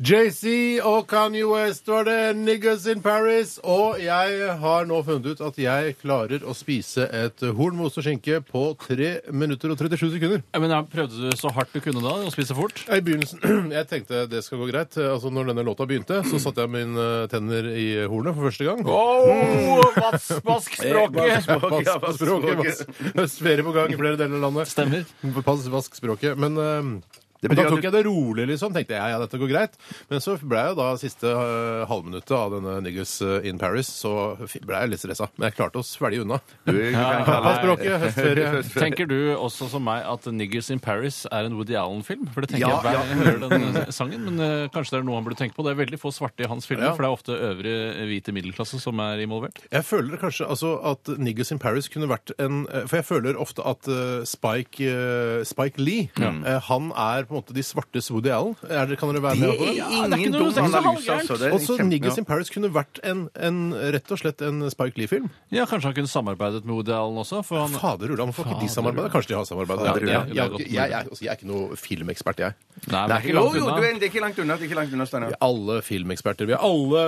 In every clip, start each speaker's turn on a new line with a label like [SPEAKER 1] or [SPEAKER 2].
[SPEAKER 1] JC og Kanye West var det, Niggas in Paris. Og jeg har nå funnet ut at jeg klarer å spise et horn med ost og skinke på 3 minutter og 37 sekunder.
[SPEAKER 2] Ja, Men ja, Prøvde du så hardt du kunne da, å spise fort?
[SPEAKER 1] I begynnelsen, Jeg tenkte det skal gå greit. Altså, når denne låta begynte, så satte jeg mine tenner i hornet for første gang.
[SPEAKER 2] Oh, vask
[SPEAKER 1] Vask- Vask på språket. vask- Høstferie på gang i flere deler av landet.
[SPEAKER 2] Stemmer.
[SPEAKER 1] Pass, vask språket. Men eh,
[SPEAKER 3] betyr
[SPEAKER 1] da
[SPEAKER 3] at
[SPEAKER 1] tok
[SPEAKER 3] du-
[SPEAKER 1] jeg det rolig, liksom. Tenkte jeg, ja, dette går greit. Men så ble jeg jo da siste eh, halvminuttet av denne Niggas eh, in Paris, så f- ble jeg litt stressa. Men jeg klarte å svelge unna.
[SPEAKER 3] Du kan
[SPEAKER 1] Pappa
[SPEAKER 3] kalle
[SPEAKER 1] språket, høstferie.
[SPEAKER 2] Tenker du også som meg at Niggers in Paris er en Woody Allen-film? For det tenker
[SPEAKER 3] Ja,
[SPEAKER 2] jeg hver
[SPEAKER 3] ja.
[SPEAKER 2] gang jeg hører den eh, sangen, men eh, kanskje det er noe han burde tenke på. Det er veldig få svarte i hans filmer,
[SPEAKER 1] Ja.
[SPEAKER 2] for det er ofte øvre eh, hvite middelklasse som er involvert.
[SPEAKER 1] Jeg føler kanskje altså, at Niggas in Paris kunne vært en eh, For jeg føler ofte at eh, Spike, eh, Spike Lee eh, Han er på en måte de svartes Woody Allen. Er det, kan dere være med på det?
[SPEAKER 3] ingen
[SPEAKER 2] ikke noe-
[SPEAKER 3] dum
[SPEAKER 2] det er ikke så
[SPEAKER 3] analyse,
[SPEAKER 2] halvgærent.
[SPEAKER 3] altså. Det er
[SPEAKER 1] Også
[SPEAKER 3] kjempe-
[SPEAKER 1] Niggas
[SPEAKER 3] ja.
[SPEAKER 1] in Paris kunne vært en, en, rett og slett en Spike Lee-film.
[SPEAKER 2] Ja, Kanskje han kunne samarbeidet med Woody Allen også? For han,
[SPEAKER 1] Fader Ulla, hvorfor har ikke de samarbeida? Kanskje de har samarbeida?
[SPEAKER 2] Fader,
[SPEAKER 1] Jeg,
[SPEAKER 2] Ulla.
[SPEAKER 1] jeg, jeg, jeg, er- altså, jeg er ikke noe filmekspert, jeg.
[SPEAKER 2] Nei, men det er ikke
[SPEAKER 3] Jo,
[SPEAKER 2] langt
[SPEAKER 3] jo,
[SPEAKER 2] unna.
[SPEAKER 3] du er, det er ikke langt unna. Det er ikke langt unna, Steinar.
[SPEAKER 1] Vi er alle filmeksperter. Vi er alle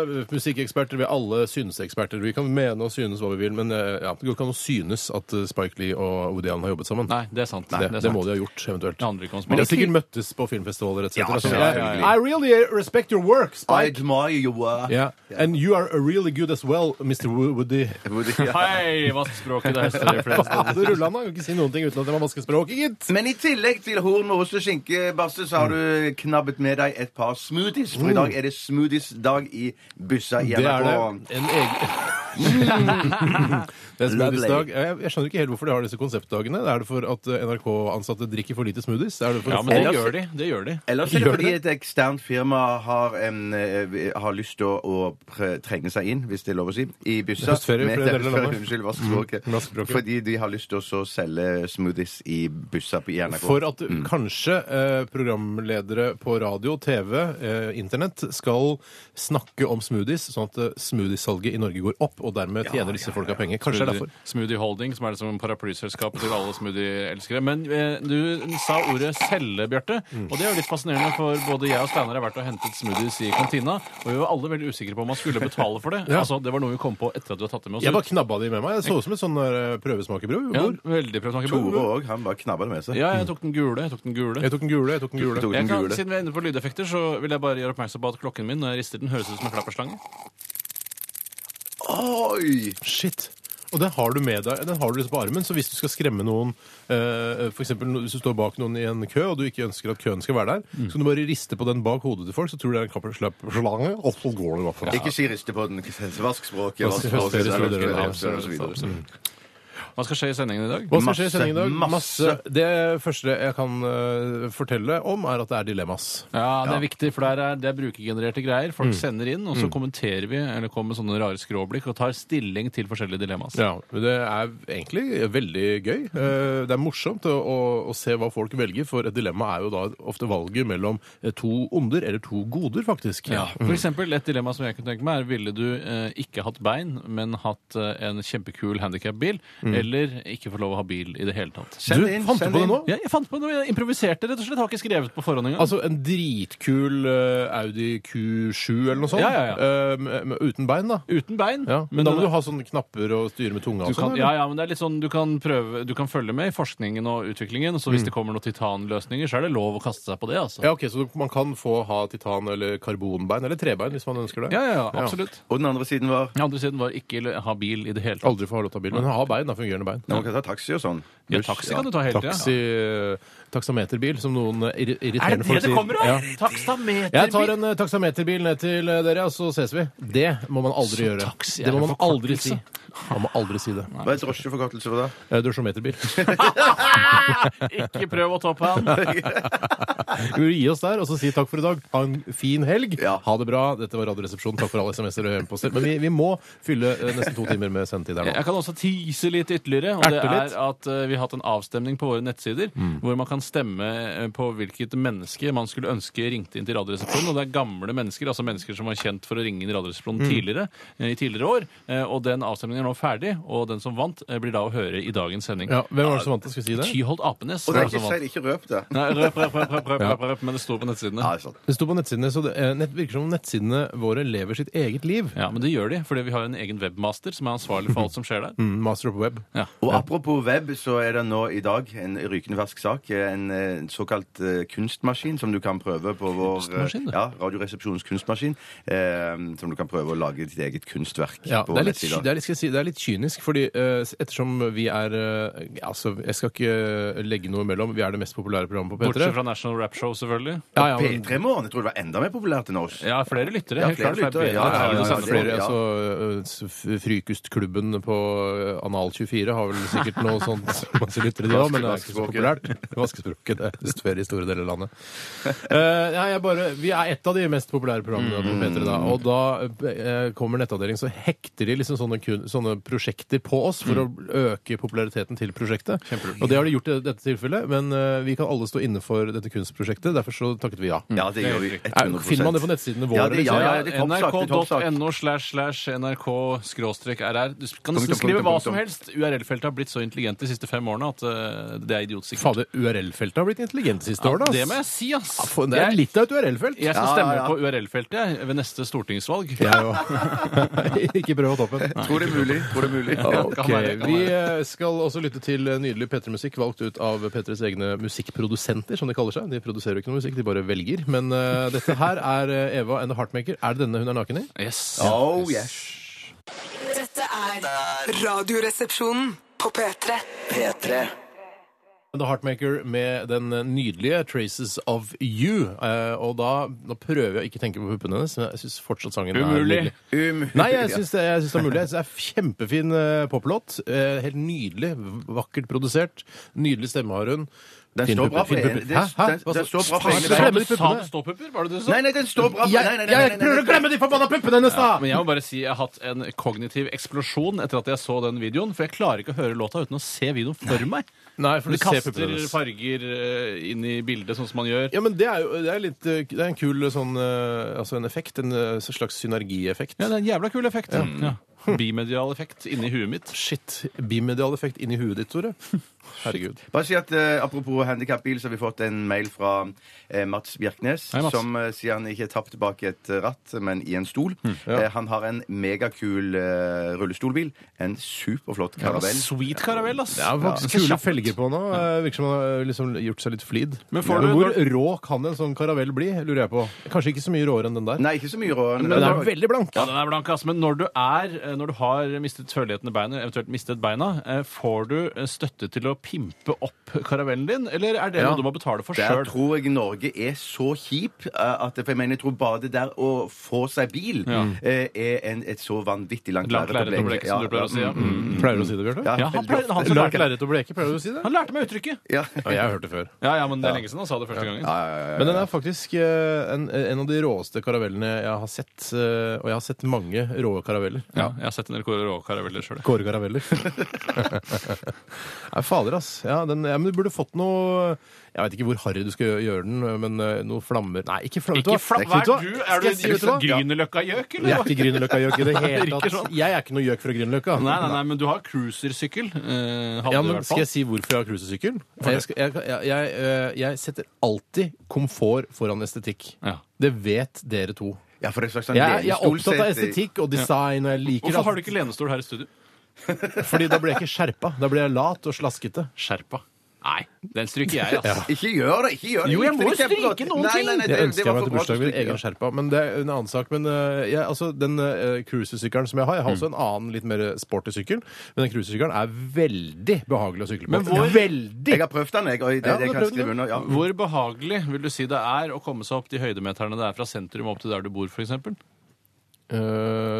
[SPEAKER 1] musikkeksperter. Vi er alle synseksperter. Vi kan mene og synes hva vi vil, men eh, ja, det går ikke an å synes at eh, Spike Lee og Woody Allen har jobbet sammen.
[SPEAKER 2] Nei, det er sant.
[SPEAKER 1] det,
[SPEAKER 2] det, er
[SPEAKER 1] det
[SPEAKER 2] sant.
[SPEAKER 1] må de ha gjort, eventuelt.
[SPEAKER 2] Det handler ikke om
[SPEAKER 1] Men de har
[SPEAKER 2] smak.
[SPEAKER 1] sikkert møttes på filmfestivaler etc.
[SPEAKER 3] Ja,
[SPEAKER 1] Sånn,
[SPEAKER 3] selvfølgelig.
[SPEAKER 1] I really respect your work,
[SPEAKER 3] I
[SPEAKER 1] Spike.
[SPEAKER 3] admire your work.
[SPEAKER 1] Yeah. And you are really good as well, Mr. Wo- Woody.
[SPEAKER 2] Hei, vask språket der. står det flere steder.
[SPEAKER 1] Fader Ulland, han kan ikke si noen ting uten at det var vaskespråket, gitt.
[SPEAKER 3] Men i tillegg til horn med ost og skinke, Basse, så har
[SPEAKER 1] Mm.
[SPEAKER 3] du knabbet med deg et par smoothies. For i dag er det smoothies-dag i byssa i
[SPEAKER 1] Oh. Det er det.
[SPEAKER 3] NRK.
[SPEAKER 1] En egen... det er smoothies dag.
[SPEAKER 3] Lovely.
[SPEAKER 1] Jeg, jeg skjønner ikke helt hvorfor de har disse konseptdagene. Er det for at eh, NRK-ansatte drikker for lite smoothies? Er det for
[SPEAKER 2] Ja,
[SPEAKER 1] å
[SPEAKER 2] men det
[SPEAKER 1] få-
[SPEAKER 2] gjør de. Det gjør de.
[SPEAKER 3] Ellers er det
[SPEAKER 1] Gjør
[SPEAKER 3] fordi et eksternt firma har, en, eh, har lyst til å å pre- trenge seg inn, hvis det er lov å si, i byssa.
[SPEAKER 1] Høstferie,
[SPEAKER 3] Med-
[SPEAKER 1] for det er det landet.
[SPEAKER 3] Unnskyld, vaskespråket.
[SPEAKER 1] Mm, vaskespråket.
[SPEAKER 3] Fordi de har lyst til å så selge smoothies i byssa på i NRK.
[SPEAKER 1] For at kanskje eh, programledere på radio, TV, eh, internett skal snakke om smoothies, sånn at eh, smoothiesalget i Norge går opp, og dermed tjener disse folka penger. Kanskje det er
[SPEAKER 2] Smoothie,
[SPEAKER 1] derfor.
[SPEAKER 2] smoothie Holding, som er liksom paraplyselskapet til alle smoothie-elskere. Men eh, du sa ordet selge, Bjarte.
[SPEAKER 1] Mm.
[SPEAKER 2] Og det er jo litt fascinerende, for både jeg og Steinar har vært og hentet smoothies i kantina. Og vi var alle veldig usikre på om man skulle betale for det.
[SPEAKER 1] Ja.
[SPEAKER 2] Altså, Det var noe vi kom på etter at du hadde tatt det med oss
[SPEAKER 1] Jeg bare
[SPEAKER 2] ut.
[SPEAKER 1] knabba de med meg. Jeg så ut som et sånn eh, prøvesmakerbrød.
[SPEAKER 2] Ja, veldig prøvd
[SPEAKER 3] Tore
[SPEAKER 2] tanke.
[SPEAKER 3] òg. Han bare knabba det med seg.
[SPEAKER 2] Ja, jeg tok den gule. Jeg tok den gule.
[SPEAKER 1] Jeg tok den gule, jeg tok den
[SPEAKER 3] Du
[SPEAKER 1] gule.
[SPEAKER 3] tok den
[SPEAKER 2] Jeg kan,
[SPEAKER 3] gule.
[SPEAKER 2] siden vi er inne på lydeffekter, så vil jeg bare gjøre oppmerksom på at klokken min når jeg rister den, høres ut som en klapperslange.
[SPEAKER 3] Oi!
[SPEAKER 1] Shit. Og den har du med deg, den har du liksom på armen, så hvis du skal skremme noen, eh, for eksempel no- hvis du står bak noen i en kø, og du ikke ønsker at køen skal være der, så kan du bare riste på den bak hodet til folk, så tror du det er en kapperslange, og så går det i hvert fall.
[SPEAKER 3] Ikke si riste på den. Vask språket.
[SPEAKER 1] Vask språket,
[SPEAKER 3] vask
[SPEAKER 1] det er det.
[SPEAKER 3] vask- og så videre.
[SPEAKER 2] Hva skal skje i sendingen i dag?
[SPEAKER 1] Hva skal skje i
[SPEAKER 3] Masse,
[SPEAKER 1] sendingen i dag?
[SPEAKER 3] masse.
[SPEAKER 1] Det første jeg kan eh, fortelle om, er at det er dilemmas.
[SPEAKER 2] Ja, det er viktig, for det er, det er brukergenererte greier.
[SPEAKER 1] Mm.
[SPEAKER 2] Folk sender inn, og så kommenterer vi, eller kommer med sånne rare skråblikk, og tar stilling til forskjellige dilemmaer.
[SPEAKER 1] Ja, men Det er egentlig veldig gøy. Eh, Det er morsomt å, å, å se hva folk velger, for et dilemma er jo da ofte valget mellom eh, to onder, eller to goder, faktisk.
[SPEAKER 2] Ja. For eksempel, et dilemma som jeg kunne tenke meg er, ville du eh, ikke hatt bein, men hatt eh, en kjempekul handikapbil,
[SPEAKER 1] Mm.
[SPEAKER 2] eller ikke få lov å ha bil i det hele tatt?
[SPEAKER 1] Du,
[SPEAKER 3] Send inn,
[SPEAKER 1] fant du
[SPEAKER 3] send
[SPEAKER 1] på det
[SPEAKER 3] inn.
[SPEAKER 1] nå?
[SPEAKER 2] Ja, jeg fant på noe, jeg improviserte rett og slett, har ikke skrevet på forhånd engang.
[SPEAKER 1] Altså en dritkul eh, Audi Q7 eller noe sånt?
[SPEAKER 2] Ja, ja, ja.
[SPEAKER 1] eh, med- med- uten bein, da?
[SPEAKER 2] Uten bein.
[SPEAKER 1] Ja. Men
[SPEAKER 2] men
[SPEAKER 1] da
[SPEAKER 2] den-
[SPEAKER 1] må du ha sånne knapper og styre med tunga
[SPEAKER 2] Du
[SPEAKER 1] og sånn?
[SPEAKER 2] kan, ja, ja, men det er litt sånn, du kan, prøve, du kan følge med i forskningen og utviklingen, så hvis det kommer noen titanløsninger, så er det lov å kaste seg på det, altså.
[SPEAKER 1] Mm. ja, ok, Så man kan få ha titan- eller karbonbein, eller trebein, hvis man ønsker det?
[SPEAKER 2] ja, ja, ja absolutt.
[SPEAKER 3] Og den andre siden var
[SPEAKER 2] Den andre siden var ikke l- ha bil i det hele tatt.
[SPEAKER 1] Aldri få ha lov til å ha bil, men ha bein, da, fungerende bein.
[SPEAKER 3] Når man kan ta taxi og sånn.
[SPEAKER 2] Ja,
[SPEAKER 3] Buss,
[SPEAKER 2] taxi
[SPEAKER 3] ja.
[SPEAKER 2] kan du ta hele tida.
[SPEAKER 1] Taxi, taksameterbil, som noen eh, irri- irriterende folk sier. Ja. Jeg tar
[SPEAKER 2] Takstameterbil!
[SPEAKER 1] en eh, taksameterbil ned til eh, dere, og så ses vi. Det må man aldri
[SPEAKER 2] Så
[SPEAKER 1] gjøre.
[SPEAKER 2] taxi er
[SPEAKER 1] det må
[SPEAKER 2] en
[SPEAKER 1] man aldri si.
[SPEAKER 2] forkortelse.
[SPEAKER 1] Man må aldri si det.
[SPEAKER 3] Hva er drosjeforkortelse for det?
[SPEAKER 1] Eh, Drosjometerbil.
[SPEAKER 2] Ikke prøv å toppe han!
[SPEAKER 1] Vi vil gi oss der og så si takk for i dag. Ha en fin helg.
[SPEAKER 3] Ja.
[SPEAKER 1] Ha det bra. Dette var Radioresepsjonen. Takk for alle SMS-er og e-poster. Men vi, vi må fylle eh, nesten to timer med sendetid her nå.
[SPEAKER 2] Jeg kan også tease litt ytterligere. og
[SPEAKER 1] Erte
[SPEAKER 2] det
[SPEAKER 1] litt. Mm.
[SPEAKER 2] er at eh, Vi har hatt en avstemning på våre nettsider hvor man kan stemme eh, på hvilket menneske man skulle ønske ringte inn til Radioresepsjonen. og Det er gamle mennesker, altså mennesker som var kjent for å ringe inn i
[SPEAKER 1] Mm.
[SPEAKER 2] Radioresepsjonen tidligere. eh, i tidligere år, Eh, og Den avstemningen er nå ferdig, og den som vant, eh, blir da å høre i dagens sending.
[SPEAKER 1] Ja, hvem var det som vant? det? Skal vi si det?
[SPEAKER 2] Tyholt Apenes.
[SPEAKER 3] Og
[SPEAKER 2] var
[SPEAKER 3] det er
[SPEAKER 1] altså
[SPEAKER 2] det som
[SPEAKER 3] ikke,
[SPEAKER 2] vant.
[SPEAKER 3] feil, ikke røp det.
[SPEAKER 2] Nei, røp, røp, røp, røp, røp, røp, røp, men det står på nettsidene.
[SPEAKER 3] Ja, det er sant.
[SPEAKER 1] Det sto på nettsidene, så det eh, nett- virker som om nettsidene våre lever sitt eget liv.
[SPEAKER 2] Ja, men det gjør de, fordi vi har en egen webmaster som er ansvarlig for alt som skjer der.
[SPEAKER 1] Mm, Master of Web.
[SPEAKER 2] Ja.
[SPEAKER 3] Og apropos web, så er det nå i dag en rykende fersk sak. En eh, såkalt eh, kunstmaskin som du kan prøve på vår eh,
[SPEAKER 2] Kunstmaskin, du?
[SPEAKER 3] ja, Radioresepsjonens kunstmaskin. Eh, som du kan prøve å lage ditt eget kunstverk
[SPEAKER 1] Ja,
[SPEAKER 3] på
[SPEAKER 1] det er, litt,
[SPEAKER 3] nettsida.
[SPEAKER 1] det, er litt, skal jeg si, det er litt kynisk, fordi eh, ettersom vi er eh, Altså, jeg skal ikke legge noe imellom. Vi er det mest populære programmet på
[SPEAKER 2] Bortsett
[SPEAKER 1] P3.
[SPEAKER 2] fra National Rap Show, selvfølgelig.
[SPEAKER 1] Ja, ja, men-
[SPEAKER 3] P3-morgen jeg tror det var enda mer populært enn oss.
[SPEAKER 2] Ja, flere lyttere.
[SPEAKER 3] Ja,
[SPEAKER 2] helt
[SPEAKER 3] flere
[SPEAKER 2] klart. for det er
[SPEAKER 3] lyttere,
[SPEAKER 2] bedre
[SPEAKER 3] ja, ja,
[SPEAKER 2] tid å
[SPEAKER 3] ja,
[SPEAKER 2] sende
[SPEAKER 3] ja,
[SPEAKER 2] flere.
[SPEAKER 1] Flere, altså, eh, Frykustklubben på eh, Anal24 har vel sikkert noe sånt masse lyttere de òg, men det er ikke så populært. Vaskespråket det er større i store deler av landet. Eh, nei, jeg bare, vi er et av de mest populære programmene på
[SPEAKER 2] Mm.
[SPEAKER 1] P3 da, og da eh, kommer Nettavdelingen, så hekter de liksom sånne, kun, sånne prosjekter på oss
[SPEAKER 2] Mm.
[SPEAKER 1] for å øke populariteten til prosjektet. Og det har de gjort i dette tilfellet, men eh, vi kan alle stå inne for dette kunstprosjektet, derfor så takket vi ja.
[SPEAKER 2] Mm.
[SPEAKER 3] Ja, det gjør vi.
[SPEAKER 2] Det er
[SPEAKER 3] 100
[SPEAKER 1] Finner man det på nettsidene våre?
[SPEAKER 3] Ja, det- ja,
[SPEAKER 1] liksom?
[SPEAKER 3] ja, det er toppsak, det er toppsak.
[SPEAKER 2] NRK.no slash slash NRK skråstrek RR. Du kan nesten
[SPEAKER 3] punktum,
[SPEAKER 2] skrive hva
[SPEAKER 3] punktum.
[SPEAKER 2] som helst. URL-feltet har blitt så intelligent de siste fem årene at eh, det er idiotsikkert.
[SPEAKER 1] Fader, URL-feltet har blitt intelligent de siste årene. ass.
[SPEAKER 2] Det må jeg si, ass!
[SPEAKER 1] Ja, for det er litt av et URL-felt.
[SPEAKER 2] Jeg skal
[SPEAKER 3] Ja,
[SPEAKER 2] stemme
[SPEAKER 3] ja, ja.
[SPEAKER 2] på URL-feltet jeg, ved neste stortingsvalg.
[SPEAKER 1] Jeg òg. Ikke prøv å toppe den.
[SPEAKER 3] Tror det er mulig. Tror det er mulig.
[SPEAKER 1] Ok, Vi eh, skal også lytte til eh, nydelig P3-musikk valgt ut av P3s egne musikkprodusenter, som de kaller seg. De produserer jo ikke noe musikk, de bare velger. Men eh, dette her er eh, Eva and the Heartmaker. Er det denne hun er naken i?
[SPEAKER 2] Yes.
[SPEAKER 3] Oh, yes.
[SPEAKER 4] Dette er Radioresepsjonen på P3.
[SPEAKER 5] P3
[SPEAKER 1] The Heartmaker med den eh, nydelige 'Traces of You'. Eh, og da nå prøver jeg å ikke tenke på puppene hennes, men jeg syns fortsatt sangen er
[SPEAKER 2] Umulig.
[SPEAKER 1] nydelig. Nei, jeg syns det, jeg syns det er mulig. Jeg synes det er Kjempefin eh, poplåt. Eh, helt nydelig. Vakkert produsert. Nydelig stemme har hun.
[SPEAKER 3] Den
[SPEAKER 1] Fine
[SPEAKER 3] står bra
[SPEAKER 1] pupper,
[SPEAKER 3] for
[SPEAKER 1] fine
[SPEAKER 3] en-
[SPEAKER 1] pupper.
[SPEAKER 3] det-
[SPEAKER 1] Hæ? Hæ?
[SPEAKER 3] den-
[SPEAKER 1] Hva
[SPEAKER 3] den
[SPEAKER 1] så-
[SPEAKER 3] står bra for
[SPEAKER 1] Faen,
[SPEAKER 3] en-
[SPEAKER 1] så
[SPEAKER 2] Sa
[SPEAKER 1] glemmer de
[SPEAKER 2] du sa
[SPEAKER 1] puppene.
[SPEAKER 2] du ståpupper? Var det det du sa?
[SPEAKER 3] Nei, nei, den står bra.
[SPEAKER 1] Jeg,
[SPEAKER 3] Nei, nei, nei, nei,
[SPEAKER 1] jeg
[SPEAKER 3] nei,
[SPEAKER 1] prøver å
[SPEAKER 3] nei.
[SPEAKER 1] glemme de forbanna puppene hennes, da!
[SPEAKER 2] Men jeg må bare si jeg har hatt en kognitiv eksplosjon etter at jeg så den videoen. For jeg klarer ikke å høre låta uten å se videoen for meg.
[SPEAKER 1] Nei, for
[SPEAKER 2] Du
[SPEAKER 1] du ser
[SPEAKER 2] kaster
[SPEAKER 1] puppene hennes.
[SPEAKER 2] farger eh, inn i bildet, sånn som man gjør.
[SPEAKER 1] Ja, men det er jo det er litt eh, Det er en kul sånn eh, Altså en effekt. En eh, slags synergieffekt.
[SPEAKER 2] Ja, det er en jævla kul effekt. Ja. Mm. Bimedial effekt inni huet mitt.
[SPEAKER 1] Shit. Bimedial effekt inni huet ditt, Tore. Herregud.
[SPEAKER 3] Bare si at eh, Apropos handikapbil, så har vi fått en mail fra eh, Mats Bjerknes,
[SPEAKER 2] Hei, Mats.
[SPEAKER 3] som eh, sier han ikke er tapt bak et eh, ratt, men i en stol. Eh, han har en megakul eh, rullestolbil. En superflott karavell.
[SPEAKER 2] Sweet karavell, ass.
[SPEAKER 1] Det er faktisk
[SPEAKER 2] Ja.
[SPEAKER 1] kule felger på nå. Eh, Virker som han har liksom gjort seg litt flid.
[SPEAKER 2] Men får du-
[SPEAKER 1] hvor rå kan en sånn karavell bli, lurer jeg på. Kanskje ikke så mye råere enn den der.
[SPEAKER 3] Nei, ikke så mye rå.
[SPEAKER 1] Men den er veldig blank.
[SPEAKER 2] Ja, den er blank, ass. Men når du er, eh, når du har mistet førligheten i beinet, eventuelt mistet beina, eh, får du eh, støtte til å pimpe opp karavellen din, eller er det
[SPEAKER 1] Ja.
[SPEAKER 2] noe du må betale for
[SPEAKER 3] Der
[SPEAKER 2] sjøl?
[SPEAKER 3] tror jeg Norge er så kjip eh, at for jeg mener, jeg tror bare det der å få seg bil eh, er en, et så vanvittig langt
[SPEAKER 2] Langt lerret å bleke, som du pleier å si. Ja. Mm,
[SPEAKER 1] Pleier du å si det, Bjarte?
[SPEAKER 3] Ja,
[SPEAKER 2] Ja, han,
[SPEAKER 3] veldig
[SPEAKER 2] pleier,
[SPEAKER 3] ofte.
[SPEAKER 2] han, som
[SPEAKER 1] Langt
[SPEAKER 2] lærte,
[SPEAKER 1] lerret og bleke, pleier du å si det?
[SPEAKER 2] han lærte meg uttrykket!
[SPEAKER 3] Ja.
[SPEAKER 1] Ja, jeg har hørt det før.
[SPEAKER 2] Ja, ja, men det er lenge siden han sa det første gangen.
[SPEAKER 1] Men den er faktisk eh, en, en av de råeste karavellene jeg har sett. eh, Og jeg har sett mange rå karaveller.
[SPEAKER 2] Ja, jeg har sett en del rå karaveller sjøl.
[SPEAKER 1] Kåre Karaveller. Nei, fader, ass. Ja, den, ja, men du burde fått noe Jeg veit ikke hvor harry du skal gjøre den, men eh, noe flammer Nei, ikke flammer.
[SPEAKER 2] Ikke flapp, hva er du? Er du
[SPEAKER 1] Skal
[SPEAKER 2] liksom
[SPEAKER 1] jeg si, vet du hva?
[SPEAKER 2] Grünerløkka-gjøk,
[SPEAKER 1] Jeg
[SPEAKER 2] eller?
[SPEAKER 1] er
[SPEAKER 2] hva?
[SPEAKER 1] ikke Grünerløkka-gjøk i det hele
[SPEAKER 2] Det virker
[SPEAKER 1] tatt.
[SPEAKER 2] sånn.
[SPEAKER 1] Jeg er ikke noe gjøk fra Grünerløkka.
[SPEAKER 2] Nei, nei, nei, men du har cruisersykkel. Eh,
[SPEAKER 1] Ja,
[SPEAKER 2] hadde du i
[SPEAKER 1] men
[SPEAKER 2] hvert fall.
[SPEAKER 1] skal jeg si hvorfor jeg har cruisesykkel? Jeg, skal- jeg, jeg, jeg, eh, jeg setter alltid komfort foran estetikk.
[SPEAKER 2] Ja.
[SPEAKER 1] Det vet dere to.
[SPEAKER 3] Ja, for det er et slags sånn
[SPEAKER 1] Jeg, er- jeg er
[SPEAKER 3] lenestolsete.
[SPEAKER 1] opptatt av estetikk og design, og jeg liker
[SPEAKER 2] Hvorfor har du
[SPEAKER 1] det.
[SPEAKER 2] ikke lenestol her i studio?
[SPEAKER 1] Fordi da blir jeg ikke skjerpa. Da blir jeg lat og slaskete.
[SPEAKER 2] Skjerpa. Nei, den stryker jeg, altså.
[SPEAKER 3] Ikke gjør det! ikke gjør det
[SPEAKER 2] Jo, jeg
[SPEAKER 3] likte
[SPEAKER 2] må
[SPEAKER 3] det kjempegodt.
[SPEAKER 2] stryke noen
[SPEAKER 3] Nei,
[SPEAKER 2] ting.
[SPEAKER 3] nei, nei, det-
[SPEAKER 1] Jeg
[SPEAKER 3] det
[SPEAKER 1] ønsker
[SPEAKER 3] var
[SPEAKER 1] meg
[SPEAKER 3] for
[SPEAKER 1] til
[SPEAKER 3] bra at du
[SPEAKER 1] bursdagen min
[SPEAKER 3] stryker.
[SPEAKER 1] egen skjerpa, men det er en annen sak. Men eh, jeg, altså, den eh, cruisesykkelen som jeg har, jeg har også en annen litt mer eh, sporty sykkel, men den cruisesykkelen er veldig behagelig å sykle på.
[SPEAKER 2] Men hvor-
[SPEAKER 1] Veldig!
[SPEAKER 3] Jeg har prøvd den, jeg. Og det,
[SPEAKER 1] Ja,
[SPEAKER 3] det
[SPEAKER 1] du
[SPEAKER 3] kan
[SPEAKER 1] prøvde
[SPEAKER 3] jeg skrive
[SPEAKER 1] den.
[SPEAKER 3] under. Ja.
[SPEAKER 2] Hvor behagelig vil du si det er å komme seg opp de høydemeterne det er fra sentrum opp til der du bor, f.eks.?
[SPEAKER 1] Eh,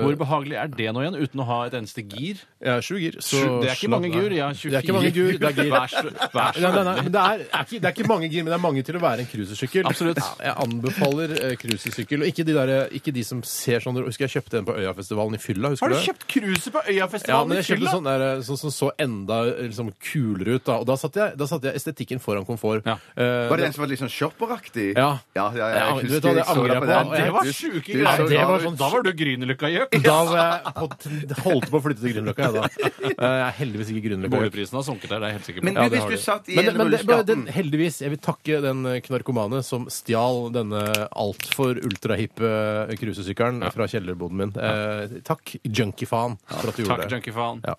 [SPEAKER 2] Hvor behagelig er det nå igjen, uten å ha et eneste gir?
[SPEAKER 1] Jeg er sju gir. så
[SPEAKER 2] Sju- det er ikke
[SPEAKER 1] slapp
[SPEAKER 2] mange
[SPEAKER 1] av.
[SPEAKER 2] gir, jeg har 24
[SPEAKER 1] Det er ikke mange gir, det er gir.
[SPEAKER 2] Vær så- vær så
[SPEAKER 1] Nei, nei, nei, men det, er, er ikke, det er ikke mange gir, men det er mange til å være en cruisesykkel.
[SPEAKER 2] Absolutt.
[SPEAKER 1] Ja, Jeg anbefaler eh, cruisesykkel, og ikke de, der, eh, ikke de som ser sånn Husker jeg kjøpte en på Øyafestivalen i fylla? husker
[SPEAKER 2] Har du
[SPEAKER 1] det?
[SPEAKER 2] kjøpt cruiser på
[SPEAKER 1] Ja, men
[SPEAKER 2] Øyafestivalen
[SPEAKER 1] jeg kjøpte sånn der, sånn som så enda liksom, kulere ut. Da. Og da satte, jeg, da satte jeg estetikken foran komfort.
[SPEAKER 2] Ja.
[SPEAKER 1] Eh,
[SPEAKER 3] Var det den som var litt sånn shopperaktig?
[SPEAKER 1] Ja.
[SPEAKER 3] ja, ja, ja,
[SPEAKER 1] Ja, du vet
[SPEAKER 3] jeg husker
[SPEAKER 1] hva, det
[SPEAKER 3] så
[SPEAKER 1] angrer jeg
[SPEAKER 3] på
[SPEAKER 1] på.
[SPEAKER 3] den.
[SPEAKER 1] Ja,
[SPEAKER 2] Det var
[SPEAKER 3] Du-
[SPEAKER 2] sjuke
[SPEAKER 3] du
[SPEAKER 2] greier.
[SPEAKER 3] så
[SPEAKER 1] det
[SPEAKER 3] gal
[SPEAKER 1] var
[SPEAKER 3] ut.
[SPEAKER 1] sånn-
[SPEAKER 2] Da var du Grünerløkka-gjøk.
[SPEAKER 1] Da var jeg på, holdt på å flytte til Grünerløkka, jeg da. Eh, Jeg er heldigvis ikke Grünerløkka.
[SPEAKER 2] Boligprisen har sunket der, det er jeg helt sikker på.
[SPEAKER 3] Men
[SPEAKER 1] Ja,
[SPEAKER 3] du,
[SPEAKER 1] det
[SPEAKER 3] hvis
[SPEAKER 1] har
[SPEAKER 3] du
[SPEAKER 1] de.
[SPEAKER 3] satt i
[SPEAKER 1] Men,
[SPEAKER 3] en
[SPEAKER 1] men det, bare den,
[SPEAKER 3] rulleskaften
[SPEAKER 1] heldigvis, jeg vil takke den knarkomane som stjal denne altfor ultrahippe cruisesykkelen fra kjellerboden min. Eh, takk, junkie-faen, for at du
[SPEAKER 2] Takk,
[SPEAKER 1] gjorde det.
[SPEAKER 2] junkie-faen.
[SPEAKER 1] Ja.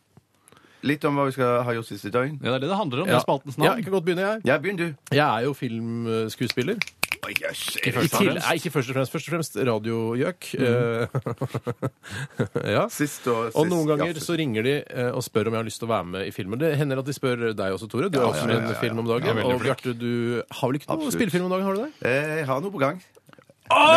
[SPEAKER 3] Litt om hva vi skal ha gjort siste døgn.
[SPEAKER 2] Ja, det er det det handler om. Det
[SPEAKER 1] Ja.
[SPEAKER 2] er spaltens
[SPEAKER 1] Ja,
[SPEAKER 2] navn.
[SPEAKER 1] jeg kan godt begynne, jeg.
[SPEAKER 3] Ja, begynn du.
[SPEAKER 1] Jeg er jo filmskuespiller.
[SPEAKER 3] Å, jøss.
[SPEAKER 1] I
[SPEAKER 2] Først og
[SPEAKER 1] til,
[SPEAKER 2] fremst.
[SPEAKER 1] nei, ikke først og fremst. Først og fremst radiogjøk. Eh, ja.
[SPEAKER 3] Sist og sist.
[SPEAKER 1] Og noen ganger
[SPEAKER 3] ja,
[SPEAKER 1] så ringer de eh, og spør om jeg har lyst til å være med i filmen. Det hender at de spør deg også, Tore. Du har også
[SPEAKER 3] ja, ja, ja,
[SPEAKER 1] en
[SPEAKER 3] ja.
[SPEAKER 1] film om
[SPEAKER 2] Ja,
[SPEAKER 1] dagen.
[SPEAKER 2] veldig
[SPEAKER 1] og
[SPEAKER 2] flink.
[SPEAKER 1] Bjarte, du har vel ikke noe
[SPEAKER 3] Absolutt.
[SPEAKER 1] spillfilm om dagen, har du det?
[SPEAKER 3] Eh, Jeg har noe på gang. Men- ja,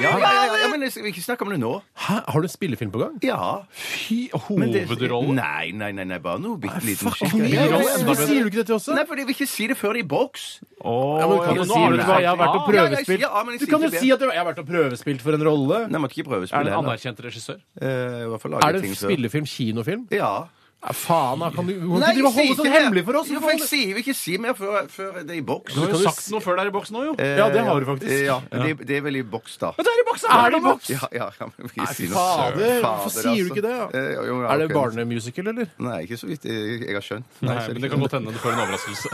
[SPEAKER 3] ja, ja, ja, men jeg skal ikke snakke om det nå.
[SPEAKER 1] Hæ? Har du en spillefilm på gang?
[SPEAKER 3] Ja.
[SPEAKER 2] Fy
[SPEAKER 3] Men det-
[SPEAKER 2] hovedrolle.
[SPEAKER 3] Nei, nei, nei, nei, bare noe bitte liten
[SPEAKER 1] Fuck,
[SPEAKER 3] skikkelig-
[SPEAKER 1] mye
[SPEAKER 3] Ja,
[SPEAKER 1] rolle.
[SPEAKER 3] ja, ja.
[SPEAKER 1] Hvorfor sier du ikke det til oss? da?
[SPEAKER 3] Nei, for jeg vil ikke si det før det er i boks.
[SPEAKER 2] Åh,
[SPEAKER 1] Ja, men du
[SPEAKER 2] ja,
[SPEAKER 1] kan jo
[SPEAKER 2] men nå
[SPEAKER 1] si
[SPEAKER 2] har
[SPEAKER 1] vet
[SPEAKER 2] du
[SPEAKER 1] du hva, jeg har vært og
[SPEAKER 2] sagt-
[SPEAKER 3] prøvd. Ja, ja, jeg
[SPEAKER 1] prøvespilt.
[SPEAKER 3] sier- ja, men jeg
[SPEAKER 1] Du
[SPEAKER 3] sier
[SPEAKER 1] kan jo
[SPEAKER 3] ikke det.
[SPEAKER 1] si at jeg har vært og prøvespilt for en rolle.
[SPEAKER 3] Nei, man kan ikke prøvespille
[SPEAKER 2] Er det en
[SPEAKER 3] heller.
[SPEAKER 2] anerkjent regissør?
[SPEAKER 3] Eh, i hvert fall lage
[SPEAKER 1] Er det
[SPEAKER 3] ting så-
[SPEAKER 1] spillefilm, kinofilm?
[SPEAKER 3] Ja.
[SPEAKER 1] Ja, faen, da kan du, du kan ikke drive og
[SPEAKER 3] Nei, jeg
[SPEAKER 1] holde
[SPEAKER 3] sier
[SPEAKER 1] sånn
[SPEAKER 3] ikke det.
[SPEAKER 1] hemmelig for oss.
[SPEAKER 3] Jo,
[SPEAKER 1] for
[SPEAKER 3] for jeg
[SPEAKER 1] faen.
[SPEAKER 3] sier vil ikke si mer før, før det er i boks.
[SPEAKER 2] Du har
[SPEAKER 1] kan
[SPEAKER 2] jo
[SPEAKER 1] jo
[SPEAKER 2] sagt noe før det er i boks nå, jo.
[SPEAKER 3] Eh,
[SPEAKER 1] Ja, det har du faktisk.
[SPEAKER 3] eh, Ja, det, det er vel i boks, da.
[SPEAKER 2] Men det er i boks!
[SPEAKER 1] Er det i boks?
[SPEAKER 3] Ja, ja, ja, men vi
[SPEAKER 1] Nei,
[SPEAKER 3] sier noe
[SPEAKER 1] fader,
[SPEAKER 3] søren.
[SPEAKER 1] hvorfor sier du ikke det, da?
[SPEAKER 3] Eh, jo, jo, ja,
[SPEAKER 1] Er det
[SPEAKER 3] ok.
[SPEAKER 1] barnemusical, eller?
[SPEAKER 3] Nei, ikke så vidt jeg, jeg har skjønt.
[SPEAKER 2] Nei,
[SPEAKER 3] så er
[SPEAKER 2] men det kan godt hende du får en overraskelse.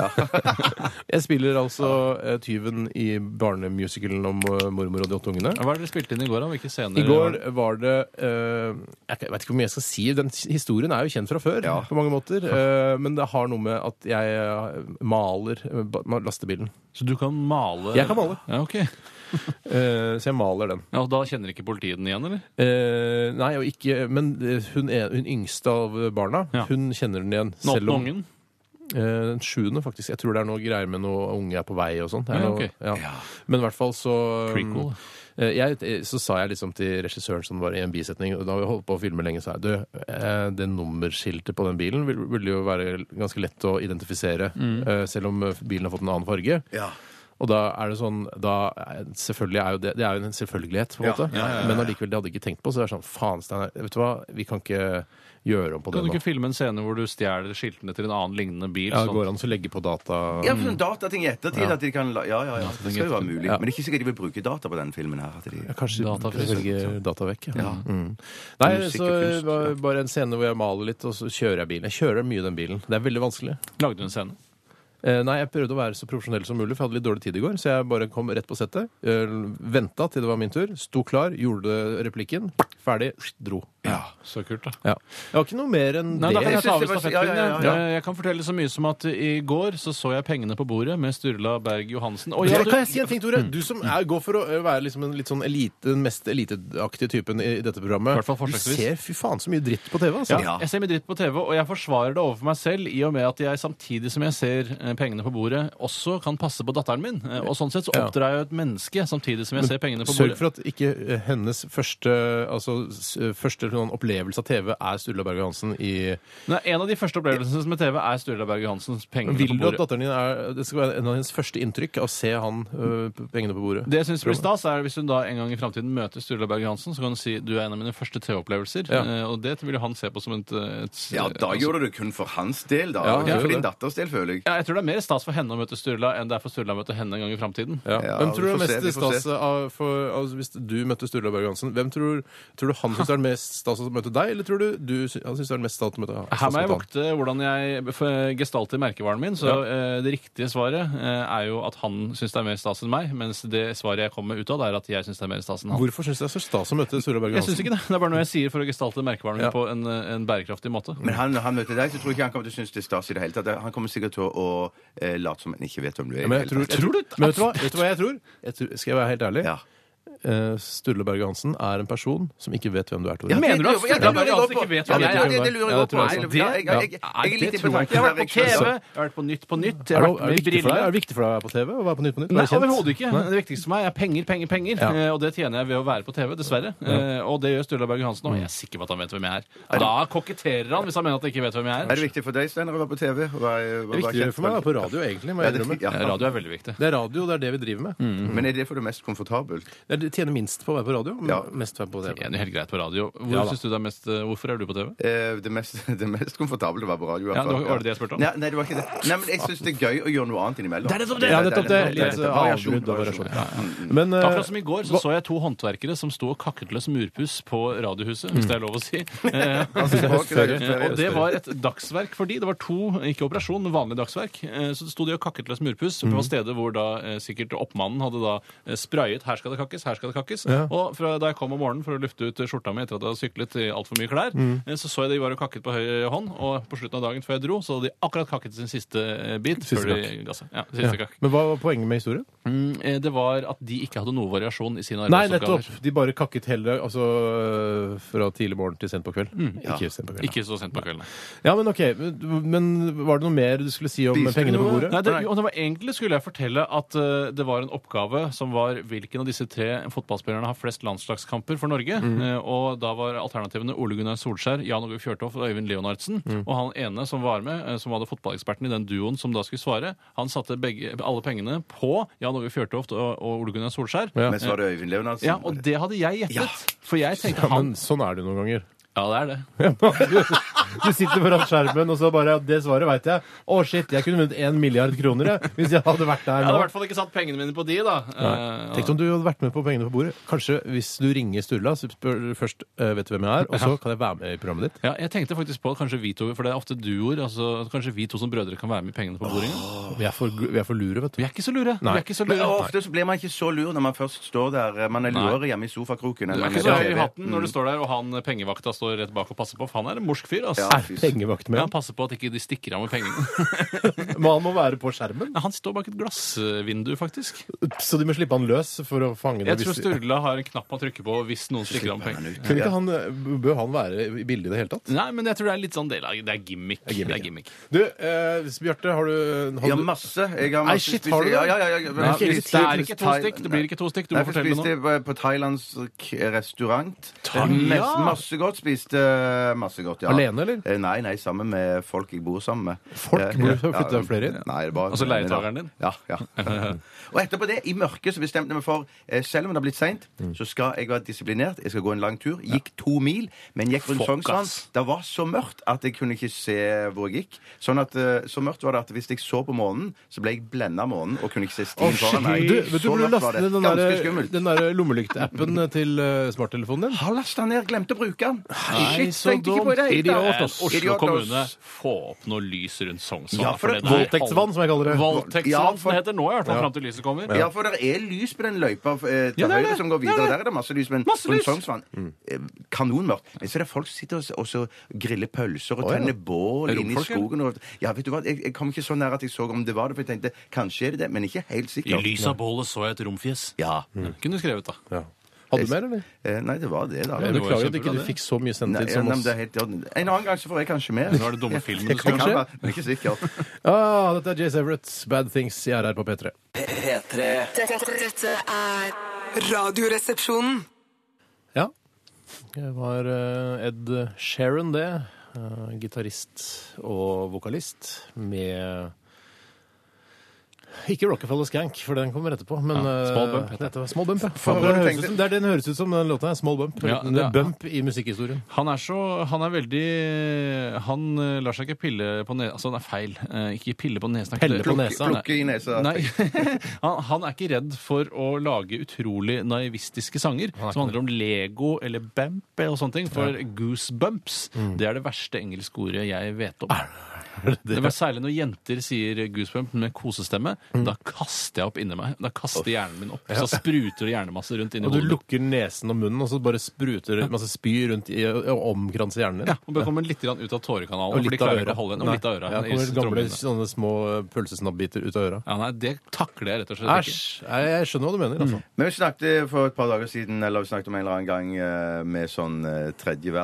[SPEAKER 1] Jeg spiller altså eh, tyven i barnemusicalen om eh, mormor og de åtte ungene.
[SPEAKER 2] Hva er det dere spilte inn i går, da? Hvilke scener?
[SPEAKER 1] I går var det eh, Jeg vet ikke hvor mye jeg skal si. Den historien er jo kjent fra før på mange måter. eh, men det har noe med at jeg eh, maler eh, ba- lastebilen.
[SPEAKER 2] Så du kan male?
[SPEAKER 1] Jeg kan male.
[SPEAKER 2] Ja, ok.
[SPEAKER 1] Eh, så jeg maler den.
[SPEAKER 2] Ja, og da kjenner ikke politiet den igjen, eller?
[SPEAKER 1] Eh, nei, og ikke Men eh, hun, er, hun yngste av barna,
[SPEAKER 2] Ja.
[SPEAKER 1] hun kjenner den igjen.
[SPEAKER 2] Den åttende ungen?
[SPEAKER 1] Eh, Den sjuende, faktisk. Jeg tror det er noe greier med noe unge er på vei og sånn. Det er
[SPEAKER 2] Ja,
[SPEAKER 1] noe-
[SPEAKER 2] ok.
[SPEAKER 1] ja. Men i hvert fall så um,
[SPEAKER 2] Prequel.
[SPEAKER 1] eh, jeg, eh, Så sa jeg liksom til regissøren som var i en bisetning, og da vi holdt på å filme lenge, sa jeg du, eh, det nummerskiltet på den bilen vil- ville jo være ganske lett å identifisere,
[SPEAKER 3] Mm.
[SPEAKER 1] eh, selv om eh, bilen har fått en annen farge.
[SPEAKER 3] Ja.
[SPEAKER 1] Og da er det sånn da, er- Selvfølgelig er jo det Det er jo en selvfølgelighet, på en
[SPEAKER 3] Ja,
[SPEAKER 1] måte.
[SPEAKER 3] ja, ja, ja.
[SPEAKER 1] Men allikevel, det hadde jeg ikke tenkt på. Så det er sånn Faen, Steinar, vet du hva, vi kan ikke gjøre om på det
[SPEAKER 2] Kan du
[SPEAKER 1] nå.
[SPEAKER 2] ikke filme en scene hvor du stjeler skiltene til en annen lignende bil?
[SPEAKER 1] Ja, det
[SPEAKER 2] sånn?
[SPEAKER 1] går an å legge på data
[SPEAKER 3] Ja, for sånn datating i ettertid. At de kan, la- ja, ja, ja. Det skal jo være mulig.
[SPEAKER 1] Ja.
[SPEAKER 3] Men det er ikke sikkert de vil bruke data på den filmen her. At de,
[SPEAKER 1] Ja, Kanskje
[SPEAKER 2] Datafrys.
[SPEAKER 1] velger data vekk. Ja.
[SPEAKER 3] Ja.
[SPEAKER 1] Mm. Nei,
[SPEAKER 3] Musikk
[SPEAKER 1] så
[SPEAKER 3] og kunst,
[SPEAKER 1] var
[SPEAKER 3] ja.
[SPEAKER 1] bare en scene hvor jeg maler litt, og så kjører jeg bilen. Jeg kjører mye den bilen. Det er veldig vanskelig.
[SPEAKER 2] Lagde du en scene?
[SPEAKER 1] Eh, Nei, jeg prøvde å være så profesjonell som mulig, for jeg hadde litt dårlig tid i går, så jeg bare kom rett på settet. Venta til det var min tur. Sto klar, gjorde replikken. Ferdig, dro.
[SPEAKER 2] Ja. Så kult, da.
[SPEAKER 1] Ja. Jeg har ikke noe mer enn
[SPEAKER 2] Nei, da kan
[SPEAKER 1] det.
[SPEAKER 2] jeg ta over
[SPEAKER 3] Jeg synes det var-
[SPEAKER 2] stafettpinnen.
[SPEAKER 3] ja, ja, ja,
[SPEAKER 2] jeg. Eh, Jeg kan fortelle så mye som at i går så så jeg Pengene på bordet med Sturla Berg Johansen. Og ja,
[SPEAKER 1] Ja,
[SPEAKER 2] du,
[SPEAKER 1] kan jeg si en ting, Tore? Du som er, går for å ø, være liksom en litt sånn elite, den mest eliteaktige typen i i dette programmet.
[SPEAKER 2] Hvert fall
[SPEAKER 1] du
[SPEAKER 2] forsøksvis.
[SPEAKER 1] ser fy faen så mye dritt på TV, altså.
[SPEAKER 2] ja, jeg ser mye dritt på TV, og jeg forsvarer det overfor meg selv i og med at jeg samtidig som jeg ser eh, pengene på bordet, også kan passe på datteren min. Eh, Og sånn sett så
[SPEAKER 1] Ja.
[SPEAKER 2] oppdrar jeg jo et menneske samtidig som jeg ser pengene på
[SPEAKER 1] Sørg
[SPEAKER 2] bordet.
[SPEAKER 1] for at ikke eh, hennes første, altså, s- første sånn opplevelse av TV er Sturla Berg Johansen i
[SPEAKER 2] Nei, en av de første opplevelsene med TV er Sturla Berg Johansens Pengene
[SPEAKER 1] Vil
[SPEAKER 2] på
[SPEAKER 1] du at
[SPEAKER 2] bordet.
[SPEAKER 1] datteren din er Det skal være en av hennes første inntrykk av å se han eh, p- pengene på bordet?
[SPEAKER 2] Det jeg synes blir stas er Hvis hun da en gang i fremtiden møter Sturla Berg Johansen, så kan hun si du er en av mine første TV-opplevelser.
[SPEAKER 1] Ja.
[SPEAKER 2] Eh, Og det vil jo han se på som et, et eh,
[SPEAKER 3] ja, altså- da gjorde du det kun for hans del, da.
[SPEAKER 1] Ja,
[SPEAKER 3] ikke
[SPEAKER 1] ja,
[SPEAKER 3] for din
[SPEAKER 1] det.
[SPEAKER 3] datters del, føler jeg.
[SPEAKER 2] Ja, jeg tror det er mer stas for henne å møte Sturla enn det er for Sturla å møte henne en gang i framtiden.
[SPEAKER 1] Ja.
[SPEAKER 3] Ja,
[SPEAKER 1] hvem tror du
[SPEAKER 3] vi
[SPEAKER 1] er
[SPEAKER 3] får se,
[SPEAKER 1] mest
[SPEAKER 3] vi får
[SPEAKER 1] stas av for, altså, Hvis du møtte Sturla Berg Johansen, hvem tror, tror du han syns det er mest stas å møte deg, eller tror du, du sy- han syns det er mest stas å møte
[SPEAKER 2] Her må jeg
[SPEAKER 1] stas å møte
[SPEAKER 2] vokte hvordan jeg f- gestalter merkevaren min. Så eh, det riktige svaret eh, er jo at han syns det er mer stas enn meg, mens det svaret jeg kommer ut av, det er at jeg syns det er mer stas enn han.
[SPEAKER 1] Hvorfor syns du det er så stas å møte Sturla Berg
[SPEAKER 2] Jeg syns
[SPEAKER 1] Johansen?
[SPEAKER 2] ikke det. Det er bare noe jeg sier for å gestalte merkevaren min
[SPEAKER 1] Ja.
[SPEAKER 2] på en, eh, en bærekraftig måte.
[SPEAKER 3] Men han, når han møter deg, så tror jeg ikke han kommer til å synes det er stas i det hele tatt. Han kommer sikkert til å eh, late som han ikke vet hvem du er. i
[SPEAKER 1] Men
[SPEAKER 3] det
[SPEAKER 1] jeg tror,
[SPEAKER 3] hele tatt.
[SPEAKER 1] jeg tror, men vet du hva? Vet du hva jeg tror? Jeg tror? Skal jeg være helt ærlig?
[SPEAKER 3] Ja.
[SPEAKER 1] eh, Sturle Berge Hansen er en person som ikke vet hvem du er, Tore.
[SPEAKER 2] Ja, men- Mener du at
[SPEAKER 3] det lurer- ja,
[SPEAKER 2] Sturla
[SPEAKER 3] det
[SPEAKER 2] Berge
[SPEAKER 3] lurer jeg
[SPEAKER 2] Hansen
[SPEAKER 3] på.
[SPEAKER 2] ikke vet
[SPEAKER 3] Ja,
[SPEAKER 2] hvem
[SPEAKER 3] det-
[SPEAKER 2] jeg er?
[SPEAKER 3] det- Det
[SPEAKER 1] Ja,
[SPEAKER 3] lurer jeg
[SPEAKER 1] det
[SPEAKER 3] på.
[SPEAKER 1] tror jeg
[SPEAKER 3] Nei,
[SPEAKER 1] sant.
[SPEAKER 3] ja, jeg- jeg-
[SPEAKER 2] Nei,
[SPEAKER 3] jeg- jeg er litt
[SPEAKER 2] det tror jeg ikke.
[SPEAKER 3] imponert.
[SPEAKER 2] Jeg har vært på TV, jeg har vært på Nytt på Nytt,
[SPEAKER 1] er,
[SPEAKER 2] jeg har
[SPEAKER 1] det, er, det
[SPEAKER 2] vært med
[SPEAKER 1] viktig for deg? er
[SPEAKER 2] briller.
[SPEAKER 1] det viktig for deg å være på TV? Å være på Nytt på Nytt?
[SPEAKER 2] Nei,
[SPEAKER 1] være kjent?
[SPEAKER 2] overhodet ikke.
[SPEAKER 1] Nei.
[SPEAKER 2] Det viktigste for meg er penger, penger, penger.
[SPEAKER 1] Ja.
[SPEAKER 2] Eh, og det tjener jeg ved å være på TV, dessverre. Eh, og det gjør Sturla Berg Johansen, og jeg er sikker på at han vet hvem jeg er. Og da koketterer han hvis han mener at jeg ikke vet hvem jeg
[SPEAKER 3] Er
[SPEAKER 2] er.
[SPEAKER 3] det viktig for deg, Steinar, å være på TV? Hva er- hva
[SPEAKER 1] Det er
[SPEAKER 3] er
[SPEAKER 1] viktigere
[SPEAKER 3] kjent
[SPEAKER 1] for meg å være på radio, egentlig. Må
[SPEAKER 3] Ja,
[SPEAKER 1] jeg
[SPEAKER 3] det-
[SPEAKER 1] innrømme.
[SPEAKER 3] ja.
[SPEAKER 2] Eh, Radio er Mm. veldig viktig.
[SPEAKER 1] Det er radio, det er det vi driver med.
[SPEAKER 3] Men er det for det mest komfortabelt?
[SPEAKER 1] Det er- Det tjener minst på å være på radio, men
[SPEAKER 3] Ja.
[SPEAKER 1] mest på å være på
[SPEAKER 2] Jeg
[SPEAKER 1] TV.
[SPEAKER 2] er jo helt greit på radio. Hvor
[SPEAKER 1] Ja da.
[SPEAKER 2] synes du det er mest, eh, hvorfor er du på TV?
[SPEAKER 3] Eh, Det mest, det mest komfortable var på radio. i hvert
[SPEAKER 2] Ja, det var-
[SPEAKER 3] fall.
[SPEAKER 2] var det det jeg spurte om?
[SPEAKER 3] Nei, nei, det var ikke det. Nei, men jeg syns det er gøy å gjøre noe annet innimellom.
[SPEAKER 2] Det er nettopp det!
[SPEAKER 1] Ja, nettopp det.
[SPEAKER 3] er
[SPEAKER 1] Litt
[SPEAKER 3] nettopp Variasjon,
[SPEAKER 1] avbrudd og
[SPEAKER 3] variasjon.
[SPEAKER 1] variasjon. Men eh,
[SPEAKER 2] Akkurat som i går så, så jeg to håndverkere som sto og kakket løs murpuss på Radiohuset, hvis det er lov å si. Eh,
[SPEAKER 3] Altså, det var ikke det.
[SPEAKER 2] Eh, Og det var et dagsverk for de. Det var to, ikke operasjon, men vanlig dagsverk. Eh, Så sto de og kakket løs murpuss
[SPEAKER 1] Mhm.
[SPEAKER 2] på stedet hvor da eh, sikkert oppmannen hadde da eh, sprayet 'her skal det kakkes', 'her skal det kakkes'. Og fra da jeg kom om morgenen for å lufte ut skjorta mi etter at jeg hadde syklet i altfor mye klær,
[SPEAKER 1] Mhm.
[SPEAKER 2] eh, så så jeg de var og kakket på høy eh, hånd, og på slutten av dagen før jeg dro, så hadde de akkurat kakket sin siste eh, bit
[SPEAKER 1] Siste
[SPEAKER 2] før de ga seg. Ja, siste
[SPEAKER 1] ja.
[SPEAKER 2] kakk.
[SPEAKER 1] Men hva var poenget med historien?
[SPEAKER 2] Mm, eh, Det var at de ikke hadde noe variasjon i sine
[SPEAKER 1] Nei,
[SPEAKER 2] arbeidsoppgaver.
[SPEAKER 1] nettopp. De bare kakket hele altså, øh, fra tidlig morgen til sent på kveld. Ikke sent på kveld.
[SPEAKER 2] Mm, Ikke så sent på kvelden.
[SPEAKER 1] Ja, men ok. Men men var det noe mer du skulle si om
[SPEAKER 3] Spiste
[SPEAKER 1] pengene
[SPEAKER 3] du
[SPEAKER 1] på
[SPEAKER 3] noe?
[SPEAKER 1] bordet?
[SPEAKER 2] Nei, det, og det var egentlig skulle jeg fortelle at eh, det var en oppgave som var hvilken av disse tre fotballspillerne har flest landslagskamper for Norge. Eh, og da var alternativene Ole Gunnar Solskjær, Jan Åge Fjørtoft og Øyvind Leonardsen. Og han ene som var med, eh, som var det fotballeksperten i den duoen som da skulle svare, han satte begge, alle pengene på Jan Åge Fjørtoft og, og Ole Gunnar Solskjær. Ja.
[SPEAKER 3] Men så var det Øyvind Leonardsen.
[SPEAKER 2] og det hadde jeg gjettet. For jeg tenkte
[SPEAKER 1] Ja,
[SPEAKER 2] han
[SPEAKER 1] men sånn er det jo noen ganger.
[SPEAKER 2] Ja, det er det.
[SPEAKER 1] Du sitter foran skjermen, og så bare ja, Det svaret veit jeg. Å, shit, jeg kunne vunnet én milliard kroner jeg, hvis jeg hadde vært der
[SPEAKER 2] Jeg hadde i
[SPEAKER 1] nå.
[SPEAKER 2] hvert fall ikke satt pengene mine på de, da. Eh,
[SPEAKER 1] Tenk om du hadde vært med på pengene på bordet. Kanskje hvis du ringer Sturla, så spør du først øh, vet du hvem jeg er, og så kan jeg være med i programmet ditt.
[SPEAKER 2] Ja, jeg tenkte faktisk på at kanskje vi to, for det er ofte duoer, altså at kanskje vi to som brødre kan være med i pengene på bordet. engang.
[SPEAKER 1] Vi er for, vi er for lure, vet du.
[SPEAKER 2] Vi er ikke så lure.
[SPEAKER 1] Nei.
[SPEAKER 2] Vi er ikke så
[SPEAKER 3] Men
[SPEAKER 2] lure.
[SPEAKER 3] ofte så blir man ikke så lur når man først står der. eh, Man er lurer hjemme i sofakroken.
[SPEAKER 2] Du er ikke så høy i hatten
[SPEAKER 3] Mm.
[SPEAKER 2] når du står der, og han eh, pengevakta står rett bak og passer på. For han er en morsk fyr, altså.
[SPEAKER 3] Ja.
[SPEAKER 1] Pengevakt med
[SPEAKER 2] Han passer på at ikke de stikker av med pengene.
[SPEAKER 1] Men han må være på skjermen,
[SPEAKER 2] Nei, han står bak et glassvindu, faktisk.
[SPEAKER 1] så de må slippe han løs for å fange det.
[SPEAKER 2] Jeg tror Sturla har en knapp han trykker på hvis noen stikker av med penger.
[SPEAKER 1] Kunne ikke han, eh, bør han være i bildet i det hele tatt?
[SPEAKER 2] Nei, men jeg tror det er litt sånn del av Det er gimmick. Det er gimmick.
[SPEAKER 1] Du, eh, Bjarte, har du eh, har
[SPEAKER 3] Ja,
[SPEAKER 1] du-
[SPEAKER 3] masse. Jeg har
[SPEAKER 1] Nei,
[SPEAKER 3] masse
[SPEAKER 1] shit,
[SPEAKER 3] spist-
[SPEAKER 1] har du det?
[SPEAKER 3] Ja, ja, ja, ja.
[SPEAKER 2] Nei,
[SPEAKER 3] Jeg
[SPEAKER 2] det
[SPEAKER 3] spiste-
[SPEAKER 2] er ikke to
[SPEAKER 3] Thai-
[SPEAKER 2] stykk. Det blir ikke to stykk. Du
[SPEAKER 3] Nei,
[SPEAKER 2] må
[SPEAKER 3] for
[SPEAKER 2] fortelle
[SPEAKER 3] spiste
[SPEAKER 2] det nå.
[SPEAKER 3] på- på thailandsk restaurant.
[SPEAKER 2] Thai-
[SPEAKER 3] Mest,
[SPEAKER 2] Ja.
[SPEAKER 3] masse godt. Spiste masse godt, ja.
[SPEAKER 1] Alene, eller?
[SPEAKER 3] Eh, Nei, nei, sammen med folk jeg bor sammen med.
[SPEAKER 1] Folk?
[SPEAKER 3] Eh,
[SPEAKER 1] Bor du- flytter du flere inn?
[SPEAKER 3] Nei, det er bare
[SPEAKER 2] Altså leietageren din?
[SPEAKER 3] Ja. ja. og etterpå det, i mørket, så bestemte jeg meg for, eh, selv om det har blitt seint,
[SPEAKER 1] Mm.
[SPEAKER 3] så skal jeg være disiplinert. Jeg skal gå en lang tur. Gikk to mil, men gikk rundt
[SPEAKER 2] Fuck,
[SPEAKER 3] Sognsvann.
[SPEAKER 2] ass.
[SPEAKER 3] Det var så mørkt at jeg kunne ikke se hvor jeg gikk. Sånn at, eh, så mørkt var det at hvis jeg så på månen, så ble jeg blenda av månen og kunne ikke se stien foran meg.
[SPEAKER 1] Du, vet du
[SPEAKER 3] Så
[SPEAKER 1] burde
[SPEAKER 3] mørkt var
[SPEAKER 1] laste ned
[SPEAKER 3] det.
[SPEAKER 1] den
[SPEAKER 3] Ganske
[SPEAKER 1] der,
[SPEAKER 3] skummelt.
[SPEAKER 1] den der lommelykteappen til eh, smarttelefonen din.
[SPEAKER 3] Har lasta ned, glemte å bruke den.
[SPEAKER 2] Nei,
[SPEAKER 3] Shit,
[SPEAKER 2] så
[SPEAKER 3] tenkte ikke på det. i det hele
[SPEAKER 2] Idiot,
[SPEAKER 3] tatt.
[SPEAKER 2] ass. Oslo
[SPEAKER 3] Eh, Idiot,
[SPEAKER 2] kommune,
[SPEAKER 3] ass.
[SPEAKER 2] få opp noe lys rundt Sognsvann.
[SPEAKER 3] Ja, for
[SPEAKER 2] for
[SPEAKER 3] det-
[SPEAKER 2] det der-
[SPEAKER 1] Voldtektsvann, som jeg kaller det.
[SPEAKER 3] Ja,
[SPEAKER 2] Voldtektsvann,
[SPEAKER 3] for-
[SPEAKER 2] som det heter nå, i hvert fall fram til lyset kommer.
[SPEAKER 3] Ja, for det er lys på den løypa eh, til
[SPEAKER 2] Ja, det er
[SPEAKER 3] høyre
[SPEAKER 2] det.
[SPEAKER 3] som går videre.
[SPEAKER 2] Det er det.
[SPEAKER 3] Der er det masse lys. Men
[SPEAKER 2] Masse
[SPEAKER 3] rundt
[SPEAKER 2] lys.
[SPEAKER 3] Sognsvann eh, kanonmørkt. Men så er det folk som sitter og, og så griller pølser og
[SPEAKER 1] Å, ja.
[SPEAKER 3] tenner bål inne i
[SPEAKER 2] romfolk, eller?
[SPEAKER 3] skogen. Og, ja, vet du hva? Jeg, jeg kom ikke så nær at jeg så om det var det, for jeg tenkte kanskje er det det, men ikke helt
[SPEAKER 2] I
[SPEAKER 3] sikkert.
[SPEAKER 2] lys av bålet så jeg et romfjes.
[SPEAKER 3] Ja.
[SPEAKER 2] Mm. Kunne du skrevet, da.
[SPEAKER 1] Ja. Hadde du mer, eller?
[SPEAKER 3] Eh, Nei, det var det, da.
[SPEAKER 1] Jeg
[SPEAKER 2] det
[SPEAKER 1] beklager
[SPEAKER 2] var
[SPEAKER 1] at
[SPEAKER 2] kjempebra,
[SPEAKER 1] ikke du
[SPEAKER 2] det.
[SPEAKER 1] fikk så mye
[SPEAKER 3] Nei,
[SPEAKER 1] sendetid
[SPEAKER 3] ja,
[SPEAKER 1] som
[SPEAKER 3] nei, men
[SPEAKER 1] oss.
[SPEAKER 3] det er helt i orden. En annen gang så får jeg kanskje mer.
[SPEAKER 2] Nå er det dumme filmen du
[SPEAKER 3] Det kan
[SPEAKER 2] skal se.
[SPEAKER 3] være, men ikke sikkert.
[SPEAKER 1] Ah, dette er Jace Everett, Bad Things i RR på P3.
[SPEAKER 5] P3
[SPEAKER 4] Dette, dette er Radioresepsjonen.
[SPEAKER 1] Ja. Det var eh, Ed Sheeran, det. Eh, Gitarist og vokalist med ikke Rockefeller Skank, for den kommer etterpå. Men
[SPEAKER 2] Ja,
[SPEAKER 1] eh,
[SPEAKER 2] Small Bump heter
[SPEAKER 1] dette var Small Bump, ja.
[SPEAKER 3] Faen,
[SPEAKER 1] det,
[SPEAKER 3] jeg
[SPEAKER 1] høres ut
[SPEAKER 3] tenkte-
[SPEAKER 1] som, det er det den høres ut som, den låta. her, Small Bump.
[SPEAKER 2] Ja,
[SPEAKER 1] det
[SPEAKER 2] det
[SPEAKER 1] er
[SPEAKER 2] er-
[SPEAKER 1] bump i musikkhistorien.
[SPEAKER 2] Han er så Han er veldig Han eh, lar seg ikke pille på nesen Altså, det er feil. Eh, Ikke pille på nesen. er ikke
[SPEAKER 1] Pelle
[SPEAKER 2] det.
[SPEAKER 1] på nesa.
[SPEAKER 3] Plukke i nesa.
[SPEAKER 2] Nei, han, han er ikke redd for å lage utrolig naivistiske sanger som handler om Lego eller Bamp og sånne ting. For goosebumps, det er det verste engelske ordet jeg vet om. Det var særlig når jenter sier goosebump med kosestemme. Da kaster jeg opp inni meg. Da kaster hjernen min opp. Så spruter det hjernemasse rundt inni
[SPEAKER 1] Og du
[SPEAKER 2] hodet.
[SPEAKER 1] lukker nesen og munnen, og så bare spruter masse spy rundt i, og omkranser hjernen din.
[SPEAKER 2] Ja, og bør komme litt grann ut av
[SPEAKER 1] Og
[SPEAKER 2] tårekanalen. for de
[SPEAKER 1] litt av
[SPEAKER 2] klarer ikke
[SPEAKER 1] øra.
[SPEAKER 2] å holde igjen. Og litt av øra.
[SPEAKER 1] Ja,
[SPEAKER 2] i
[SPEAKER 1] kommer gamle
[SPEAKER 2] trommene.
[SPEAKER 1] sånne små pølsesnabbiter ut av øra.
[SPEAKER 2] Ja, nei, det takler jeg rett og slett
[SPEAKER 1] Æsj! Nei, Jeg skjønner hva du mener, altså.
[SPEAKER 3] Men vi snakket eh, for et par dager siden eller vi snakket om en eller annen gang eh, med sånn eh, tredje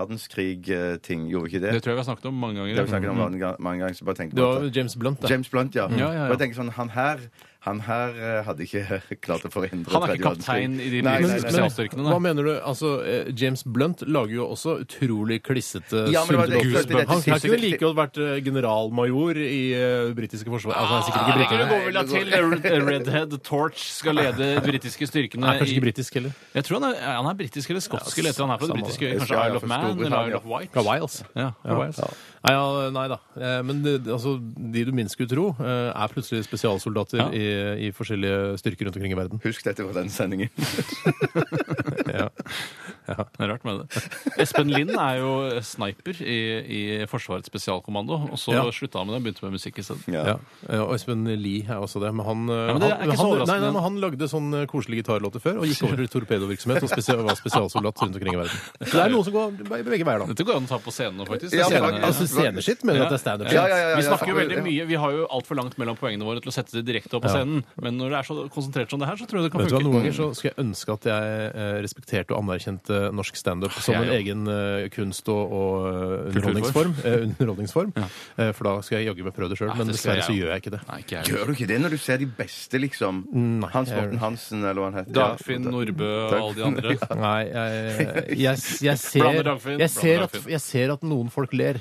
[SPEAKER 3] verdenskrig-ting. Gjorde vi ikke
[SPEAKER 2] ikke.
[SPEAKER 3] det?
[SPEAKER 2] Det tror jeg Mm. vi har snakket om mange
[SPEAKER 3] Det har vi
[SPEAKER 2] ganger.
[SPEAKER 3] snakket om mange gang- mange ganger, så bare tenkte
[SPEAKER 1] Det
[SPEAKER 3] jeg
[SPEAKER 1] var James Blunt, det.
[SPEAKER 3] James Blunt, ja.
[SPEAKER 2] Mm. Ja, ja, ja.
[SPEAKER 3] Bare tenker sånn, Han her han her eh, hadde ikke klart å forhindre
[SPEAKER 2] Han er ikke
[SPEAKER 3] tredje verdenskrig.
[SPEAKER 2] kaptein i de
[SPEAKER 3] Nei, nei,
[SPEAKER 2] britiske
[SPEAKER 3] nei.
[SPEAKER 2] spesialstyrkene, nei.
[SPEAKER 1] hva mener du? Altså, eh, James Blunt lager jo også utrolig klissete
[SPEAKER 3] Ja, men det var det-
[SPEAKER 1] sunde
[SPEAKER 3] det- det-
[SPEAKER 1] Han
[SPEAKER 3] det-
[SPEAKER 1] han kunne
[SPEAKER 3] det-
[SPEAKER 1] like godt vært eh, generalmajor i eh, britiske forsvaret. Altså, han er sikkert
[SPEAKER 2] Ah,
[SPEAKER 1] ikke
[SPEAKER 2] det kunne
[SPEAKER 1] britisk.
[SPEAKER 2] gå vel da til Red- Redhead Torch skal lede de britiske styrkene
[SPEAKER 1] Han er kanskje
[SPEAKER 2] i-
[SPEAKER 1] ikke britisk heller.
[SPEAKER 2] Jeg tror han er, han er britisk eller skotsk eller et eller annet. Han er fra det
[SPEAKER 1] Samme
[SPEAKER 2] britiske øyet.
[SPEAKER 3] det.
[SPEAKER 2] Kanskje
[SPEAKER 3] Ja, ja,
[SPEAKER 2] Isle of
[SPEAKER 3] fra
[SPEAKER 2] Man eller
[SPEAKER 3] Storbritannia.
[SPEAKER 2] Isle of Wight.
[SPEAKER 1] Fra Wales.
[SPEAKER 2] Ja, fra Wales.
[SPEAKER 1] Nei, ja, nei da. Eh, Men det, altså, de du minst skulle tro, eh, er plutselig spesialsoldater
[SPEAKER 2] Ja.
[SPEAKER 1] i, i forskjellige styrker rundt omkring i verden.
[SPEAKER 3] Husk dette fra den sendingen.
[SPEAKER 1] Ja.
[SPEAKER 2] Det er rart med det. Espen Lind er jo sniper i, i Forsvarets spesialkommando, og så
[SPEAKER 1] Ja.
[SPEAKER 2] slutta han med det og begynte med musikk isteden.
[SPEAKER 3] Ja.
[SPEAKER 1] Ja. eh, Og Espen Lie er også det. Men han, eh,
[SPEAKER 2] men det er
[SPEAKER 1] han,
[SPEAKER 2] ikke så
[SPEAKER 1] han, nei,
[SPEAKER 2] overraskende.
[SPEAKER 1] nei, men han lagde sånn eh, koselige gitarlåter før og gikk over til torpedovirksomhet og spesia- var spesialsoldat rundt omkring i verden. Så det er noen som går be- begge veier, da.
[SPEAKER 2] Dette går an å ta på scenen nå, faktisk.
[SPEAKER 3] Ja,
[SPEAKER 2] Scenen-
[SPEAKER 3] faktisk.
[SPEAKER 1] Altså sceneskitt mener du at det er standup? shit?
[SPEAKER 3] Ja, ja, ja, ja,
[SPEAKER 2] vi snakker jo
[SPEAKER 3] ja.
[SPEAKER 2] veldig mye. Vi har jo altfor langt mellom poengene våre til å sette det direkte opp på scenen. Men når det er så konsentrert som det her, så tror jeg det kan
[SPEAKER 1] Vet du hva,
[SPEAKER 2] funke.
[SPEAKER 1] Noen ganger så skulle jeg ønske at jeg eh, respekterte og anerkjente norsk standup som
[SPEAKER 2] Jeg
[SPEAKER 1] en
[SPEAKER 2] jo.
[SPEAKER 1] egen eh, kunst- og, og eh, underholdningsform. eh, underholdningsform. Eh, for da skal jeg jaggu meg prøve det sjøl,
[SPEAKER 2] Ja,
[SPEAKER 1] men
[SPEAKER 2] det skal
[SPEAKER 1] dessverre
[SPEAKER 2] jeg
[SPEAKER 1] så
[SPEAKER 2] jo.
[SPEAKER 1] gjør jeg ikke det.
[SPEAKER 2] Nei, ikke jeg.
[SPEAKER 3] Gjør du ikke det når du ser de beste, liksom? Hans
[SPEAKER 1] jeg gjør
[SPEAKER 3] Morten
[SPEAKER 1] det.
[SPEAKER 3] Hansen, eller hva han heter.
[SPEAKER 2] Dagfinn
[SPEAKER 3] Ja.
[SPEAKER 2] Nordbø og alle de andre.
[SPEAKER 1] Nei, jeg, jeg, jeg,
[SPEAKER 2] Blander
[SPEAKER 1] ser, jeg,
[SPEAKER 2] Dagfinn, blander
[SPEAKER 1] ser at,
[SPEAKER 2] Dagfinn.
[SPEAKER 1] jeg ser at noen folk ler.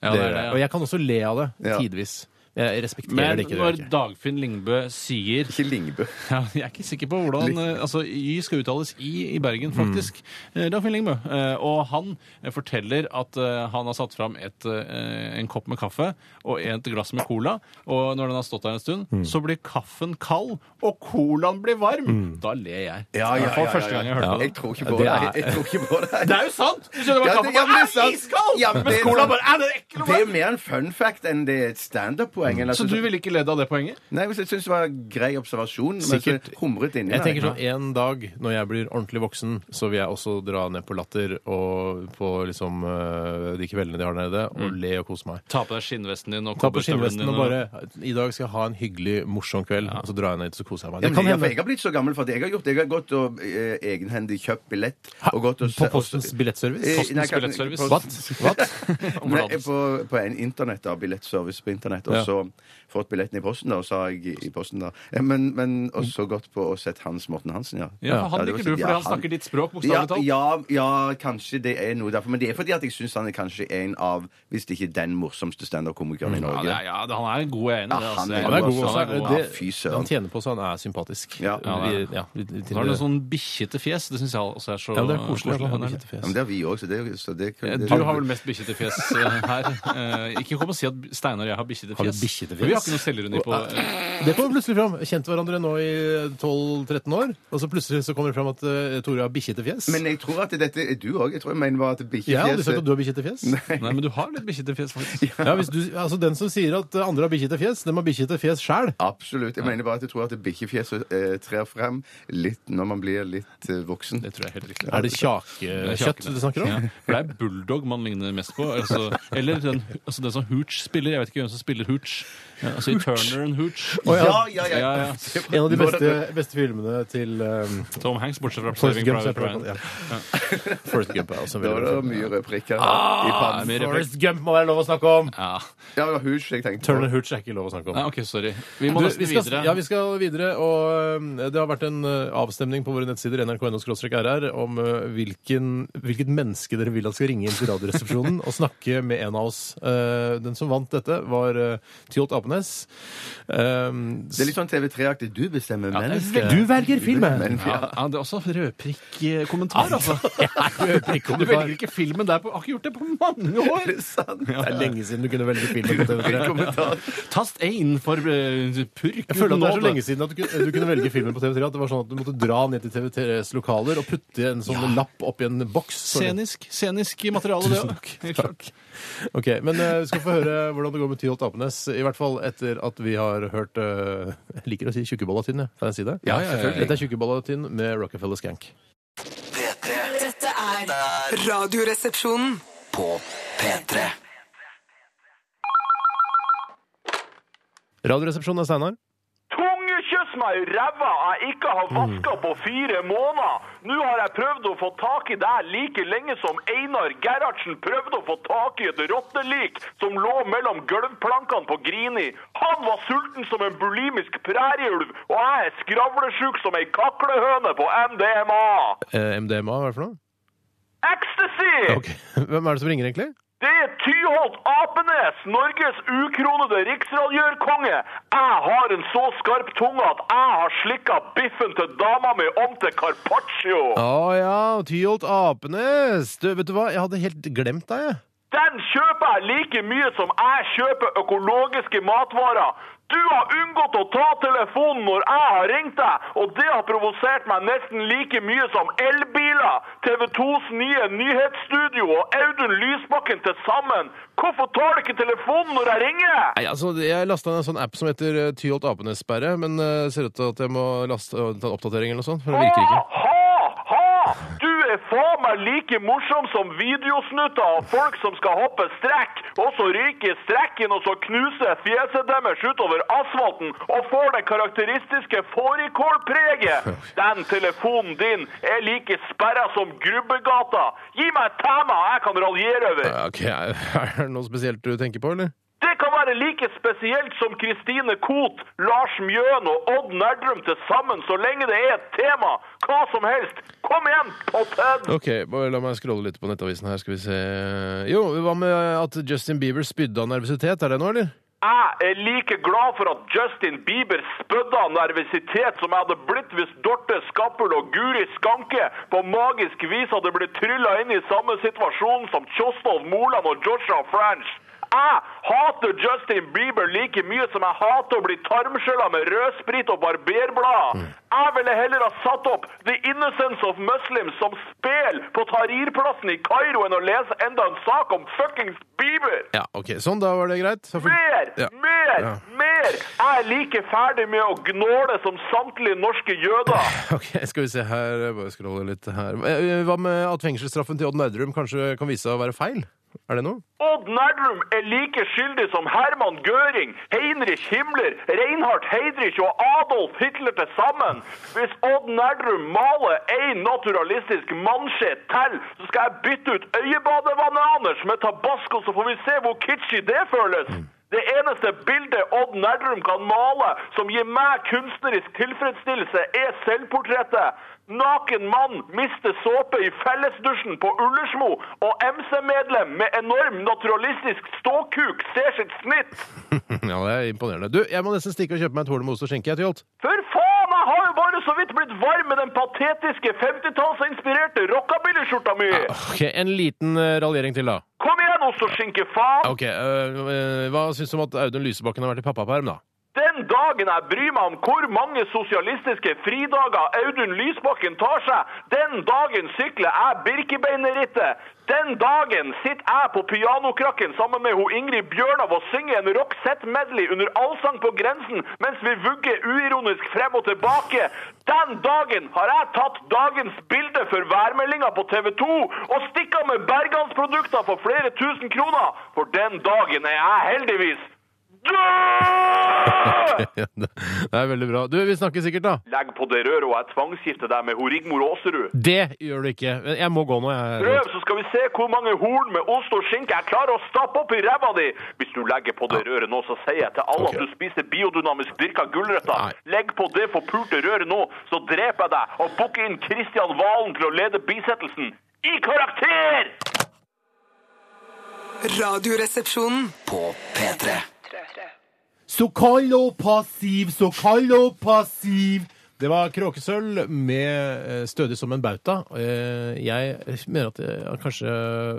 [SPEAKER 2] Ja,
[SPEAKER 1] Det
[SPEAKER 2] det er
[SPEAKER 1] gjør
[SPEAKER 2] det,
[SPEAKER 1] jeg.
[SPEAKER 2] ja.
[SPEAKER 1] Og jeg kan også le av det,
[SPEAKER 3] Ja.
[SPEAKER 1] tidvis. Jeg respekterer
[SPEAKER 2] Men
[SPEAKER 1] det ikke. Det
[SPEAKER 2] når
[SPEAKER 1] gjør jeg ikke.
[SPEAKER 2] Dagfinn Lingbø sier
[SPEAKER 3] Ikke Lingbø.
[SPEAKER 2] ja, Jeg er ikke sikker på hvordan eh, Altså, Y skal uttales I i Bergen, faktisk. Eh, Dagfinn Lingbø. Eh, Og han eh, forteller at eh, han har satt fram et, eh, en kopp med kaffe og et glass med cola. Og når den har stått der en stund,
[SPEAKER 3] Mm.
[SPEAKER 2] så blir kaffen kald, og colaen blir varm. Da ler jeg.
[SPEAKER 3] Mm. Ja, ja,
[SPEAKER 2] I hvert fall
[SPEAKER 3] ja,
[SPEAKER 2] første
[SPEAKER 3] ja,
[SPEAKER 2] gang jeg
[SPEAKER 3] ja.
[SPEAKER 2] hørte
[SPEAKER 3] Jeg
[SPEAKER 2] det.
[SPEAKER 3] tror ikke på
[SPEAKER 1] Det
[SPEAKER 3] det.
[SPEAKER 1] er-
[SPEAKER 3] Jeg, jeg tror ikke på det.
[SPEAKER 2] Det er jo sant! Du skjønner,
[SPEAKER 3] Ja,
[SPEAKER 2] bare
[SPEAKER 3] det-
[SPEAKER 2] kaffen
[SPEAKER 3] ja, men
[SPEAKER 2] bare
[SPEAKER 3] det er
[SPEAKER 2] er
[SPEAKER 3] sant.
[SPEAKER 2] iskald!
[SPEAKER 3] Ja, men
[SPEAKER 2] Mens
[SPEAKER 3] det er
[SPEAKER 2] colaen
[SPEAKER 3] sant.
[SPEAKER 2] bare er den ekkel og
[SPEAKER 3] Det er jo
[SPEAKER 2] varm!
[SPEAKER 3] mer en fun fact enn det er et standup-poeng. eller
[SPEAKER 2] Mm. Så du
[SPEAKER 3] synes-
[SPEAKER 2] ville ikke ledd av det poenget?
[SPEAKER 3] Nei, jeg syns det var en grei observasjon. Men så
[SPEAKER 1] Sikkert.
[SPEAKER 3] humret inni
[SPEAKER 1] Jeg tenker
[SPEAKER 3] meg.
[SPEAKER 1] sånn, En dag når jeg blir ordentlig voksen, så vil jeg også dra ned på Latter og på liksom eh, de kveldene de har der nede, og le og kose meg.
[SPEAKER 2] Ta på deg skinnvesten Mm. din og
[SPEAKER 1] Ta på
[SPEAKER 2] kobberstøvlene
[SPEAKER 1] skinnvesten og
[SPEAKER 2] dine
[SPEAKER 1] bare I dag skal jeg ha en hyggelig, morsom kveld, og så drar jeg ned hit, så koser jeg meg. Det
[SPEAKER 3] Ja, men
[SPEAKER 1] kan
[SPEAKER 3] jeg, for
[SPEAKER 1] hende.
[SPEAKER 3] jeg har blitt så gammel for det jeg har gjort. Jeg har gått og eh, egenhendig kjøpt billett. Og gått og,
[SPEAKER 1] På Postens
[SPEAKER 3] Eh,
[SPEAKER 1] billettservice?
[SPEAKER 3] nei, jeg kan-
[SPEAKER 2] billettservice?
[SPEAKER 3] på-
[SPEAKER 1] What? What?
[SPEAKER 3] Nei, på, på en internett da, billettservice på internett, og
[SPEAKER 1] Ja.
[SPEAKER 3] så fått billetten i posten, da, og så har jeg i- i posten da. Eh, Men, men og så gått på og sett Hans Morten Hansen, ja.
[SPEAKER 2] Ja, for han
[SPEAKER 3] det var
[SPEAKER 2] liker du,
[SPEAKER 3] så-
[SPEAKER 2] fordi han snakker ditt språk,
[SPEAKER 3] ja,
[SPEAKER 2] bokstavelig talt.
[SPEAKER 3] Ja, ja, kanskje det er noe derfor. Men det er fordi at jeg syns han er kanskje en av, hvis det ikke er den morsomste
[SPEAKER 2] Mm,
[SPEAKER 3] standup-komikeren i
[SPEAKER 2] Ja,
[SPEAKER 3] Norge.
[SPEAKER 2] det er, ja, det- han er en god jeg er enig. i det,
[SPEAKER 3] Ja,
[SPEAKER 2] altså.
[SPEAKER 3] han er
[SPEAKER 2] Jeg
[SPEAKER 1] Han er god
[SPEAKER 3] også.
[SPEAKER 1] også.
[SPEAKER 3] Han er god.
[SPEAKER 1] Det,
[SPEAKER 3] Ja, fy søren.
[SPEAKER 1] han tjener på så han er sympatisk.
[SPEAKER 3] Ja.
[SPEAKER 1] Vi-
[SPEAKER 2] Ja, det
[SPEAKER 1] ja, vi- vi-
[SPEAKER 2] Så har han en sånn bikkjete fjes. Det syns jeg også er så
[SPEAKER 1] ja, men det er koselig. at han har
[SPEAKER 2] er det?
[SPEAKER 1] bikkjete fjes.
[SPEAKER 3] Ja, men det har vi òg, så det, er jo- så det,
[SPEAKER 2] Eh,
[SPEAKER 3] det
[SPEAKER 2] Du har vel mest bikkjete fjes eh, her. Eh, Ikke kom og si at Steinar og jeg har bikkjete
[SPEAKER 1] Har du
[SPEAKER 2] fjes.
[SPEAKER 1] bikkjete
[SPEAKER 2] For Vi har
[SPEAKER 1] fjes?
[SPEAKER 2] ikke noe selvironi på eh,
[SPEAKER 1] Det kommer plutselig fram. Kjent hverandre nå i 12-13 år, og så plutselig så kommer det fram at eh, Tore har bikkjete fjes.
[SPEAKER 3] Men jeg tror at dette er du òg. Jeg tror jeg mener bare at
[SPEAKER 1] Jeg har aldri sagt
[SPEAKER 3] bikkjefjeset
[SPEAKER 1] at du har bikkjete fjes.
[SPEAKER 2] Nei, men du har litt bikkjete fjes, faktisk.
[SPEAKER 1] Ja, hvis du, altså Den som sier at andre har bikkjete fjes, dem har bikkjete fjes sjæl.
[SPEAKER 3] Absolutt. Jeg mener bare at jeg tror at bikkjefjeset eh, trer frem litt når man blir litt eh, voksen.
[SPEAKER 2] Det tror jeg er helt riktig.
[SPEAKER 1] Er det
[SPEAKER 2] Det er
[SPEAKER 1] kjakekjøtt
[SPEAKER 2] kjakene.
[SPEAKER 1] du snakker om?
[SPEAKER 2] Ja, for det er bulldog man ligner mest på. Altså, eller den, altså den som Hooch spiller. Jeg vet ikke hvem som spiller Hooch. Ja, altså i Turner and Hooch.
[SPEAKER 1] Å, ja.
[SPEAKER 3] ja, ja.
[SPEAKER 2] Ja, ja.
[SPEAKER 1] En av de beste, beste filmene til um,
[SPEAKER 2] Tom Hanks, bortsett fra
[SPEAKER 1] Forrest
[SPEAKER 2] Saving
[SPEAKER 1] Gump. så
[SPEAKER 2] Private
[SPEAKER 1] er det-
[SPEAKER 2] Ryan.
[SPEAKER 1] ja. Forrest Gump er også en
[SPEAKER 3] Da var
[SPEAKER 1] veldig
[SPEAKER 3] det
[SPEAKER 1] bra film.
[SPEAKER 3] mye reprikker her i
[SPEAKER 2] Ja,
[SPEAKER 3] pannen.
[SPEAKER 2] med replikk.
[SPEAKER 1] Ah, Forrest Gump må være lov å snakke om!
[SPEAKER 2] Ja.
[SPEAKER 3] Ja, det var Hooch jeg tenkte
[SPEAKER 1] Turner
[SPEAKER 3] på.
[SPEAKER 1] Hooch er ikke lov å snakke om.
[SPEAKER 2] Nei, OK, sorry. Vi må
[SPEAKER 1] Du,
[SPEAKER 2] nesten
[SPEAKER 1] vi skal,
[SPEAKER 2] videre.
[SPEAKER 1] Ja, vi skal videre, og um, det har vært en uh, avstemning på våre nettsider nrk.no-rr om uh, hvilken, hvilket menneske Eh, dere vil at skal ringe inn til Radioresepsjonen og snakke med en av oss. Uh, Den som vant dette, var uh, Tjolt Apenes. Um,
[SPEAKER 3] Det er litt sånn TV3-aktig. Du bestemmer
[SPEAKER 2] Ja, det er
[SPEAKER 3] mennesket.
[SPEAKER 1] Du velger filmen.
[SPEAKER 3] Men-
[SPEAKER 2] Ja, ja, det er også rødprikk-kommentar, altså. Du
[SPEAKER 1] Rødprikk-kommentar.
[SPEAKER 2] velger ikke filmen der på Har ikke gjort det på mange år!
[SPEAKER 3] Sånn.
[SPEAKER 1] Det er lenge siden du kunne velge filmen på TV3.
[SPEAKER 2] Tast 1 for eh, purk.
[SPEAKER 1] Jeg føler at det er så lenge siden at du kunne, du kunne velge filmen på TV3 at det var sånn at du måtte dra ned til TV3s lokaler og putte en sånn lapp oppi en boks.
[SPEAKER 2] Scenisk, scenisk materiale, det
[SPEAKER 1] Tusen
[SPEAKER 2] òg.
[SPEAKER 1] takk.
[SPEAKER 2] Helt klart.
[SPEAKER 1] Ok, Men eh, vi skal få høre hvordan det går med Tyholt Apenes. I hvert fall etter at vi har hørt eh, Jeg liker å si Tjukkebollatin, jeg. Kan jeg si det?
[SPEAKER 2] Ja, ja, ja, ja.
[SPEAKER 1] Dette er Tjukkebollatin med Rockefeller Skank.
[SPEAKER 5] P3
[SPEAKER 4] Dette er Radioresepsjonen.
[SPEAKER 5] på P3.
[SPEAKER 1] Radioresepsjonen er Steinar.
[SPEAKER 6] Tungekyss meg i ræva jeg ikke har vaska på fire måneder! Nå har jeg prøvd å få tak i deg like lenge som Einar Gerhardsen prøvde å få tak i et rottelik som lå mellom gulvplankene på Grini. Han var sulten som en bulimisk prærieulv, og jeg er skravlesjuk som ei kaklehøne på MDMA!
[SPEAKER 1] Eh, MDMA, hva er det for noe?
[SPEAKER 6] Ecstasy!
[SPEAKER 1] Ok, Hvem er det som ringer, egentlig?
[SPEAKER 6] Det er Tyholt Apenes, Norges ukronede riksradgjørkonge. Jeg har en så skarp tunge at jeg har slikka biffen til dama mi om til carpaccio.
[SPEAKER 1] Å ja, Tyholt Apenes! Du, vet du hva, jeg hadde helt glemt deg, jeg.
[SPEAKER 6] Den kjøper jeg like mye som jeg kjøper økologiske matvarer. Du har unngått å ta telefonen når jeg har ringt deg, og det har provosert meg nesten like mye som elbiler, TV 2s nye nyhetsstudio og Audun Lysbakken til sammen. Hvorfor tar du ikke telefonen når jeg ringer?
[SPEAKER 1] Nei, altså, Jeg lasta ned en sånn app som heter eh, Tyholt Apenes-sperre, men eh, ser ut til at jeg må laste og ta en oppdatering eller noe sånt, for det virker ikke.
[SPEAKER 6] Ha, ha! Du er faen meg like morsom som videosnutter av folk som skal hoppe strekk, og så ryker strekken, og så knuser fjeset deres utover asfalten og får det karakteristiske fårikålpreget. Den telefonen din er like sperra som Grubbegata. Gi meg tæma jeg kan raljere over.
[SPEAKER 1] Ja, Ok, Er det noe spesielt du tenker på, eller?
[SPEAKER 6] Det kan være like spesielt som Kristine Koht, Lars Mjøen og Odd Nerdrum til sammen, så lenge det er et tema. Hva som helst. Kom igjen, Potten!
[SPEAKER 1] Ok, bare La meg scrolle litt på nettavisen her, skal vi se Jo, hva med at Justin Bieber spydde av nervøsitet? Er det noe, eller?
[SPEAKER 6] Jeg er like glad for at Justin Bieber spødde av nervøsitet som jeg hadde blitt hvis Dorte Skappel og Guri Skanke på magisk vis hadde blitt trylla inn i samme situasjon som Kjostolv Moland og Joshua French. Jeg hater Justin Bieber like mye som jeg hater å bli tarmskylla med rødsprit og barberblad. Jeg ville heller ha satt opp The Innocence of Muslims som spel på Tahrir-plassen i Kairo enn å lese enda en sak om fuckings Bieber.
[SPEAKER 1] Ja, ok, Sånn, da var det greit. Så får-
[SPEAKER 6] Mer!
[SPEAKER 1] Ja.
[SPEAKER 6] Mer!
[SPEAKER 1] Ja.
[SPEAKER 6] Mer! Jeg er like ferdig med å gnåle som samtlige norske jøder.
[SPEAKER 1] Ok, Skal vi se her Bare scrolle litt her. Eh, Hva med at fengselsstraffen til Odd Nerdrum kanskje kan vise seg å være feil? Er det noe?
[SPEAKER 6] Odd Nerdrum er like skyldig som Herman Göring, Heinrich Himmler, Reinhard Heydrich og Adolf Hitler til sammen. Hvis Odd Nerdrum maler én naturalistisk mannskje til, så skal jeg bytte ut øyebadevannet hans med tabasco, så får vi se hvor kitschy det føles.
[SPEAKER 1] Mm.
[SPEAKER 6] Det eneste bildet Odd Nerdrum kan male som gir meg kunstnerisk tilfredsstillelse, er selvportrettet. Naken mann mister såpe i fellesdusjen på Ullersmo, og MC-medlem med enorm naturalistisk ståkuk ser sitt snitt.
[SPEAKER 1] ja, det er imponerende. Du, jeg må nesten stikke og kjøpe meg et horn med ost og skinke. Jeg, Tyholt.
[SPEAKER 6] For faen, jeg har jo bare så vidt blitt varm med den patetiske 50-tallsinspirerte rockabillyskjorta mi!
[SPEAKER 1] Ok, En liten eh, raljering til, da.
[SPEAKER 6] Kom igjen, ost og skinke, faen!
[SPEAKER 1] Ok, eh, eh, Hva syns du om at Audun Lysebakken har vært i pappaperm, da?
[SPEAKER 6] Den dagen jeg bryr meg om hvor mange sosialistiske fridager Audun Lysbakken tar seg, den dagen sykler jeg Birkebeinerrittet. Den dagen sitter jeg på pianokrakken sammen med hun Ingrid Bjørnov og synger en Roxette-medley under allsang på grensen mens vi vugger uironisk frem og tilbake. Den dagen har jeg tatt dagens bilde for værmeldinga på TV 2 og stikka med Bergansprodukter for flere tusen kroner, for den dagen er jeg heldigvis Død!
[SPEAKER 1] Ja, det det er veldig bra. Du, vi snakkes sikkert, da.
[SPEAKER 6] Legg på det røret, og jeg tvangsgifter deg med ho Rigmor Aasrud.
[SPEAKER 1] Det gjør du ikke. Men Jeg må gå nå, jeg.
[SPEAKER 6] Prøv, så skal vi se hvor mange horn med ost og skinke jeg klarer å stappe opp i ræva di! Hvis du legger på det røret nå, så sier jeg til alle
[SPEAKER 1] Ok.
[SPEAKER 6] at du spiser biodynamisk dyrka
[SPEAKER 1] Nei.
[SPEAKER 6] gulrøtter. Legg på det forpulte røret nå, så dreper jeg deg og booker inn Kristian Valen til å lede bisettelsen. I karakter!
[SPEAKER 4] Radioresepsjonen.
[SPEAKER 5] På P3.
[SPEAKER 1] Så kald og passiv, så kald og passiv. Det var Kråkesølv med eh, Stødig som en bauta. Eh, Jeg mener at eh, kanskje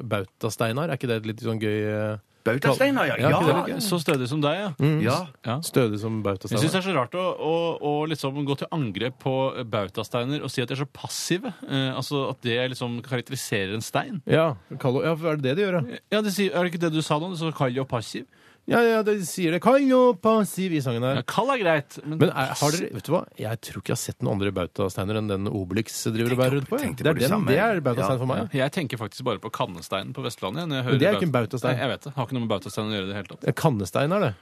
[SPEAKER 1] Bautasteinar, er ikke det et litt sånn gøy eh,
[SPEAKER 3] Bautasteinar, ja.
[SPEAKER 1] Ja, ikke det
[SPEAKER 3] Ja,
[SPEAKER 1] litt gøy?
[SPEAKER 2] Så stødig som deg, ja.
[SPEAKER 3] ja.
[SPEAKER 2] ja.
[SPEAKER 1] Stødig som
[SPEAKER 2] Jeg syns det
[SPEAKER 1] Bautasteinar.
[SPEAKER 2] er så rart å, å, å liksom gå til angrep på bautasteiner og si at de er så passive. Eh, altså At det liksom karakteriserer en stein.
[SPEAKER 1] Ja, kall- ja, for er det det de gjør, ja?
[SPEAKER 2] Ja, det sier, Er det ikke det du sa nå? Du sa kald og passiv?
[SPEAKER 1] Ja, ja, de sier det. Kald og passiv i sangen
[SPEAKER 2] Ja,
[SPEAKER 1] her.
[SPEAKER 2] kald er greit, men,
[SPEAKER 1] Men er, har dere, vet du hva? Jeg tror ikke jeg har sett noen andre bautasteiner enn den Obelix driver og bærer rundt på. jeg.
[SPEAKER 3] tenkte på
[SPEAKER 1] Det er
[SPEAKER 3] det
[SPEAKER 1] den,
[SPEAKER 3] samme.
[SPEAKER 1] det er bautastein for meg.
[SPEAKER 2] Ja, jeg tenker faktisk bare på kannesteinen på Vestlandet. jeg, Når jeg hører
[SPEAKER 1] Men det er ikke en
[SPEAKER 2] baut-
[SPEAKER 1] bautastein.
[SPEAKER 2] Nei, jeg vet det. Har ikke noe med bautastein å gjøre i det hele tatt.
[SPEAKER 1] Ja, Kannestein er det.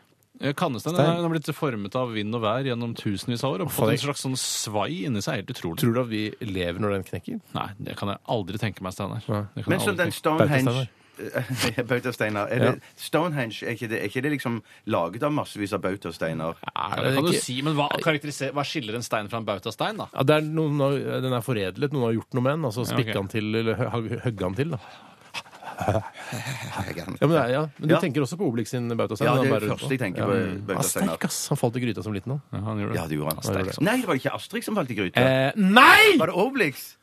[SPEAKER 2] Eh, Kannesteinen
[SPEAKER 1] Stein.
[SPEAKER 2] er- den har blitt formet av vind og vær gjennom tusenvis av år. Og
[SPEAKER 1] faen,
[SPEAKER 2] fått en
[SPEAKER 1] jeg-
[SPEAKER 2] slags sånn svai inni seg. Helt utrolig.
[SPEAKER 1] Tror du at vi lever når den knekker?
[SPEAKER 2] Nei, det kan jeg aldri tenke meg, Steinar. Det kan jeg
[SPEAKER 3] Men så
[SPEAKER 2] aldri
[SPEAKER 3] den
[SPEAKER 2] tenke-
[SPEAKER 3] Stonehenge Bautasteiner. Er
[SPEAKER 1] Ja.
[SPEAKER 3] det Stonehenge, er ikke det, er ikke det liksom laget av massevis av bautasteiner?
[SPEAKER 2] Ja,
[SPEAKER 1] det
[SPEAKER 2] det kan
[SPEAKER 1] ikke-
[SPEAKER 2] du si, men hva, karakteriser- hva skiller en stein fra en bautastein, da?
[SPEAKER 1] Ja, det er noen har, den er foredlet, noen har gjort noe med den. Altså
[SPEAKER 2] ok.
[SPEAKER 1] spikka den til, eller hø- hø- høgga den til. Da.
[SPEAKER 3] Ja,
[SPEAKER 1] Ja, men, det er- ja. men du
[SPEAKER 3] Ja.
[SPEAKER 1] tenker også på Obelix sin bautastein?
[SPEAKER 3] Ja,
[SPEAKER 1] den han
[SPEAKER 3] det er
[SPEAKER 1] bærer
[SPEAKER 3] det
[SPEAKER 1] rundt
[SPEAKER 3] første jeg
[SPEAKER 1] på.
[SPEAKER 3] tenker på.
[SPEAKER 1] Han er sterk,
[SPEAKER 3] Bautasteiner.
[SPEAKER 1] ass! Han falt i gryta som liten, han.
[SPEAKER 2] Ja, han gjorde det.
[SPEAKER 3] Ja, det gjorde han.
[SPEAKER 2] Sterk som-
[SPEAKER 3] Nei, det var ikke Astrid som falt i gryta.
[SPEAKER 1] Eh, nei!
[SPEAKER 3] Var det Obelix?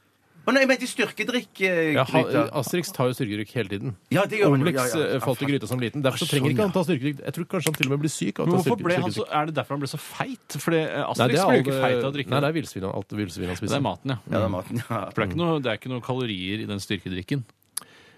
[SPEAKER 3] Å nei, jeg mente eh,
[SPEAKER 1] Ja, eh, altså- han,
[SPEAKER 3] styrkedrikk-gryta.
[SPEAKER 1] Asterix tar jo styrkerykk hele tiden.
[SPEAKER 3] Ja, det gjør han jo.
[SPEAKER 1] Obelix
[SPEAKER 3] Ja, ja.
[SPEAKER 1] eh, falt i gryta som liten. Derfor så
[SPEAKER 3] Ah,
[SPEAKER 1] trenger
[SPEAKER 3] sånn,
[SPEAKER 1] ikke han
[SPEAKER 3] ja.
[SPEAKER 1] ta styrkerykk. Jeg tror kanskje han til og med blir syk av
[SPEAKER 2] Men
[SPEAKER 1] å ta
[SPEAKER 2] hvorfor
[SPEAKER 1] styrke-
[SPEAKER 2] ble han så,
[SPEAKER 1] styrkerykk.
[SPEAKER 2] Er det derfor han ble så feit? Fordi eh,
[SPEAKER 1] Nei,
[SPEAKER 2] Asterix
[SPEAKER 1] det er
[SPEAKER 2] ble jo ikke
[SPEAKER 1] alle-
[SPEAKER 2] feit av å drikke.
[SPEAKER 1] Nei, det
[SPEAKER 2] det,
[SPEAKER 1] er villsvin han- alt villsvin han
[SPEAKER 2] det
[SPEAKER 1] spiser.
[SPEAKER 2] er maten, ja. Mm.
[SPEAKER 3] Ja, det er maten. Ja.
[SPEAKER 2] For det er, ikke noe, det er ikke noe kalorier i den styrkedrikken.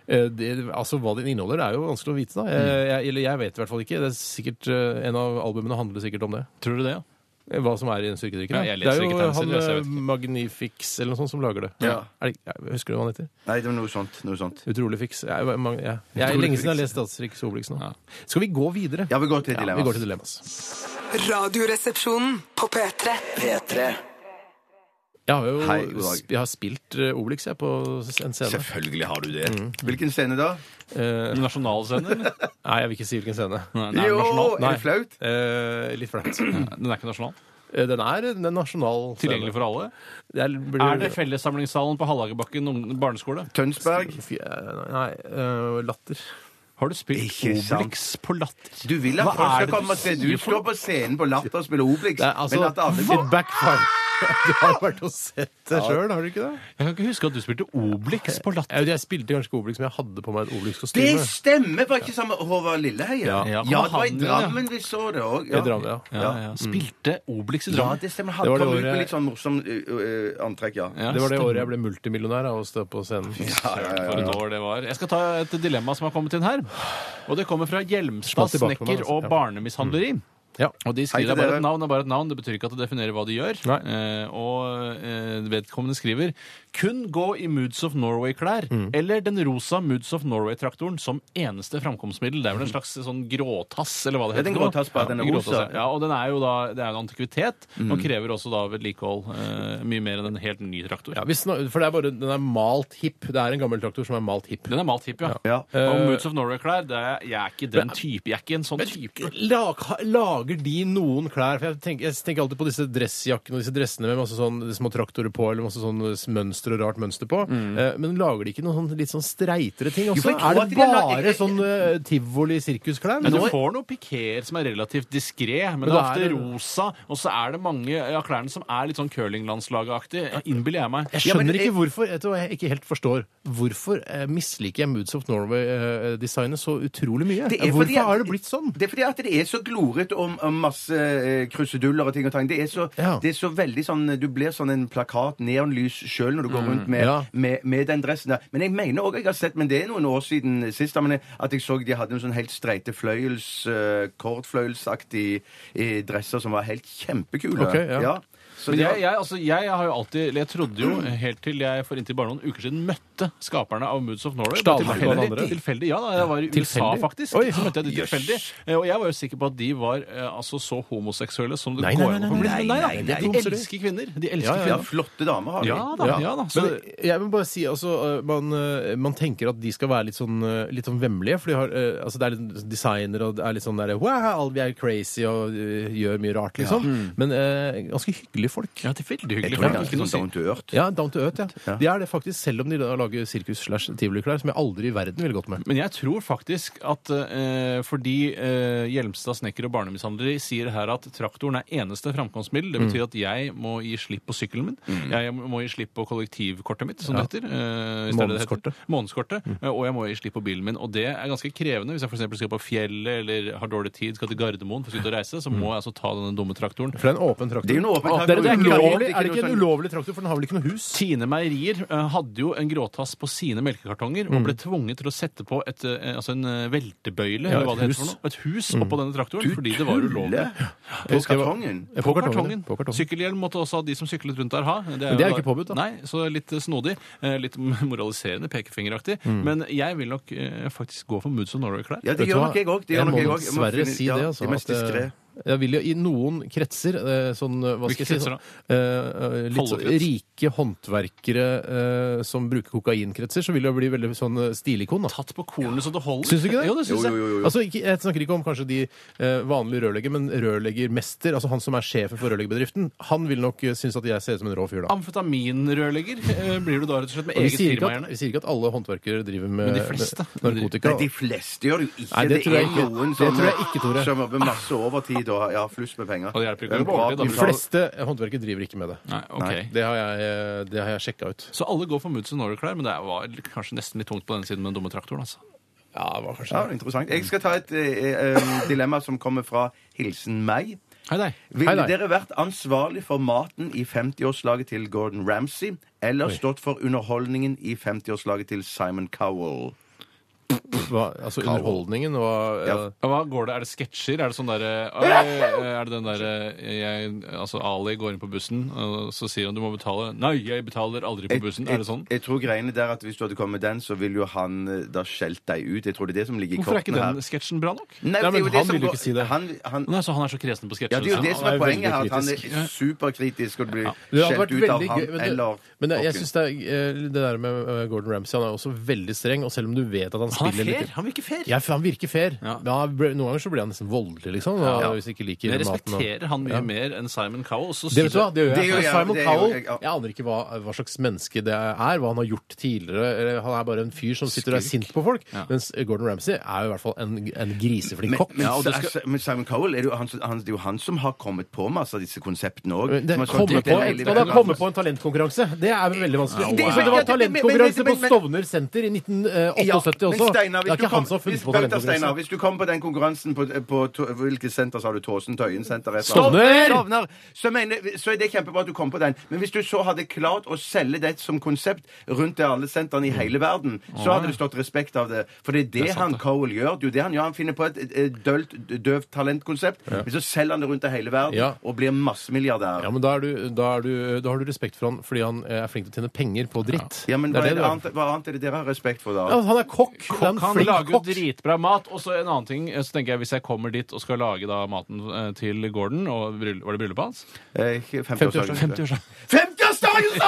[SPEAKER 1] Eh, Det, altså, Hva den inneholder, er jo vanskelig å vite. da. Jeg,
[SPEAKER 2] Mm.
[SPEAKER 1] jeg, eller jeg vet i hvert fall ikke. Det er sikkert, eh, En av albumene handler sikkert om det.
[SPEAKER 2] Tror du det? ja?
[SPEAKER 1] Eh, Hva som er i den styrkedrikken.
[SPEAKER 2] Ja,
[SPEAKER 1] da.
[SPEAKER 2] jeg
[SPEAKER 1] det
[SPEAKER 2] leser
[SPEAKER 1] er
[SPEAKER 2] ikke
[SPEAKER 1] jo
[SPEAKER 2] tegneserier,
[SPEAKER 1] han
[SPEAKER 2] så jeg vet
[SPEAKER 1] eh,
[SPEAKER 2] ikke.
[SPEAKER 1] Magnifix eller noe sånt som lager det.
[SPEAKER 3] Ja.
[SPEAKER 1] Er det ikke- jeg husker du hva han heter?
[SPEAKER 3] Nei, det var noe sånt. Noe sånt.
[SPEAKER 1] Utrolig fiks. Jeg, jeg, jeg, jeg, er lenge siden jeg har lest Asterix og Obelix nå.
[SPEAKER 2] Ja.
[SPEAKER 1] Skal vi gå videre?
[SPEAKER 3] Ja, vi går til
[SPEAKER 1] Ja, vi går til
[SPEAKER 3] dilemmas.
[SPEAKER 1] dilemmas.
[SPEAKER 4] Radioresepsjonen på P3.
[SPEAKER 5] P3
[SPEAKER 1] Jeg har jo
[SPEAKER 3] Hei, god dag.
[SPEAKER 1] sp- jeg har spilt eh, Obelix jeg, på s- en scene.
[SPEAKER 3] Selvfølgelig har du det. Hvilken scene da?
[SPEAKER 1] Eh,
[SPEAKER 2] Nasjonalscenen? eller?
[SPEAKER 1] nei, jeg vil ikke si hvilken scene.
[SPEAKER 2] Nei, den er
[SPEAKER 3] Jo,
[SPEAKER 2] nasjonal.
[SPEAKER 3] er det flaut?
[SPEAKER 1] Eh, litt flaut.
[SPEAKER 2] Den er ikke nasjonal.
[SPEAKER 1] Eh, den er en nasjonal scene.
[SPEAKER 2] Tilgjengelig for alle.
[SPEAKER 1] Det er, blir,
[SPEAKER 2] Er det fellessamlingssalen på Hallagerbakken ung- barneskole?
[SPEAKER 3] Tønsberg?
[SPEAKER 1] Fy- eh, Nei, eh, latter.
[SPEAKER 2] Har du spilt
[SPEAKER 3] Ikke sant.
[SPEAKER 2] Obelix på Latter?
[SPEAKER 3] Du vil at
[SPEAKER 2] Hva
[SPEAKER 3] folk
[SPEAKER 2] er
[SPEAKER 3] skal
[SPEAKER 2] det du
[SPEAKER 3] komme og se. Du
[SPEAKER 2] sier for
[SPEAKER 3] står på scenen på Latter og spiller Obelix.
[SPEAKER 1] Det er altså
[SPEAKER 3] men at alle
[SPEAKER 1] It backfired. Du har vært og sett det sjøl, har du ikke det?
[SPEAKER 2] Jeg kan ikke huske at du spilte Obelix på Latter.
[SPEAKER 1] Jeg, jeg spilte kanskje ikke Obelix, men jeg hadde på meg et Obelix-kostyme.
[SPEAKER 3] Det stemmer! Var ikke sammen med Håvard Lilleheie?
[SPEAKER 1] Ja.
[SPEAKER 3] Ja.
[SPEAKER 2] Ja,
[SPEAKER 3] det var
[SPEAKER 2] han,
[SPEAKER 3] i
[SPEAKER 2] ja.
[SPEAKER 3] Drammen vi så det òg.
[SPEAKER 1] I Drammen, ja.
[SPEAKER 2] Ja, ja. Spilte Obelix i
[SPEAKER 3] ja,
[SPEAKER 2] Drammen?
[SPEAKER 3] det stemmer.
[SPEAKER 1] Det
[SPEAKER 3] Han
[SPEAKER 1] var det
[SPEAKER 3] kom ut
[SPEAKER 1] året-
[SPEAKER 3] med litt sånn morsom ø, ø, antrekk, ja.
[SPEAKER 2] Ja,
[SPEAKER 1] Det var det
[SPEAKER 2] stemmer.
[SPEAKER 1] året jeg ble multimillionær av å stå på scenen.
[SPEAKER 2] For et år det var. Jeg skal ta et dilemma som har kommet inn her. Og det kommer fra
[SPEAKER 1] Smalt
[SPEAKER 2] Hjelmstad
[SPEAKER 1] tilbake på meg,
[SPEAKER 2] snekker
[SPEAKER 1] altså.
[SPEAKER 2] og
[SPEAKER 1] Ja.
[SPEAKER 2] barnemishandleri.
[SPEAKER 1] Ja.
[SPEAKER 2] Og de skriver
[SPEAKER 3] Hei til
[SPEAKER 2] det er bare
[SPEAKER 3] dere.
[SPEAKER 2] et navn det er bare et navn. Det betyr ikke at det definerer hva de gjør.
[SPEAKER 1] Nei.
[SPEAKER 2] Eh, og eh, vedkommende skriver kun gå i Moods of Norway-klær
[SPEAKER 3] Mm.
[SPEAKER 2] eller den rosa Moods of Norway-traktoren som eneste framkomstmiddel. Det er vel en slags sånn gråtass, eller hva det
[SPEAKER 3] Mm. Ja,
[SPEAKER 2] heter.
[SPEAKER 3] den
[SPEAKER 2] for noe.
[SPEAKER 3] gråtass, bare den er
[SPEAKER 2] en
[SPEAKER 3] rosa. Mm.
[SPEAKER 2] gråtass, Ja, og den er jo da det er en antikvitet og krever også da vedlikehold. Eh, mye mer enn en helt ny traktor.
[SPEAKER 1] Ja, vi snak- for det er bare, den er malt hipp. Det er en gammel traktor som er malt hipp.
[SPEAKER 2] Den er malt hipp, ja.
[SPEAKER 3] Ja. Eh,
[SPEAKER 2] Og Moods of Norway-klær, det er- jeg er ikke den type. Jeg er ikke en sånn type.
[SPEAKER 1] Lag, lager de noen klær? For jeg tenker, jeg tenker alltid på disse dressjakkene og disse dressene med masse sånn små traktorer på, eller masse sånn mønster og rart mønster på. Eh, men lager de ikke noen sånn litt sånn streitere ting
[SPEAKER 3] Mm. Jo,
[SPEAKER 1] også?
[SPEAKER 3] for jeg tror
[SPEAKER 1] Er
[SPEAKER 3] at
[SPEAKER 1] det
[SPEAKER 3] de la-
[SPEAKER 1] bare
[SPEAKER 3] jeg-
[SPEAKER 1] sånn eh, tivoli-sirkusklær?
[SPEAKER 2] Men du
[SPEAKER 1] Nå-
[SPEAKER 2] får noen pikéer som er relativt diskré, men,
[SPEAKER 1] Men
[SPEAKER 2] det er
[SPEAKER 1] da er
[SPEAKER 2] ofte
[SPEAKER 1] det-
[SPEAKER 2] rosa, og så er det mange av klærne som er litt sånn curlinglandslagaktig. Innbiller jeg meg.
[SPEAKER 1] Jeg
[SPEAKER 3] Ja, men
[SPEAKER 1] skjønner
[SPEAKER 3] jeg-
[SPEAKER 1] ikke hvorfor. Vet du hva jeg ikke helt forstår? Hvorfor eh, misliker jeg Moods of Norway-designet så utrolig mye?
[SPEAKER 3] Det er
[SPEAKER 1] Hvorfor
[SPEAKER 3] fordi at-
[SPEAKER 1] har det blitt sånn?
[SPEAKER 3] Det er fordi at det er så glorete om, om masse eh, kruseduller og ting og tang. Det er så,
[SPEAKER 1] Ja.
[SPEAKER 3] det er så veldig sånn Du blir sånn en plakat, neonlys, sjøl når du går rundt
[SPEAKER 1] Mm,
[SPEAKER 3] med,
[SPEAKER 1] Ja.
[SPEAKER 3] med, med den dressen der. Men jeg mener òg jeg har sett, men det er noen år siden sist, da, men jeg- at jeg så de hadde en sånn helt streite fløyels, eh, kordfløyelsaktig eh, dresser som var helt kjempekule.
[SPEAKER 1] Ok, ja.
[SPEAKER 3] Så
[SPEAKER 2] Men
[SPEAKER 3] det-
[SPEAKER 2] jeg, jeg, altså, jeg har jo alltid eller Jeg trodde jo helt til jeg for inntil bare noen uker siden møtte skaperne av Moods of Norway.
[SPEAKER 1] Stal
[SPEAKER 2] Bare
[SPEAKER 1] han
[SPEAKER 2] tilfeldig-
[SPEAKER 1] noen andre?
[SPEAKER 2] Tilfeldig, ja da. Jeg var i USA,
[SPEAKER 1] Tilfeldig?
[SPEAKER 2] faktisk.
[SPEAKER 1] Oi.
[SPEAKER 2] Så møtte jeg de tilfeldig. Eh, Og jeg var jo sikker på at de var eh, altså, så homoseksuelle som det
[SPEAKER 1] Nei, nei,
[SPEAKER 2] går an
[SPEAKER 1] nei,
[SPEAKER 2] å få blitt. Men nei,
[SPEAKER 1] nei, nei,
[SPEAKER 2] da.
[SPEAKER 1] nei.
[SPEAKER 2] De elsker kvinner. De elsker
[SPEAKER 3] ja,
[SPEAKER 2] kvinner.
[SPEAKER 3] flotte damer har de.
[SPEAKER 2] Ja da. ja da. Så,
[SPEAKER 1] Men jeg vil bare si, altså, øh, man, øh, man tenker at de skal være litt sånn, øh, litt sånn vemmelige, for de har, øh, altså, det er litt designer, eh, og Mm. det er litt sånn der, wow, vi er crazy og øh, gjør mye rart, liksom. Men øh, ganske hyggelige hyggelige folk.
[SPEAKER 2] Ja, det er veldig
[SPEAKER 3] Jeg
[SPEAKER 2] hyggelig.
[SPEAKER 3] tror det
[SPEAKER 2] Ikke
[SPEAKER 3] er ganske
[SPEAKER 2] noe å
[SPEAKER 3] sånn
[SPEAKER 2] si.
[SPEAKER 3] down to earth.
[SPEAKER 1] Ja, down to earth, ja.
[SPEAKER 3] Ja.
[SPEAKER 1] De er det faktisk, selv om de da lager sirkus-slash-tivoliklær, som jeg aldri i verden ville gått med.
[SPEAKER 2] Men jeg tror faktisk at eh, fordi eh, Hjelmstad snekker og barnemishandlere sier her at traktoren er eneste framkomstmiddel, det betyr at jeg må gi slipp på sykkelen min, jeg må gi slipp på kollektivkortet mitt, som det heter. eh, i stedet det heter. Månedskortet. eh, Og jeg må gi slipp på bilen min. Og det er ganske krevende hvis jeg f.eks. skal på fjellet eller har dårlig tid, skal til Gardermoen for å ut og reise, så må jeg altså ta denne dumme traktoren.
[SPEAKER 1] For det er en åpen traktor.
[SPEAKER 3] Det er jo en åpen
[SPEAKER 1] Å,
[SPEAKER 3] traktor.
[SPEAKER 1] det er, det er ikke
[SPEAKER 3] Ulovlig,
[SPEAKER 1] ulovlig. Er det ikke
[SPEAKER 3] noe
[SPEAKER 1] en
[SPEAKER 3] sånn-
[SPEAKER 1] ulovlig traktor, for den har vel ikke noe hus?
[SPEAKER 2] Tine Meierier eh, hadde jo en gråtass på sine melkekartonger
[SPEAKER 1] Mm.
[SPEAKER 2] og ble tvunget til å sette på et, eh, altså en eh, veltebøyle, eller hva
[SPEAKER 1] et hus.
[SPEAKER 2] det heter for
[SPEAKER 1] Mm.
[SPEAKER 2] noe. Et hus oppå denne traktoren, fordi det var ulovlig.
[SPEAKER 3] På kartongen.
[SPEAKER 1] Ja,
[SPEAKER 2] På kartongen.
[SPEAKER 1] På kartongen.
[SPEAKER 2] Sykkelhjelm måtte også de som syklet rundt der ha.
[SPEAKER 1] Men det er jo ikke påbudt, da.
[SPEAKER 2] Nei, så litt eh, snodig. eh, Litt moraliserende, pekefingeraktig.
[SPEAKER 1] Mm.
[SPEAKER 2] Men jeg vil nok eh, faktisk gå for Moods of Norway-klær.
[SPEAKER 3] Ja, det
[SPEAKER 1] Vet du
[SPEAKER 3] gjør
[SPEAKER 1] hva?
[SPEAKER 3] nok jeg òg.
[SPEAKER 1] Jeg må dessverre si det, altså.
[SPEAKER 3] Det mest
[SPEAKER 1] at, eh,
[SPEAKER 3] diskré.
[SPEAKER 1] jeg vil jo i noen kretser, eh, sånn, eh, hva skal jeg
[SPEAKER 2] Hvilke
[SPEAKER 1] si,
[SPEAKER 2] kretser
[SPEAKER 1] sånn, eh, eh, litt sånn
[SPEAKER 2] Follekrets?
[SPEAKER 1] rike håndverkere eh, som bruker kokainkretser, så vil jeg bli veldig sånn eh, stilikon, da.
[SPEAKER 2] Tatt på kornet så det holder.
[SPEAKER 1] Syns du ikke det?
[SPEAKER 2] Jo, det syns jeg.
[SPEAKER 1] Altså, ikke, jeg snakker ikke om kanskje de eh, vanlige rørlegger, men rørleggermester, altså han som er sjefen for rørleggerbedriften, han vil nok eh, synes at jeg ser ut som en rå fyr, da.
[SPEAKER 2] Amfetaminrørlegger eh, blir du da rett og slett med
[SPEAKER 1] Og vi
[SPEAKER 2] eget
[SPEAKER 1] sier,
[SPEAKER 2] firma,
[SPEAKER 1] ikke at,
[SPEAKER 2] gjerne.
[SPEAKER 1] vi sier ikke at alle håndverkere driver med,
[SPEAKER 2] Men de fleste.
[SPEAKER 1] med narkotika.
[SPEAKER 3] Nei, de fleste gjør det jo ikke.
[SPEAKER 1] Nei, det tror jeg
[SPEAKER 3] er
[SPEAKER 1] ikke.
[SPEAKER 3] noen
[SPEAKER 1] Det
[SPEAKER 3] som,
[SPEAKER 1] tror jeg ikke, Tore.
[SPEAKER 3] som jobber masse overtid og har- ja, flust med penger.
[SPEAKER 2] Og det hjelper ikke
[SPEAKER 3] er
[SPEAKER 2] å
[SPEAKER 3] bra
[SPEAKER 2] gå
[SPEAKER 3] at
[SPEAKER 1] De
[SPEAKER 2] ordentlig,
[SPEAKER 3] vi
[SPEAKER 2] da.
[SPEAKER 3] tar-
[SPEAKER 1] fleste håndverkere driver ikke med det.
[SPEAKER 2] Nei, ok.
[SPEAKER 1] Det har jeg, eh, det har jeg sjekka ut.
[SPEAKER 2] Så alle går for Moods of Norway-klær, men det var kanskje nesten litt tungt på denne siden med den dumme traktoren, altså.
[SPEAKER 1] Ja, det var kanskje
[SPEAKER 3] Ja, interessant. Jeg skal ta et eh, eh, dilemma som kommer fra Hilsen meg.
[SPEAKER 2] Hei, nei.
[SPEAKER 1] Hei,
[SPEAKER 3] Ville
[SPEAKER 1] nei.
[SPEAKER 3] dere vært ansvarlig for maten i 50-årslaget til Gordon Ramsay, eller stått for underholdningen i 50-årslaget til Simon Cowell?
[SPEAKER 1] Hva, altså underholdningen og
[SPEAKER 3] Ja.
[SPEAKER 2] Ja, Hva går det? Er det sketsjer? Er det sånn derre Er det den derre jeg- Altså, Ali går inn på bussen, og så sier han du må betale. Nei, jeg betaler aldri på bussen. Er det sånn?
[SPEAKER 3] Jeg, jeg tror greiene der at Hvis du hadde kommet med den, så ville jo han eh, da skjelt deg ut. Jeg tror det er det som ligger i
[SPEAKER 2] Hvorfor er ikke
[SPEAKER 3] kortene
[SPEAKER 2] den
[SPEAKER 3] her.
[SPEAKER 2] sketsjen bra nok?
[SPEAKER 1] Ja,
[SPEAKER 3] Nei, det er
[SPEAKER 1] men
[SPEAKER 3] jo det
[SPEAKER 1] han
[SPEAKER 3] som
[SPEAKER 1] ville jo
[SPEAKER 3] går-
[SPEAKER 1] ikke si det.
[SPEAKER 3] Han, han,
[SPEAKER 2] Nei, så han er så kresen på
[SPEAKER 3] ja,
[SPEAKER 2] sketsjer.
[SPEAKER 3] det er jo det som
[SPEAKER 1] Han
[SPEAKER 3] er
[SPEAKER 1] er
[SPEAKER 3] poenget her,
[SPEAKER 1] veldig
[SPEAKER 3] at han
[SPEAKER 1] kritisk.
[SPEAKER 3] er superkritisk og blir
[SPEAKER 1] Det hadde
[SPEAKER 3] skjelt
[SPEAKER 1] vært
[SPEAKER 3] ut av
[SPEAKER 1] veldig gøy,
[SPEAKER 3] han
[SPEAKER 1] men det,
[SPEAKER 3] eller
[SPEAKER 1] men det, jeg
[SPEAKER 3] Hawking.
[SPEAKER 1] synes det, er, eh, det der med eh, Gordon Ramsay han er også veldig streng, og selv om du vet at han
[SPEAKER 2] Han er
[SPEAKER 1] spiller
[SPEAKER 2] fair.
[SPEAKER 1] litt
[SPEAKER 2] Han virker fair.
[SPEAKER 1] ja, for Han virker fair.
[SPEAKER 2] Ja.
[SPEAKER 1] Men han ble- noen ganger så blir han nesten voldelig, liksom. og-
[SPEAKER 2] Ja.
[SPEAKER 1] Hvis jeg ikke liker
[SPEAKER 2] Jeg
[SPEAKER 1] maten. og-
[SPEAKER 2] respekterer han mye
[SPEAKER 1] Ja.
[SPEAKER 2] mer enn Simon Cowell. Så
[SPEAKER 1] Det vet du hva, det gjør jeg.
[SPEAKER 3] Det gjør jeg,
[SPEAKER 1] Simon
[SPEAKER 3] det gjør
[SPEAKER 1] Cowell,
[SPEAKER 3] jeg, ja.
[SPEAKER 1] jeg aner ikke hva, hva slags menneske det er, hva han har gjort tidligere. eller Han er bare en fyr som sitter og er sint på folk. Mens Gordon Ramsay er jo i hvert fall en, en griseflink
[SPEAKER 3] Men,
[SPEAKER 1] kokk.
[SPEAKER 3] men,
[SPEAKER 1] Ja, og det
[SPEAKER 3] altså,
[SPEAKER 1] skal-
[SPEAKER 3] men Simon Cowell er det, jo han, som- han, det er jo han som har kommet på masse av disse konseptene òg.
[SPEAKER 1] det kommer på, og det kommer på en talentkonkurranse. Det er veldig vanskelig.
[SPEAKER 3] Det-
[SPEAKER 1] For det var talentkonkurranse
[SPEAKER 3] men- men-
[SPEAKER 1] på
[SPEAKER 3] men-
[SPEAKER 1] Stovner senter i 1978 også. Det er ikke han som har funnet på
[SPEAKER 3] Steinar,
[SPEAKER 1] talentkonkurranse.
[SPEAKER 3] hvis du kom på den konkurransen på, på to- hvilket senter sa du? Tåsen Tøyen-senter?
[SPEAKER 1] Stovner!
[SPEAKER 3] Stovner! Så, mener, så er det kjempebra at du kom på den. Men hvis du så hadde klart å selge det som konsept rundt til alle sentrene i
[SPEAKER 1] Mm.
[SPEAKER 3] hele verden, så hadde det stått respekt av det. For det er det, han Cowell gjør. Det er jo det han gjør. Han finner på et eh, dølt, døvt talentkonsept, men så selger han det rundt til hele verden
[SPEAKER 1] Ja.
[SPEAKER 3] og blir massemilliardær.
[SPEAKER 1] Ja, men da, er du, da, er du, da har du respekt for han fordi han eh, er flink til å tjene penger på dritt.
[SPEAKER 3] Ja, men
[SPEAKER 1] Det er
[SPEAKER 3] hva,
[SPEAKER 1] det
[SPEAKER 3] er
[SPEAKER 1] du
[SPEAKER 3] det
[SPEAKER 1] er.
[SPEAKER 3] annet, hva annet er det dere har respekt for, da?
[SPEAKER 1] Ja, han er kokk. Han er en
[SPEAKER 2] Han
[SPEAKER 1] flink
[SPEAKER 2] lager jo
[SPEAKER 1] kokk.
[SPEAKER 2] dritbra mat. Og så en annen ting, eh, så tenker jeg hvis jeg kommer dit og skal lage da maten eh, til Gordon og bryll- Var det bryllupet hans?
[SPEAKER 3] Eh, 50-årsdagen.
[SPEAKER 2] 50-årsdagen.
[SPEAKER 3] 50-årsdagen,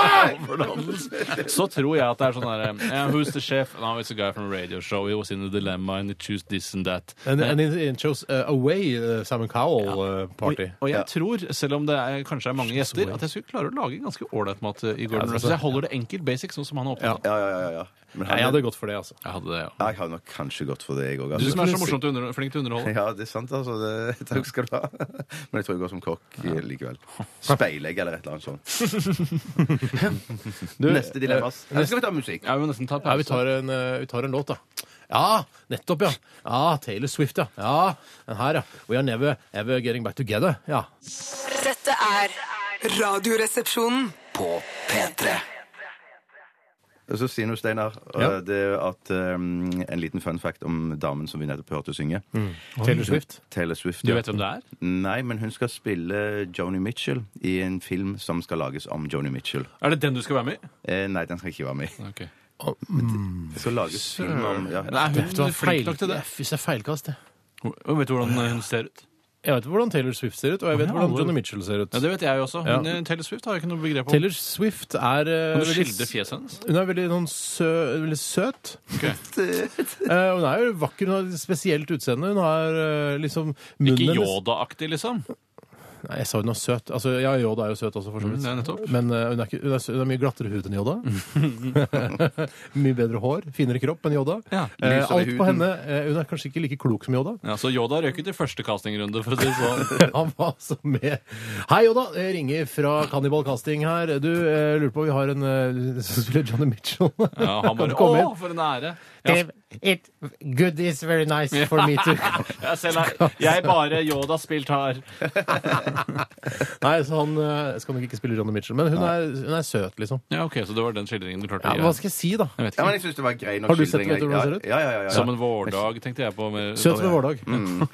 [SPEAKER 2] Så tror jeg at det er sånn derre eh, Who's the chef? No, it's a guy from a radio show. He was in a dilemma and he chose this and that.
[SPEAKER 1] And,
[SPEAKER 2] Eh,
[SPEAKER 1] and it, it shows uh, away uh, Simon Cowell uh, party.
[SPEAKER 2] Og, og jeg tror, selv om det er, kanskje er mange gjester, at jeg skulle klare å lage ganske ålreit mat eh, i Gordon
[SPEAKER 1] Ja, altså,
[SPEAKER 2] Ramsay. Jeg holder det enkelt, basic, sånn som han er opptatt av.
[SPEAKER 3] Ja, ja, ja, ja. Men
[SPEAKER 1] Nei,
[SPEAKER 3] han,
[SPEAKER 1] jeg hadde gått for det, altså.
[SPEAKER 2] Jeg hadde det, ja.
[SPEAKER 3] Ja, jeg har nok kanskje gått for det, jeg òg.
[SPEAKER 2] Du som er så
[SPEAKER 3] Altså.
[SPEAKER 2] morsomt under, flink til å underholde.
[SPEAKER 3] Ja, det er sant, altså. Det, takk skal du ha. Men jeg tror jeg går som kokk eh, likevel. Speilegg eller et eller annet sånt. Neste dilemma. ass. Eller skal vi ta musikk?
[SPEAKER 2] Jeg vil nesten ta
[SPEAKER 1] Ja, vi
[SPEAKER 2] pause.
[SPEAKER 1] tar en, uh, vi tar en låt, da. Ja, nettopp, ja. Ja, Taylor Swift, ja. Ja, Den her, ja. We are never ever getting back together. Ja.
[SPEAKER 4] Dette er Radioresepsjonen.
[SPEAKER 5] På P3
[SPEAKER 3] Og så sier noe, Steinar, og
[SPEAKER 1] Ja.
[SPEAKER 3] det er at um, en liten fun fact om damen som vi nettopp hørte synge.
[SPEAKER 1] Taylor Swift.
[SPEAKER 3] Taylor Swift.
[SPEAKER 2] Du
[SPEAKER 3] ja.
[SPEAKER 2] vet hvem det er?
[SPEAKER 3] Nei, men hun skal spille Joni Mitchell i en film som skal lages om Joni Mitchell.
[SPEAKER 2] Er det den du skal være med i?
[SPEAKER 3] Eh, nei, den skal ikke være med i.
[SPEAKER 2] Ok.
[SPEAKER 3] Det skal lages film om ja.
[SPEAKER 2] Nei, hun
[SPEAKER 1] Vet du hva,
[SPEAKER 2] er flink nok til det.
[SPEAKER 1] Jeg synes det er feilkast, det.
[SPEAKER 2] Og vet du hvordan hun ser ut?
[SPEAKER 1] Jeg vet hvordan Taylor Swift ser ut, og jeg vet
[SPEAKER 2] Ja,
[SPEAKER 1] hvordan
[SPEAKER 2] hvor-
[SPEAKER 1] Johnny Mitchell ser ut.
[SPEAKER 2] Ja, Det vet jeg jo også.
[SPEAKER 1] Ja.
[SPEAKER 2] Men eh, Taylor Swift har jeg ikke noe begrep om.
[SPEAKER 1] Taylor Swift er uh,
[SPEAKER 2] Kan du
[SPEAKER 1] veldig-
[SPEAKER 2] skildre fjeset hennes?
[SPEAKER 1] Hun er veldig, sånn sø, veldig søt.
[SPEAKER 2] Ok.
[SPEAKER 1] Eh, hun er jo vakker. Hun har et spesielt utseende. Hun har eh, liksom munnen
[SPEAKER 2] Ikke
[SPEAKER 1] hennes-
[SPEAKER 2] Yoda-aktig, liksom?
[SPEAKER 1] Nei, jeg sa hun var søt. Altså, ja, Yoda er jo søt også, for så vidt.
[SPEAKER 2] Mm, ja, nettopp.
[SPEAKER 1] Men eh, hun, er ikke, hun, er, sø- hun er mye glattere hud enn Yoda. mye bedre hår, finere kropp enn Yoda.
[SPEAKER 2] Ja,
[SPEAKER 1] eh,
[SPEAKER 3] lysere
[SPEAKER 1] alt
[SPEAKER 3] huden.
[SPEAKER 1] på henne eh, Hun er kanskje ikke like klok som Yoda.
[SPEAKER 2] Ja, så Yoda røk ut i første castingrunde, for å si det sånn.
[SPEAKER 1] Han var altså med. Hei, Yoda. Jeg ringer fra Cannibal Casting her. Du, eh, lurer på Vi har en eh, som spiller Johnny Mitchell.
[SPEAKER 2] Ja, han
[SPEAKER 1] Kan du
[SPEAKER 2] bare
[SPEAKER 1] komme
[SPEAKER 2] Å,
[SPEAKER 1] inn?
[SPEAKER 2] for en ære! Jeg,
[SPEAKER 1] it good is very nice for me to
[SPEAKER 2] jeg, selv er, jeg bare Yoda spilt her.
[SPEAKER 1] Nei, så han eh, skal nok ikke spille Johnny Mitchell, men hun er, hun er søt, liksom.
[SPEAKER 2] Ja, ok, Så det var den skildringen du klarte
[SPEAKER 1] Ja,
[SPEAKER 2] å
[SPEAKER 1] hva
[SPEAKER 2] gi?
[SPEAKER 1] skal jeg si, da?
[SPEAKER 2] Jeg vet
[SPEAKER 3] Ja, men
[SPEAKER 2] ikke.
[SPEAKER 3] jeg synes det var grei nok
[SPEAKER 1] Har du sett
[SPEAKER 3] skildring, jeg.
[SPEAKER 1] hvordan hun ser ut?
[SPEAKER 3] Ja, ja, ja, ja, ja.
[SPEAKER 2] Som en vårdag, tenkte jeg på. Med,
[SPEAKER 1] Søt ved vårdag.
[SPEAKER 2] Mm.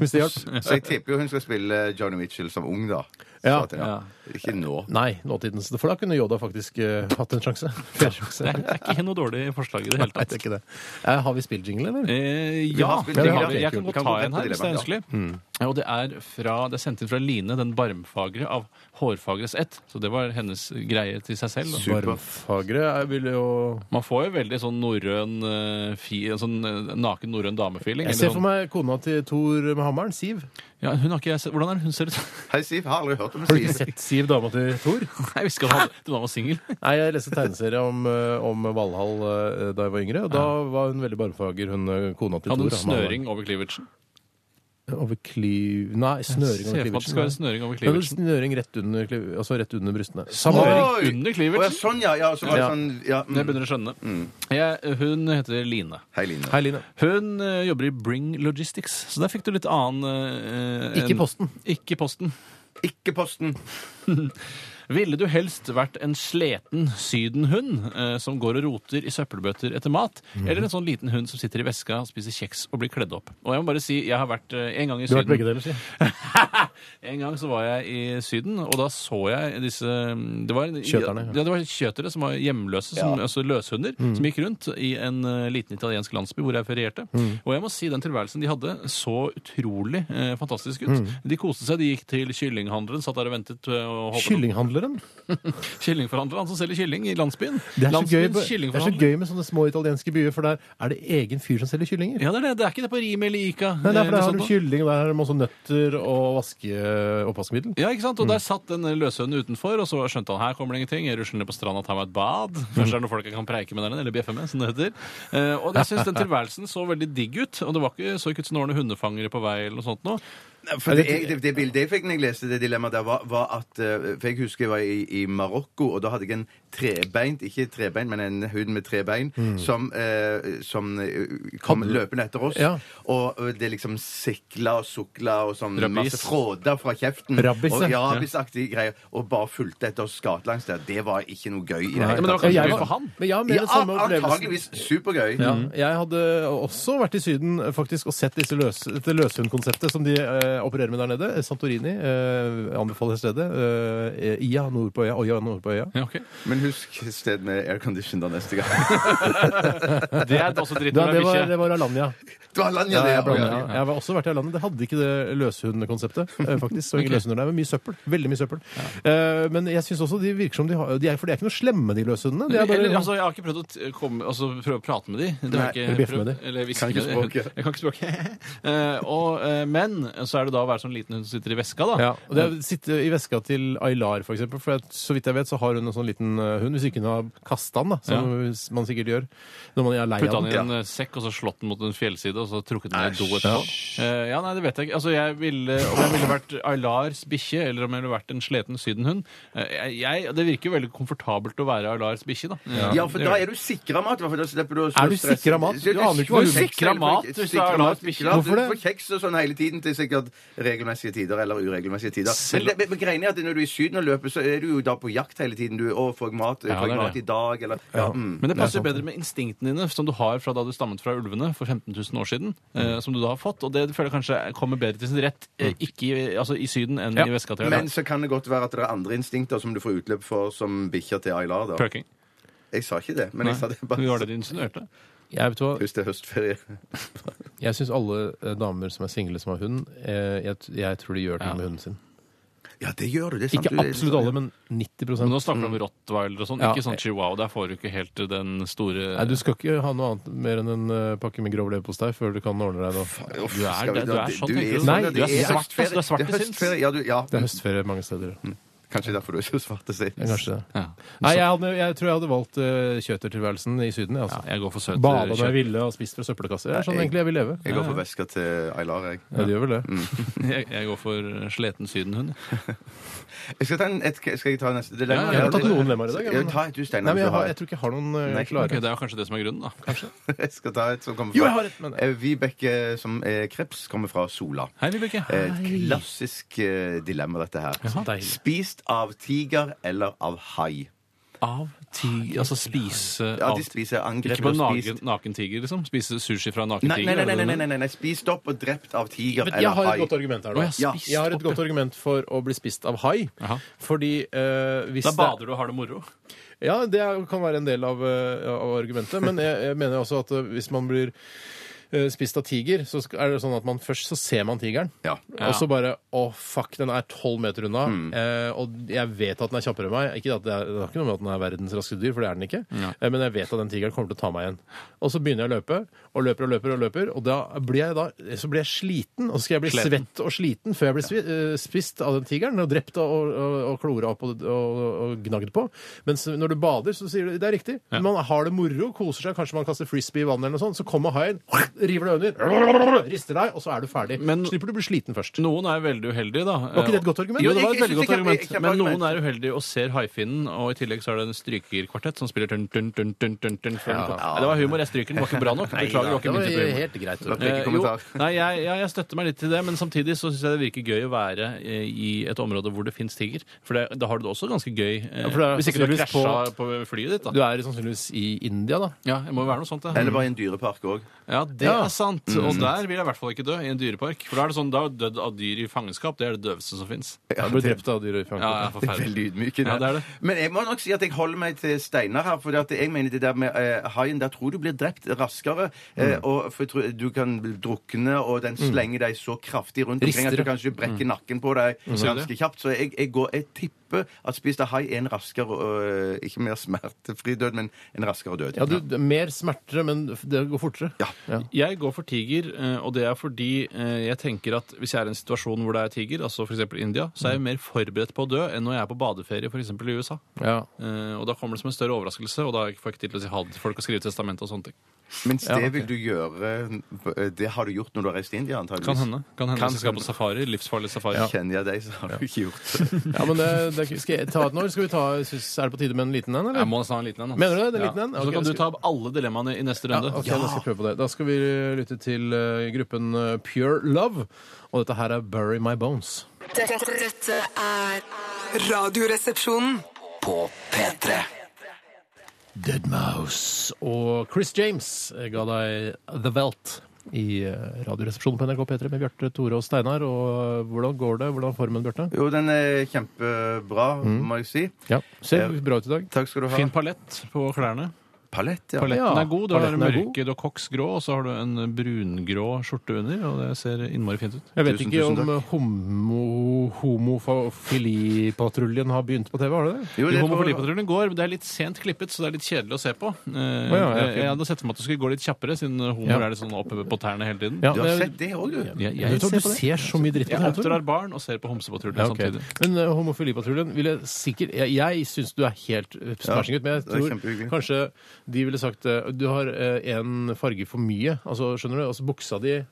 [SPEAKER 1] Hvis det hjalp.
[SPEAKER 3] Så jeg tipper jo hun skal spille Johnny Mitchell som ung, da. Så
[SPEAKER 1] Ja.
[SPEAKER 3] at- ja. Ikke nå.
[SPEAKER 1] Nei, nåtidens. For da kunne Yoda faktisk eh, hatt en sjanse. Fjerde sjanse.
[SPEAKER 2] Det er, det er ikke noe dårlig forslag i det hele
[SPEAKER 1] Nei,
[SPEAKER 2] tatt.
[SPEAKER 1] det er ikke det. Eh, har vi spilt jingle, eller?
[SPEAKER 2] Eh,
[SPEAKER 3] Vi
[SPEAKER 2] ja,
[SPEAKER 3] har spilt
[SPEAKER 2] det
[SPEAKER 1] dilemma.
[SPEAKER 2] har vi. Jeg kan
[SPEAKER 3] Vi
[SPEAKER 2] godt
[SPEAKER 3] kan
[SPEAKER 2] ta
[SPEAKER 3] gå rett
[SPEAKER 2] en
[SPEAKER 3] på
[SPEAKER 2] her, hvis det er
[SPEAKER 3] dilemma,
[SPEAKER 2] ønskelig. Ja, Og det er, fra, det er sendt inn fra Line, den barmfagre av Hårfagres ett. Så det var hennes greie til seg selv. da.
[SPEAKER 1] Varmfagre jeg vil jo
[SPEAKER 2] Man får jo veldig sånn norrøn eh, fi, sånn eh, naken norrøn damefeeling.
[SPEAKER 1] Jeg
[SPEAKER 2] eller
[SPEAKER 1] ser for meg kona til Thor med hammeren, Siv.
[SPEAKER 2] sånn- Ja, hun har ikke jeg sett. Hvordan er det hun ser ut?
[SPEAKER 3] Hei, Siv. Har aldri hørt om
[SPEAKER 1] Har du ikke
[SPEAKER 3] Siv.
[SPEAKER 1] sett Siv, dama til Thor?
[SPEAKER 2] Nei, jeg visste ikke at hun- hun var singel.
[SPEAKER 1] Nei, jeg leste tegneserie om, eh, om Valhall eh, da jeg var yngre, og da var hun veldig barmfager, hun eh, kona til
[SPEAKER 2] Hadde
[SPEAKER 1] Thor.
[SPEAKER 2] hun snøring over cleavagen?
[SPEAKER 1] Over kliv... Nei, snøring
[SPEAKER 2] Ser
[SPEAKER 1] over
[SPEAKER 2] for meg at det skal være
[SPEAKER 1] klivertsen.
[SPEAKER 2] snøring over
[SPEAKER 1] Ja, vel,
[SPEAKER 2] cleavagen.
[SPEAKER 1] Snøring rett under, kliv- altså rett under brystene.
[SPEAKER 2] Snøring
[SPEAKER 3] Oi!
[SPEAKER 2] under
[SPEAKER 3] Å ja,
[SPEAKER 2] cleavagen?
[SPEAKER 3] sånn, ja. ja, så var det
[SPEAKER 1] Ja.
[SPEAKER 3] sånn, ja. mm.
[SPEAKER 2] Jeg begynner å skjønne. Jeg, hun heter Line.
[SPEAKER 3] Hei, Line.
[SPEAKER 1] Hei, Line.
[SPEAKER 2] Hun eh, jobber i Bring Logistics, så der fikk du litt annen eh,
[SPEAKER 1] Ikke
[SPEAKER 2] enn-
[SPEAKER 1] Posten.
[SPEAKER 2] Ikke Posten.
[SPEAKER 3] Ikke Posten.
[SPEAKER 2] Ville du helst vært en sleten sydenhund eh, som går og roter i søppelbøtter etter mat,
[SPEAKER 1] Mhm.
[SPEAKER 2] eller en sånn liten hund som sitter i veska, spiser kjeks og blir kledd opp? Og jeg må bare si, jeg har vært eh, en gang i
[SPEAKER 1] Du har
[SPEAKER 2] Syden.
[SPEAKER 1] vært begge deler, si.
[SPEAKER 2] En gang så var jeg i Syden, og da så jeg disse Det var,
[SPEAKER 1] Kjøterne, ja. Mhm.
[SPEAKER 2] ja. det var kjøtere som var hjemløse, som, altså løshunder, som gikk rundt i en eh, liten italiensk landsby hvor jeg ferierte.
[SPEAKER 1] Mhm.
[SPEAKER 2] Og jeg må si den tilværelsen de hadde, så utrolig eh, fantastisk ut.
[SPEAKER 1] Mhm.
[SPEAKER 2] De koste seg, de gikk til kyllinghandleren, satt der og ventet. eh, Og håpet-
[SPEAKER 1] Kyllinghandleren.
[SPEAKER 2] Kyllingforhandleren, han som selger kylling i landsbyen.
[SPEAKER 1] Det er, så gøy,
[SPEAKER 2] Landsbyens
[SPEAKER 1] det er så
[SPEAKER 2] kyllingforhandler.
[SPEAKER 1] gøy med sånne små italienske byer, for der er det egen fyr som selger kyllinger.
[SPEAKER 2] Ja, det er det. Det er ikke det på Rimi eller Ica.
[SPEAKER 1] Nei,
[SPEAKER 2] eh,
[SPEAKER 1] der
[SPEAKER 2] eller
[SPEAKER 1] har
[SPEAKER 2] sånt
[SPEAKER 1] de
[SPEAKER 2] noe.
[SPEAKER 1] kylling, og der har de også nøtter og vaske eh, oppvaskmiddel.
[SPEAKER 2] Ja, ikke sant? Og
[SPEAKER 1] Mm.
[SPEAKER 2] der satt den løshunden utenfor, og så skjønte han her kommer det ingenting. Jeg rusler ned på stranda og tar meg et bad.
[SPEAKER 1] Mm.
[SPEAKER 2] Kanskje det er noen folk jeg kan preike med der nede, eller bjeffe med, som det heter. Eh, og jeg syns den tilværelsen så veldig digg ut, og det var ikke, så ikke ut som noen hundefangere på vei eller noe sånt noe.
[SPEAKER 3] For det, jeg, Altså, det, det bildet jeg fikk når jeg leste det dilemmaet der, var, var at eh, For jeg husker jeg var i, i Marokko, og da hadde jeg en trebeint Ikke trebeint, men en hund med tre bein
[SPEAKER 1] Mm.
[SPEAKER 3] som, eh, som eh, kom løpende etter oss.
[SPEAKER 1] Ja.
[SPEAKER 3] Og eh, det liksom sikla og sukla og sånn
[SPEAKER 2] Rabbis.
[SPEAKER 3] masse fråder fra kjeften.
[SPEAKER 1] Rabbis,
[SPEAKER 3] og, ja,
[SPEAKER 1] ja.
[SPEAKER 3] rabbisaktige greier. Og bare fulgte etter oss gatelangs der. Det var ikke noe gøy. i det
[SPEAKER 2] men det var
[SPEAKER 3] tatt.
[SPEAKER 2] kanskje
[SPEAKER 1] jeg
[SPEAKER 2] gøy
[SPEAKER 1] var-
[SPEAKER 2] for han.
[SPEAKER 1] Men jeg har med
[SPEAKER 3] Ja,
[SPEAKER 1] den samme opplevelsen.
[SPEAKER 3] antageligvis supergøy.
[SPEAKER 1] Ja, jeg hadde også vært i Syden eh, faktisk og sett disse løs, dette løshundkonseptet som de eh, opererer med der nede. Santorini eh, anbefaler stedet. Eh, Ia nord på øya, Oia nord på øya.
[SPEAKER 2] Ja, ok.
[SPEAKER 3] Men husk sted med aircondition da neste gang.
[SPEAKER 2] Det er også dritt
[SPEAKER 1] Ja,
[SPEAKER 2] når
[SPEAKER 1] det
[SPEAKER 2] det er
[SPEAKER 1] var,
[SPEAKER 2] bikkje.
[SPEAKER 1] det var Alanya.
[SPEAKER 3] Det var Alanya,
[SPEAKER 1] Ja,
[SPEAKER 3] det,
[SPEAKER 1] jeg,
[SPEAKER 3] ja.
[SPEAKER 1] blander,
[SPEAKER 3] Ja, ja.
[SPEAKER 1] ja. jeg var også vært i landet. Det hadde ikke det løshundkonseptet. eh, faktisk. Så ingen løshunder der, men mye søppel. Veldig mye søppel. Eh, men jeg syns også de virker som de har de er, For de er ikke noe slemme, de løshundene. De er bare,
[SPEAKER 2] Eller, altså, jeg har ikke prøvd å t- komme, altså, prøve å prate med de. Det har jeg
[SPEAKER 1] Eller
[SPEAKER 2] ikke
[SPEAKER 1] bjeffe med
[SPEAKER 2] prøvd.
[SPEAKER 1] de.
[SPEAKER 2] Eller
[SPEAKER 3] Kan
[SPEAKER 2] hviske
[SPEAKER 3] ikke
[SPEAKER 2] med de.
[SPEAKER 3] språket.
[SPEAKER 2] Jeg kan ikke språket. Eh, og, eh, men så er det da å være sånn liten hund som sitter i veska, da.
[SPEAKER 1] ja, og det er, sitte i veska til Aylar, for eksempel. For jeg, så vidt jeg vet, så har hun en sånn liten eh, hund. Hvis ikke hun har kasta den, da, som man sikkert gjør når man er lei
[SPEAKER 2] Putta
[SPEAKER 1] av
[SPEAKER 2] den i
[SPEAKER 1] den.
[SPEAKER 2] en eh, sekk og så slått den mot en fjellside og så trukket den ned i do etterpå. Eh, ja, nei, det vet jeg ikke. Altså, jeg ville, Om jeg ville vært Aylars bikkje, eller om jeg ville vært en sliten sydenhund eh, jeg- jeg, Det virker jo veldig komfortabelt å være Aylars bikkje, da.
[SPEAKER 3] Ja, for da er du sikra mat. hva, For da slipper du å
[SPEAKER 1] Er du sikret mat? Du aner ikke hva
[SPEAKER 3] Du
[SPEAKER 1] du-
[SPEAKER 2] Sikret mat, hvis det er lavt
[SPEAKER 3] Sikret mat,
[SPEAKER 2] bikkje.
[SPEAKER 3] ja,
[SPEAKER 1] Hvorfor det?
[SPEAKER 3] Du får kjeks og sånn hele tiden til sikkert regelmessige tider eller uregelmessige tider. Men, det- men, men greien er at når du er i Syden og løper, så er du jo da på jakt hele tiden. Du, 'Å, får jeg mat?
[SPEAKER 2] Ja,
[SPEAKER 3] får
[SPEAKER 2] det
[SPEAKER 3] jeg
[SPEAKER 2] er
[SPEAKER 3] mat
[SPEAKER 2] det.
[SPEAKER 3] i dag?' Eller ja, mm.
[SPEAKER 2] Men det passer jo bedre med instinktene dine, som du har fra da du stammet fra ulvene for 15 000 år siden. Eh, som du da har fått. Og det føler jeg kanskje kommer bedre til sin rett eh, ikke i, altså, i Syden enn i veska til
[SPEAKER 3] Men
[SPEAKER 2] Aylar.
[SPEAKER 3] så kan det godt være at det er andre instinkter som du får utløp for som bikkjer til Aylar. da.
[SPEAKER 2] Pøking.
[SPEAKER 3] Jeg sa ikke det, men
[SPEAKER 2] Nei,
[SPEAKER 3] jeg sa det
[SPEAKER 2] det var
[SPEAKER 3] bare
[SPEAKER 2] det du insinuerte.
[SPEAKER 1] Jeg, vet du hva,
[SPEAKER 3] Husk det er høstferie.
[SPEAKER 1] jeg syns alle eh, damer som er single som har hund, eh, jeg, t- jeg tror de gjør ting
[SPEAKER 2] Ja.
[SPEAKER 1] med hunden sin.
[SPEAKER 3] Ja, det gjør du. Det er sant.
[SPEAKER 1] Ikke
[SPEAKER 3] du- det er sant,
[SPEAKER 1] absolutt
[SPEAKER 3] ja.
[SPEAKER 1] alle, men 90
[SPEAKER 2] Men nå snakker du om rottweiler og sånn,
[SPEAKER 1] Ja.
[SPEAKER 2] ikke sånn chihuahua. Der får du ikke helt den store
[SPEAKER 1] Nei, Du skal ikke ha noe annet mer enn en eh, pakke med grov leverpostei før du kan ordne deg noe.
[SPEAKER 3] Uff,
[SPEAKER 2] Du er-
[SPEAKER 3] skal vi-
[SPEAKER 2] du er sånn, tenker du.
[SPEAKER 3] sånn,
[SPEAKER 1] Nei,
[SPEAKER 3] ja,
[SPEAKER 1] du er
[SPEAKER 3] det
[SPEAKER 2] svart, altså, du er svart
[SPEAKER 3] høstferie.
[SPEAKER 2] til
[SPEAKER 3] Det er
[SPEAKER 2] sinns.
[SPEAKER 3] høstferie, Ja, du, ja.
[SPEAKER 1] Det er høstferie mange steder.
[SPEAKER 3] Kanskje derfor du er så svart til sinns.
[SPEAKER 1] Kanskje det.
[SPEAKER 2] Ja.
[SPEAKER 1] Nei, jeg, hadde, jeg tror jeg hadde valgt eh, kjøtertilværelsen i Syden. jeg,
[SPEAKER 2] Ja,
[SPEAKER 1] Altså.
[SPEAKER 2] jeg går for søt
[SPEAKER 1] Bada når jeg
[SPEAKER 2] kjøtt.
[SPEAKER 1] ville og spist fra søppelkasser. Det er sånn
[SPEAKER 3] Nei, jeg-
[SPEAKER 1] egentlig jeg vil leve.
[SPEAKER 3] Jeg går for veska til Aylar, jeg.
[SPEAKER 1] Ja, det gjør vel det.
[SPEAKER 2] Jeg, jeg går for sleten sydenhund.
[SPEAKER 3] Jeg skal, ta en, et, skal jeg ta neste
[SPEAKER 2] Ja,
[SPEAKER 3] dilemma?
[SPEAKER 2] ja,
[SPEAKER 1] Jeg har tatt noen lemmer i dag.
[SPEAKER 3] Ja,
[SPEAKER 1] men-
[SPEAKER 3] ta et du, Steinar.
[SPEAKER 1] Nei, men jeg, har,
[SPEAKER 3] hvis
[SPEAKER 1] jeg tror ikke jeg har noen eh,
[SPEAKER 3] Nei,
[SPEAKER 1] klare.
[SPEAKER 2] Ok, det er jo kanskje det som er grunnen, da. Kanskje.
[SPEAKER 3] du har et. Jeg skal ta et som kommer fra
[SPEAKER 1] Jo, jeg har et, men-
[SPEAKER 3] Eh, Vibeke som er kreps, kommer fra Sola.
[SPEAKER 2] Hei, Vibeke.
[SPEAKER 3] Et klassisk eh, dilemma, dette her.
[SPEAKER 2] Ja.
[SPEAKER 3] Spist av tiger eller av hai?
[SPEAKER 2] Av ti... Altså spise
[SPEAKER 3] Ja,
[SPEAKER 2] av
[SPEAKER 3] de spiser angrepet
[SPEAKER 2] Ikke på
[SPEAKER 3] og
[SPEAKER 2] naken,
[SPEAKER 3] spist
[SPEAKER 2] naken tiger, liksom? Spise sushi fra naken
[SPEAKER 3] Nei,
[SPEAKER 2] tiger? er det
[SPEAKER 3] nei, nei, nei,
[SPEAKER 2] det
[SPEAKER 3] nei,
[SPEAKER 2] du
[SPEAKER 3] nei, nei, nei. spist opp og drept av tiger
[SPEAKER 1] Jeg
[SPEAKER 3] eller
[SPEAKER 1] har et
[SPEAKER 3] hai.
[SPEAKER 1] godt argument her. Da.
[SPEAKER 2] Å, jeg har
[SPEAKER 1] Ja.
[SPEAKER 2] spist
[SPEAKER 1] Jeg har
[SPEAKER 2] opp,
[SPEAKER 1] et godt argument for å bli spist av hai.
[SPEAKER 2] Jaha.
[SPEAKER 1] Fordi eh, hvis
[SPEAKER 2] mener? Da bader du og har det moro?
[SPEAKER 1] Det, ja, det er- kan være en del av, eh, av argumentet. Men jeg, jeg mener også at eh, hvis man blir eh, spist av tiger, så sk- er det sånn at man først så ser man tigeren.
[SPEAKER 3] Ja.
[SPEAKER 2] Ja. Mm.
[SPEAKER 1] Og så bare Å, fuck, den er tolv meter unna. Eh, og jeg vet at den er kjappere enn meg. Ikke at det, er, det har ikke noe med at den er verdens raskeste dyr, for det er den ikke. Eh, men jeg vet at den tigeren kommer til å ta meg igjen. Og så begynner jeg å løpe, og løper og løper, og løper, og da blir jeg, da, så blir jeg sliten. Og så skal jeg bli
[SPEAKER 2] Sliten.
[SPEAKER 1] svett og sliten før jeg blir svi, eh, spist av den tigeren og drept og, og, og klora opp og, og, og gnagd på. Mens når du bader, så sier du det er riktig.
[SPEAKER 2] Ja.
[SPEAKER 1] Man har det moro, koser seg, kanskje man kaster frisbee i vannet eller noe sånt. Så kommer haien, river deg under, rister deg, og så er du ferdig.
[SPEAKER 2] Men-
[SPEAKER 1] Slipper du å bli sliten først.
[SPEAKER 2] Noen er veldig uheldige, da.
[SPEAKER 1] Var ikke det et godt argument?
[SPEAKER 2] Jo, det var et
[SPEAKER 3] Jeg- jeg
[SPEAKER 2] veldig
[SPEAKER 3] synes
[SPEAKER 2] godt
[SPEAKER 3] det er kjempe-
[SPEAKER 2] argument. Men
[SPEAKER 3] kjempeargument.
[SPEAKER 2] noen er uheldige og ser haifinnen, og i tillegg så er det en strykerkvartett som spiller dun, dun, dun, dun, dun, dun, før den kom. Nei, Det var humor. Jeg stryker den. Det var ikke bra nok. Beklager, det var ikke min type humor.
[SPEAKER 1] helt greit.
[SPEAKER 3] Det er ikke
[SPEAKER 2] Eh, jo,
[SPEAKER 3] kommentar.
[SPEAKER 2] nei, jeg, ja, jeg støtter meg litt til det, men samtidig så syns jeg det virker gøy å være eh, i et område hvor det fins tiger. For det, da har du det også ganske gøy. eh,
[SPEAKER 1] for det er
[SPEAKER 2] hvis ikke du har
[SPEAKER 1] sannsynligvis
[SPEAKER 2] krasja på flyet ditt,
[SPEAKER 1] Du
[SPEAKER 2] da.
[SPEAKER 1] er sannsynligvis i India, da.
[SPEAKER 2] Ja, det må jo være noe sånt.
[SPEAKER 3] Eller
[SPEAKER 2] Ja,
[SPEAKER 3] bare i en dyrepark òg.
[SPEAKER 2] ja Mm. det er sant. Og der vil jeg i hvert fall ikke dø, i en dyrepark. For da er det sånn, da er dødd av dyr i fangenskap. Det er det døveste som fins.
[SPEAKER 1] Du blir drept av dyr i Frankrike.
[SPEAKER 2] Ja, ja, forferdelig.
[SPEAKER 3] Veldig ydmykende.
[SPEAKER 2] Ja, det er det.
[SPEAKER 3] Men jeg må nok si at jeg holder meg til Steinar her. For at jeg mener det der med eh, haien Der tror jeg du blir drept raskere. Eh, og for jeg tror, du kan bli drukne, og den slenger deg så kraftig rundt omkring at
[SPEAKER 1] Rister
[SPEAKER 3] du
[SPEAKER 1] det.
[SPEAKER 3] kanskje brekker nakken på deg
[SPEAKER 2] du
[SPEAKER 3] ganske kjapt. Så jeg, jeg, går, jeg tipper at spist av hai er en raskere øh, Ikke mer smertefri død, men en raskere død.
[SPEAKER 1] Ja, du, det er mer smerter, men det går fortere.
[SPEAKER 3] Ja.
[SPEAKER 2] Jeg går for tiger, eh, og det er fordi eh, jeg tenker at hvis jeg er i en situasjon hvor det er tiger, altså f.eks. India, så er jeg mer forberedt på å dø enn når jeg er på badeferie f.eks. i USA.
[SPEAKER 1] Ja.
[SPEAKER 2] Eh, Og da kommer det som en større overraskelse, og da får jeg ikke tid til å si ha det til folk og skrive testament og sånne ting.
[SPEAKER 3] Mens det
[SPEAKER 1] Ja, ok.
[SPEAKER 3] vil du gjøre eh, Det har du gjort når du har reist til India, antageligvis.
[SPEAKER 2] Kan hende. Kan hende
[SPEAKER 3] Kan
[SPEAKER 2] hvis jeg skal på safari. Livsfarlig safari.
[SPEAKER 3] Kjenner jeg deg, så har du ikke gjort det.
[SPEAKER 1] ja, men det, det, skal jeg ta et når? Skal vi ta, synes, er det på tide med en liten en,
[SPEAKER 2] Jeg
[SPEAKER 1] eller?
[SPEAKER 2] må nesten ha en liten en. altså.
[SPEAKER 1] Mener du det? Det er en liten en?
[SPEAKER 2] Ja.
[SPEAKER 1] Ok,
[SPEAKER 2] Så kan
[SPEAKER 1] da
[SPEAKER 2] du
[SPEAKER 1] skal-
[SPEAKER 2] ta opp alle dilemmaene i neste runde.
[SPEAKER 1] ok, Da skal jeg prøve på det. Da skal vi lytte til eh, gruppen eh, Pure Love, og dette her er Bury My Bones.
[SPEAKER 4] Dette, dette er Radioresepsjonen.
[SPEAKER 5] På P3
[SPEAKER 1] Deadmouse og Chris James ga deg The Welt i eh, Radioresepsjonen på NRK P3 med Bjarte, Tore og Steinar. Og eh, hvordan går det? Hvordan er formen, Bjarte?
[SPEAKER 3] Jo, den er kjempebra, må jeg si.
[SPEAKER 1] Ja, Ser
[SPEAKER 3] Eh,
[SPEAKER 1] bra ut i dag.
[SPEAKER 3] Takk skal du ha.
[SPEAKER 2] Fin palett på klærne.
[SPEAKER 3] palett, ja.
[SPEAKER 2] Paletten
[SPEAKER 1] Ja,
[SPEAKER 2] er god. Du har
[SPEAKER 1] paletten er god.
[SPEAKER 2] mørke, du har koksgrå, og så har du en brungrå skjorte under, og det ser innmari fint ut.
[SPEAKER 1] Jeg vet
[SPEAKER 3] Tusen,
[SPEAKER 1] ikke
[SPEAKER 3] tusen
[SPEAKER 1] om eh, homo, homofilipatruljen har begynt på TV, har det det?
[SPEAKER 3] Jo, det
[SPEAKER 2] Jo,
[SPEAKER 3] tror jeg-
[SPEAKER 2] Homofilipatruljen går, men det er litt sent klippet, så det er litt kjedelig å se på. Eh,
[SPEAKER 1] ja, ja, ok.
[SPEAKER 2] Jeg hadde sett for meg at det skulle gå litt kjappere, siden homoer
[SPEAKER 1] Ja.
[SPEAKER 2] er litt sånn oppe på tærne hele tiden.
[SPEAKER 3] Du har sett det òg, du.
[SPEAKER 2] Jeg, jeg,
[SPEAKER 1] Jeg tror
[SPEAKER 2] ser
[SPEAKER 1] du
[SPEAKER 2] på det.
[SPEAKER 1] ser så mye dritt på
[SPEAKER 2] Jeg
[SPEAKER 1] TV.
[SPEAKER 2] oppdrar barn og ser på Homsepatruljen
[SPEAKER 1] Ja, ok.
[SPEAKER 2] samtidig.
[SPEAKER 1] Men eh, homofilipatruljen ville sikkert Jeg, jeg syns du er helt eh, smashing ut, men jeg
[SPEAKER 3] det er
[SPEAKER 1] tror
[SPEAKER 3] kjempehyggelig.
[SPEAKER 1] kanskje de ville sagt eh, du har én farge for mye. Altså, skjønner du? Altså, buksa di eh,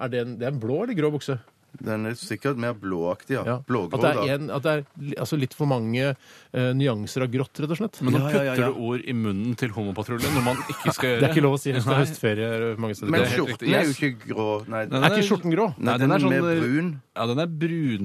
[SPEAKER 1] er det, en, det er en blå eller grå bukse?
[SPEAKER 3] Den er sikkert mer blåaktig, ja.
[SPEAKER 1] Ja.
[SPEAKER 3] Blågrå,
[SPEAKER 1] at det
[SPEAKER 3] da.
[SPEAKER 1] er, en, at det er li- altså, litt for mange eh, nyanser av grått, rett og slett.
[SPEAKER 2] Men nå
[SPEAKER 3] Ja, ja, ja,
[SPEAKER 2] putter
[SPEAKER 3] ja.
[SPEAKER 2] du ord i munnen til homopatruljen når man ikke skal gjøre
[SPEAKER 1] det er ikke lov å si hvis det er
[SPEAKER 2] Nei.
[SPEAKER 1] høstferie mange steder.
[SPEAKER 2] Det
[SPEAKER 3] Men
[SPEAKER 2] er helt
[SPEAKER 3] skjorten
[SPEAKER 2] riktig.
[SPEAKER 3] er jo ikke grå. Nei,
[SPEAKER 2] Nei,
[SPEAKER 1] er ikke skjorten grå?
[SPEAKER 3] Nei,
[SPEAKER 2] Nei,
[SPEAKER 3] den er mer
[SPEAKER 2] eh,
[SPEAKER 3] brun.
[SPEAKER 2] Ja, den er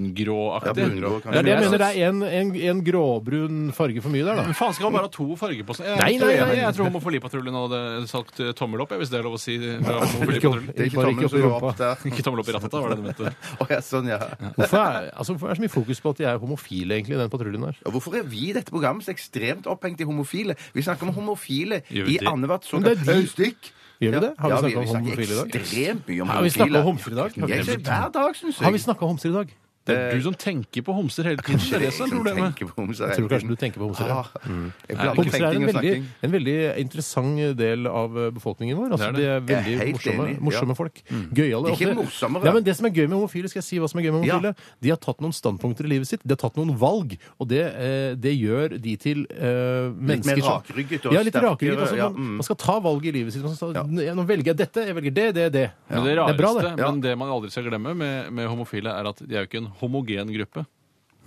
[SPEAKER 2] brungråaktig.
[SPEAKER 3] Ja, brungrå, kanskje.
[SPEAKER 1] Det er sånn- det jeg mener.
[SPEAKER 2] synes-
[SPEAKER 1] Det er en, en, en gråbrun farge for mye der, da.
[SPEAKER 2] Men faen skal man bare ha to farger på seg? Jeg,
[SPEAKER 1] Nei, nei, nei.
[SPEAKER 2] jeg tror Homofilipatruljen hadde sagt eh, tommel opp, jeg, hvis det er lov å si. fra Homofilipatruljen.
[SPEAKER 3] Det er ikke
[SPEAKER 1] Bare
[SPEAKER 3] tommelen
[SPEAKER 1] ikke opp
[SPEAKER 3] som
[SPEAKER 1] i
[SPEAKER 3] går opp
[SPEAKER 1] rumpa.
[SPEAKER 3] der.
[SPEAKER 2] Ikke tommel opp i rattet, var det du mente.
[SPEAKER 3] Å, ja, sånn, ja.
[SPEAKER 1] Hvorfor er, altså, hvorfor er det så mye fokus på at de er homofile, egentlig, i den patruljen der?
[SPEAKER 3] Og Hvorfor er vi i dette programmet så ekstremt opphengt i homofile? Vi snakker om homofile
[SPEAKER 2] Gjør
[SPEAKER 3] i
[SPEAKER 2] vi det?
[SPEAKER 3] annethvert
[SPEAKER 1] Men det
[SPEAKER 3] såkalt
[SPEAKER 1] er de-
[SPEAKER 3] øyestikk.
[SPEAKER 1] Gjør vi det? Har vi
[SPEAKER 3] Ja,
[SPEAKER 1] snakket om homofile i dag?
[SPEAKER 3] ekstremt mye om
[SPEAKER 1] Har vi
[SPEAKER 3] homofile.
[SPEAKER 1] snakket om homser i dag?
[SPEAKER 3] Jeg, hver dag, syns jeg.
[SPEAKER 1] Har vi snakka homser i dag?
[SPEAKER 2] Det er du som tenker på homser hele tiden. Det er det som er problemet.
[SPEAKER 3] Tenker på homser
[SPEAKER 1] Jeg tror kanskje du tenker på homser. ja.
[SPEAKER 3] Ah, Jeg blander
[SPEAKER 1] Homser er en
[SPEAKER 3] tenking og
[SPEAKER 1] veldig,
[SPEAKER 3] snakking.
[SPEAKER 1] en veldig interessant del av eh, befolkningen vår. Altså,
[SPEAKER 2] Det Mm. er det.
[SPEAKER 1] de er
[SPEAKER 3] Jeg
[SPEAKER 1] veldig
[SPEAKER 3] er helt
[SPEAKER 1] morsomme,
[SPEAKER 3] enig, ja.
[SPEAKER 1] morsomme folk. Gøyale.
[SPEAKER 3] Ikke
[SPEAKER 1] ofte-
[SPEAKER 3] morsommere.
[SPEAKER 1] Nei, men det som er gøy med homofile, skal jeg si hva som er gøy med
[SPEAKER 3] Ja.
[SPEAKER 1] homofile. De har tatt noen standpunkter i livet sitt. De har tatt noen valg. Og det, eh, det gjør de til eh, mennesker som-
[SPEAKER 3] rakrygget og
[SPEAKER 1] Ja, litt
[SPEAKER 3] sterkere,
[SPEAKER 1] rakrygget. Altså,
[SPEAKER 3] ja,
[SPEAKER 1] man,
[SPEAKER 3] mm.
[SPEAKER 1] man skal ta valg i livet sitt. Man skal, ta- ja. Nå velger jeg dette, jeg velger det, det, det.
[SPEAKER 2] Men det
[SPEAKER 1] er bra,
[SPEAKER 2] rareste,
[SPEAKER 1] det.
[SPEAKER 2] men det man aldri skal glemme med, med homofile, er at de er jo ikke en homogen gruppe.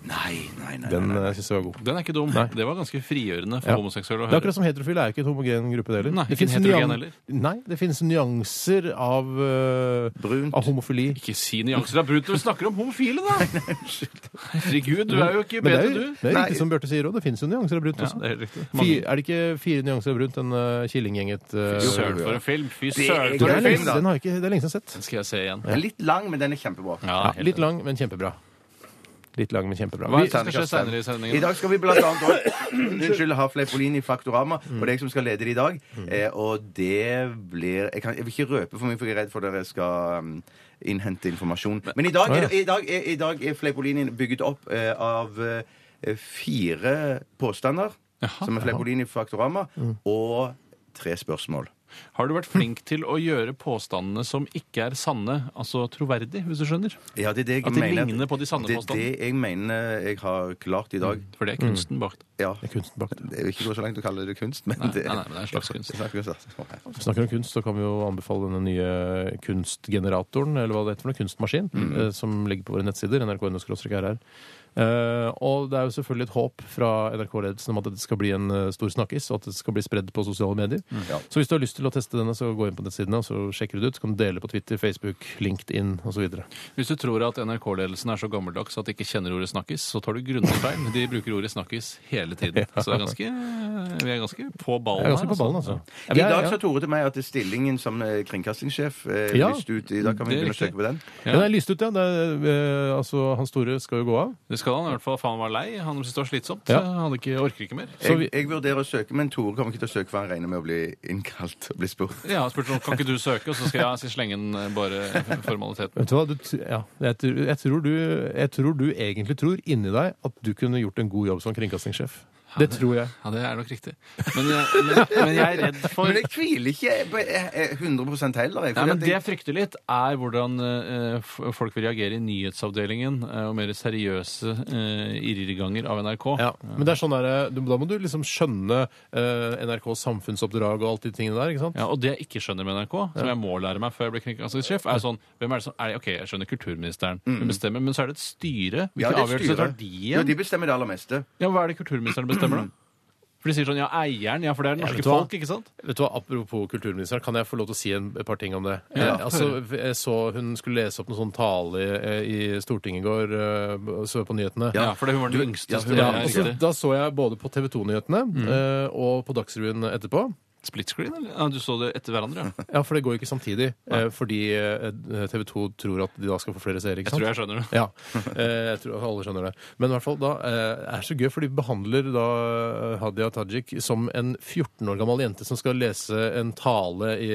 [SPEAKER 3] Nei, nei, nei.
[SPEAKER 1] Den eh, synes jeg var god.
[SPEAKER 2] Den er ikke dum. Det var ganske frigjørende for
[SPEAKER 1] Ja.
[SPEAKER 2] homoseksuelle å
[SPEAKER 1] Det er
[SPEAKER 2] høre.
[SPEAKER 1] akkurat som heterofile er jo ikke en homogen gruppe det heller.
[SPEAKER 2] Nei,
[SPEAKER 1] det
[SPEAKER 2] ikke en
[SPEAKER 1] finnes
[SPEAKER 2] heterogen
[SPEAKER 1] nyan-
[SPEAKER 2] heller.
[SPEAKER 1] Nei, det finnes nyanser av, eh,
[SPEAKER 3] Brunt.
[SPEAKER 1] av homofili.
[SPEAKER 2] Ikke si nyanser av brunt når vi snakker om homofile, da! Herregud, du er jo ikke
[SPEAKER 1] Men det er
[SPEAKER 2] bedre,
[SPEAKER 1] jo,
[SPEAKER 2] du.
[SPEAKER 1] det er jo riktig som Bjarte sier òg, det finnes jo nyanser av brunt
[SPEAKER 2] Ja,
[SPEAKER 1] også.
[SPEAKER 2] det er helt riktig.
[SPEAKER 1] Fi-
[SPEAKER 2] Mange.
[SPEAKER 1] er det ikke fire nyanser av brunt, den uh, killinggjenget eh,
[SPEAKER 2] Søren for en film! Fy
[SPEAKER 3] er
[SPEAKER 2] søren
[SPEAKER 1] den
[SPEAKER 2] for
[SPEAKER 1] er
[SPEAKER 2] en
[SPEAKER 3] gøy.
[SPEAKER 2] film!
[SPEAKER 1] lenge, den har jeg ikke, det er lenge siden jeg har sett.
[SPEAKER 2] Den skal jeg se igjen.
[SPEAKER 3] Den er litt lang, men den er kjempebra.
[SPEAKER 2] Ja,
[SPEAKER 1] Ja,
[SPEAKER 2] helt
[SPEAKER 1] litt lang, men kjempebra. Litt lang, men kjempebra.
[SPEAKER 2] Hva
[SPEAKER 1] Vi,
[SPEAKER 2] er det som skal skje senere i
[SPEAKER 3] I
[SPEAKER 2] sendingen?
[SPEAKER 3] dag skal vi blant annet også- Unnskyld, ha Fleipolini Faktorama. Og det er jeg som skal lede det i dag.
[SPEAKER 2] Mm.
[SPEAKER 3] Eh, og det blir jeg, kan, jeg vil ikke røpe for mye, for jeg er redd for dere skal um, innhente informasjon. Men i dag er, i dag er, i dag er Fleipolini bygget opp eh, av eh, fire påstander, som er Fleipolini Faktorama,
[SPEAKER 2] Mm.
[SPEAKER 3] og tre spørsmål.
[SPEAKER 2] Har du vært flink til å gjøre påstandene som ikke er sanne, altså troverdig, hvis du skjønner?
[SPEAKER 3] Ja, det er det jeg
[SPEAKER 2] At de
[SPEAKER 3] mener.
[SPEAKER 2] ligner på de sanne
[SPEAKER 3] Det er
[SPEAKER 2] påstandene. Mm.
[SPEAKER 3] det jeg mener jeg har klart i dag.
[SPEAKER 2] For det er
[SPEAKER 1] Mm.
[SPEAKER 2] kunsten bak det.
[SPEAKER 3] Ja.
[SPEAKER 1] det er kunsten bak det.
[SPEAKER 3] Jeg vil ikke gå så langt og kalle det kunst, men
[SPEAKER 2] Nei,
[SPEAKER 3] det,
[SPEAKER 2] nei, nei, men det er en slags kunst.
[SPEAKER 3] Det er en slags kunst, ja.
[SPEAKER 1] Når vi snakker om kunst, så kan vi jo anbefale denne nye kunstgeneratoren, eller hva det heter for noe, kunstmaskin, eh, som ligger på våre nettsider, nrk.no-rr. Eh, og det er jo selvfølgelig et håp fra NRK-ledelsen om at dette skal bli en eh, stor snakkis, og at det skal bli spredd på sosiale medier.
[SPEAKER 3] Ja.
[SPEAKER 1] Så hvis du har lyst til å teste denne, så gå inn på nettsidene, og så sjekker du det ut. Så kan du dele på Twitter, Facebook, LinkedIn osv.
[SPEAKER 2] Hvis du tror at NRK-ledelsen er så gammeldags at de ikke kjenner ordet 'snakkis', så tar du grundig feil. De bruker ordet 'snakkis' hele tiden. Så det er ganske, vi er ganske på
[SPEAKER 1] Jeg
[SPEAKER 2] ballen.
[SPEAKER 1] er ganske
[SPEAKER 2] her,
[SPEAKER 1] på ballen, altså. Ja,
[SPEAKER 3] I
[SPEAKER 1] vi er-
[SPEAKER 3] dag
[SPEAKER 1] ja.
[SPEAKER 3] sa Tore til meg at det er stillingen som eh, kringkastingssjef eh,
[SPEAKER 1] Ja.
[SPEAKER 3] lyst ut. I dag kan vi
[SPEAKER 2] Det er
[SPEAKER 3] begynne å
[SPEAKER 2] riktig.
[SPEAKER 3] søke på den.
[SPEAKER 1] Ja, det er lyst ut, ja. Det er, eh, altså, Hans Store skal jo gå av.
[SPEAKER 2] Det skal han i hvert fall. For han var lei. Han syntes det var slitsomt.
[SPEAKER 1] Ja.
[SPEAKER 2] Han hadde ikke, orker ikke mer.
[SPEAKER 1] Så
[SPEAKER 3] Jeg,
[SPEAKER 1] vi-
[SPEAKER 3] jeg vurderer å søke, men Tore kommer ikke til å søke, for han regner med å bli innkalt og bli spurt.
[SPEAKER 2] Ja, han spurte om kan ikke du søke, og så skal jeg slenge inn eh, bare formaliteten.
[SPEAKER 1] Vet du hva? Du, t- ja, jeg, tror, jeg, tror du, jeg tror du egentlig tror inni deg at du kunne gjort en god jobb som kringkastingssjef. Det tror jeg.
[SPEAKER 2] Ja, det er nok riktig. Men, jeg- men, men jeg er redd for
[SPEAKER 3] Men jeg tviler ikke på eh, eh, 100 heller.
[SPEAKER 2] Nei,
[SPEAKER 3] Jeg, fordi
[SPEAKER 2] men
[SPEAKER 3] at
[SPEAKER 2] Det
[SPEAKER 3] jeg,
[SPEAKER 2] jeg frykter litt, er hvordan eh, f- folk vil reagere i nyhetsavdelingen eh, og mer seriøse uh, irrganger av NRK.
[SPEAKER 1] Ja, men det er sånn der, du, da må du liksom skjønne eh, NRKs samfunnsoppdrag og alt de tingene der. ikke sant?
[SPEAKER 2] Ja, og det jeg ikke skjønner med NRK, som jeg må lære meg før jeg blir kringkastingssjef, er sånn hvem er det som, er det, Ok, jeg skjønner kulturministeren,
[SPEAKER 1] Mm.
[SPEAKER 2] hun bestemmer, men så er det et styre.
[SPEAKER 3] ja,
[SPEAKER 2] Hvilke
[SPEAKER 3] det er
[SPEAKER 2] avgjørelser
[SPEAKER 3] styret.
[SPEAKER 2] tar de
[SPEAKER 3] Jo,
[SPEAKER 2] igjen?
[SPEAKER 3] de bestemmer det aller meste.
[SPEAKER 2] Ja, Hva er det kulturministeren bestemmer, da? For de sier sånn ja, eieren, ja, for det er det
[SPEAKER 1] Ja, vet
[SPEAKER 2] norske
[SPEAKER 1] du hva?
[SPEAKER 2] folk, ikke sant?
[SPEAKER 1] Vet du hva, Apropos kulturministeren, kan jeg få lov til å si en, et par ting om det? eh, altså, jeg så Hun skulle lese opp noen sånn tale i, eh, i Stortinget i går, eh, og så på nyhetene.
[SPEAKER 2] Ja, for det, hun var den
[SPEAKER 3] ja,
[SPEAKER 2] yngste.
[SPEAKER 3] hun
[SPEAKER 1] Ja,
[SPEAKER 3] var
[SPEAKER 1] og så, da så jeg både på TV 2-nyhetene eh, og på Dagsrevyen etterpå.
[SPEAKER 2] Split screen, eller? Ja, du så det etter hverandre, ja.
[SPEAKER 1] Ja, for det går jo ikke samtidig, eh, fordi eh, TV 2 tror at de da skal få flere seere. ikke sant?
[SPEAKER 2] Jeg tror jeg skjønner det.
[SPEAKER 1] Ja, eh, jeg tror alle skjønner det. Men i hvert fall da eh, er det så gøy, for de behandler da eh, Hadia Tajik som en 14 år gammel jente som skal lese en tale i,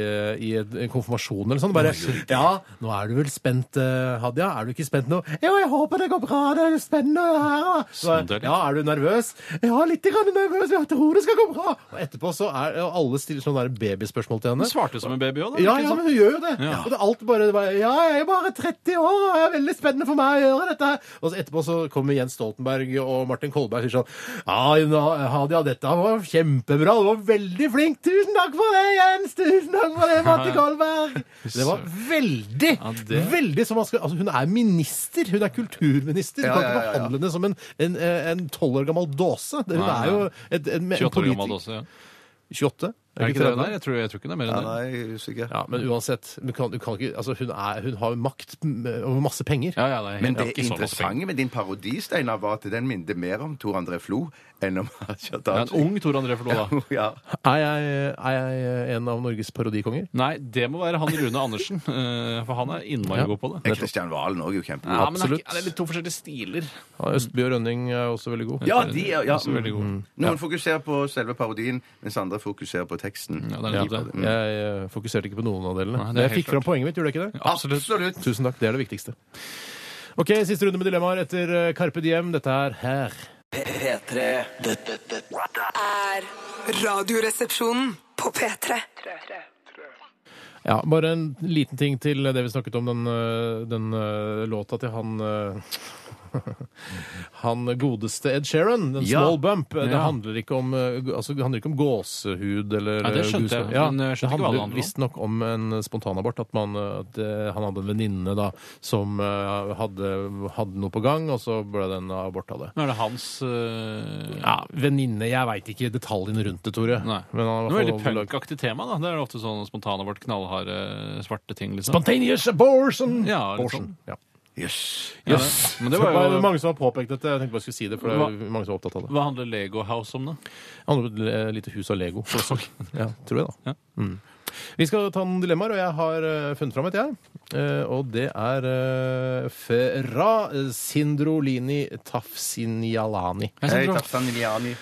[SPEAKER 1] i en konfirmasjon eller sånn. Bare Ja, nå er du vel spent, eh, Hadia? Er du ikke spent nå? Jo, jeg håper det går bra, det er spennende her. da. Så,
[SPEAKER 2] Sånn,
[SPEAKER 1] ja, er du nervøs? Ja, litt grann nervøs, jeg tror det skal gå bra. Og etterpå så er og alle stiller sånne der babyspørsmål til henne.
[SPEAKER 2] Hun svarte som en baby òg, da.
[SPEAKER 1] Ja,
[SPEAKER 2] ikke
[SPEAKER 1] ja,
[SPEAKER 2] sant?
[SPEAKER 1] men hun gjør jo det.
[SPEAKER 2] Ja.
[SPEAKER 1] Og det er alt bare, det er bare Ja, jeg er bare 30 år, og det er veldig spennende for meg å gjøre dette her. Og så etterpå så kommer Jens Stoltenberg og Martin Kolberg og sier sånn Ja, Hadia, dette var kjempebra. Du var veldig flink. Tusen takk for det, Jens. Tusen takk for det, Martin Kolberg. Det var veldig,
[SPEAKER 2] Ja, det-
[SPEAKER 1] veldig som man skal Altså, hun er minister. Hun er kulturminister. Du
[SPEAKER 3] Ja,
[SPEAKER 1] kan
[SPEAKER 3] ja,
[SPEAKER 1] ikke
[SPEAKER 3] ja, ja.
[SPEAKER 1] behandle henne som en- en- en tolv år gammel dåse. Det- Hun
[SPEAKER 2] Nei,
[SPEAKER 1] er jo
[SPEAKER 2] nei.
[SPEAKER 1] et, en, en
[SPEAKER 2] 28 år gammel
[SPEAKER 1] politi-
[SPEAKER 2] også, ja.
[SPEAKER 1] 28?
[SPEAKER 2] Er det ikke det?
[SPEAKER 1] 30?
[SPEAKER 2] Nei, jeg tror, jeg tror ikke det er mer
[SPEAKER 3] Ja,
[SPEAKER 2] enn det.
[SPEAKER 3] nei, jeg er usikker.
[SPEAKER 1] Ja, men uansett, du kan, du kan ikke, altså hun, er, hun har makt m- over masse penger.
[SPEAKER 2] Ja, ja, nei,
[SPEAKER 3] Men det
[SPEAKER 2] jeg har ikke så masse penger.
[SPEAKER 3] interessante med din parodi, Steinar, var at den minner mer om Tor André Flo enn om Haja
[SPEAKER 2] Ja, en
[SPEAKER 3] Tajik.
[SPEAKER 2] ung Tor André Flo, da.
[SPEAKER 3] Ja.
[SPEAKER 1] Er, jeg, er jeg en av Norges parodikonger?
[SPEAKER 2] Nei, det må være han Rune Andersen. eh, For han er innmari
[SPEAKER 1] Ja.
[SPEAKER 2] god på det.
[SPEAKER 3] Kristian Valen òg er jo kjempegod.
[SPEAKER 2] Ja, men det er,
[SPEAKER 1] absolutt.
[SPEAKER 2] ikke- det er litt to forskjellige stiler.
[SPEAKER 1] Ja, Østby og Rønning er også veldig god.
[SPEAKER 3] Ja, de er ja,
[SPEAKER 2] Også veldig gode.
[SPEAKER 3] mm. Noen fokuserer på selve parodien, mens andre fokuserer på teksten.
[SPEAKER 2] Ja, det er litt det.
[SPEAKER 1] Jeg eh, fokuserte ikke på noen av delene.
[SPEAKER 2] Nei, det er
[SPEAKER 1] Men jeg
[SPEAKER 2] helt
[SPEAKER 1] fikk fram poenget mitt, gjorde jeg ikke det?
[SPEAKER 3] Absolutt.
[SPEAKER 1] Tusen takk, det er det viktigste. OK, siste runde med dilemmaer etter eh, Carpe Diem. Dette er her.
[SPEAKER 5] P3 Dette, dette
[SPEAKER 4] er Radioresepsjonen på P3.
[SPEAKER 1] Ja, Bare en liten ting til det vi snakket om, den, eh, den eh, låta til han eh, Han godeste Ed Sheeran, den
[SPEAKER 2] Ja.
[SPEAKER 1] Small Bump. Det
[SPEAKER 2] Ja.
[SPEAKER 1] handler ikke om, eh, gu- altså, det handler ikke om gåsehud eller
[SPEAKER 2] Nei, det skjønte
[SPEAKER 1] guse-
[SPEAKER 2] jeg,
[SPEAKER 1] Ja,
[SPEAKER 2] men
[SPEAKER 1] det
[SPEAKER 2] jeg skjønte ikke hva det handler om.
[SPEAKER 1] handler visstnok om en spontanabort. At, man, eh, at eh, han hadde en venninne da som eh, hadde, hadde noe på gang, og så ble det en abort av det.
[SPEAKER 2] Nå er det hans eh,
[SPEAKER 1] Ja, venninne Jeg veit ikke detaljene rundt det, Tore.
[SPEAKER 2] Nei.
[SPEAKER 1] Men han
[SPEAKER 2] Det
[SPEAKER 1] var
[SPEAKER 2] var veldig punkaktig tema, da. Det er ofte sånn spontanabort, knallharde, svarte ting, liksom.
[SPEAKER 1] Spontaneous abortion!
[SPEAKER 2] Ja, litt
[SPEAKER 1] Abortion,
[SPEAKER 2] sånn.
[SPEAKER 1] ja.
[SPEAKER 3] Yes.
[SPEAKER 2] Ja, det- Men det var
[SPEAKER 1] Så
[SPEAKER 2] jo
[SPEAKER 1] mange som har påpekt dette. Jeg tenkte bare jeg skulle si det, for det er mange som er opptatt av det.
[SPEAKER 2] Hva handler Lego House om, da?
[SPEAKER 1] Det handler om et eh, lite hus av Lego. Ja, tror jeg, da.
[SPEAKER 2] Ja.
[SPEAKER 1] Mm. Vi skal ta noen dilemmaer, og jeg har eh, funnet fram et, jeg. Eh, Og det er eh, Ferra Sindrolini Tafsinialani.
[SPEAKER 3] Hei, Tafsan Iliani.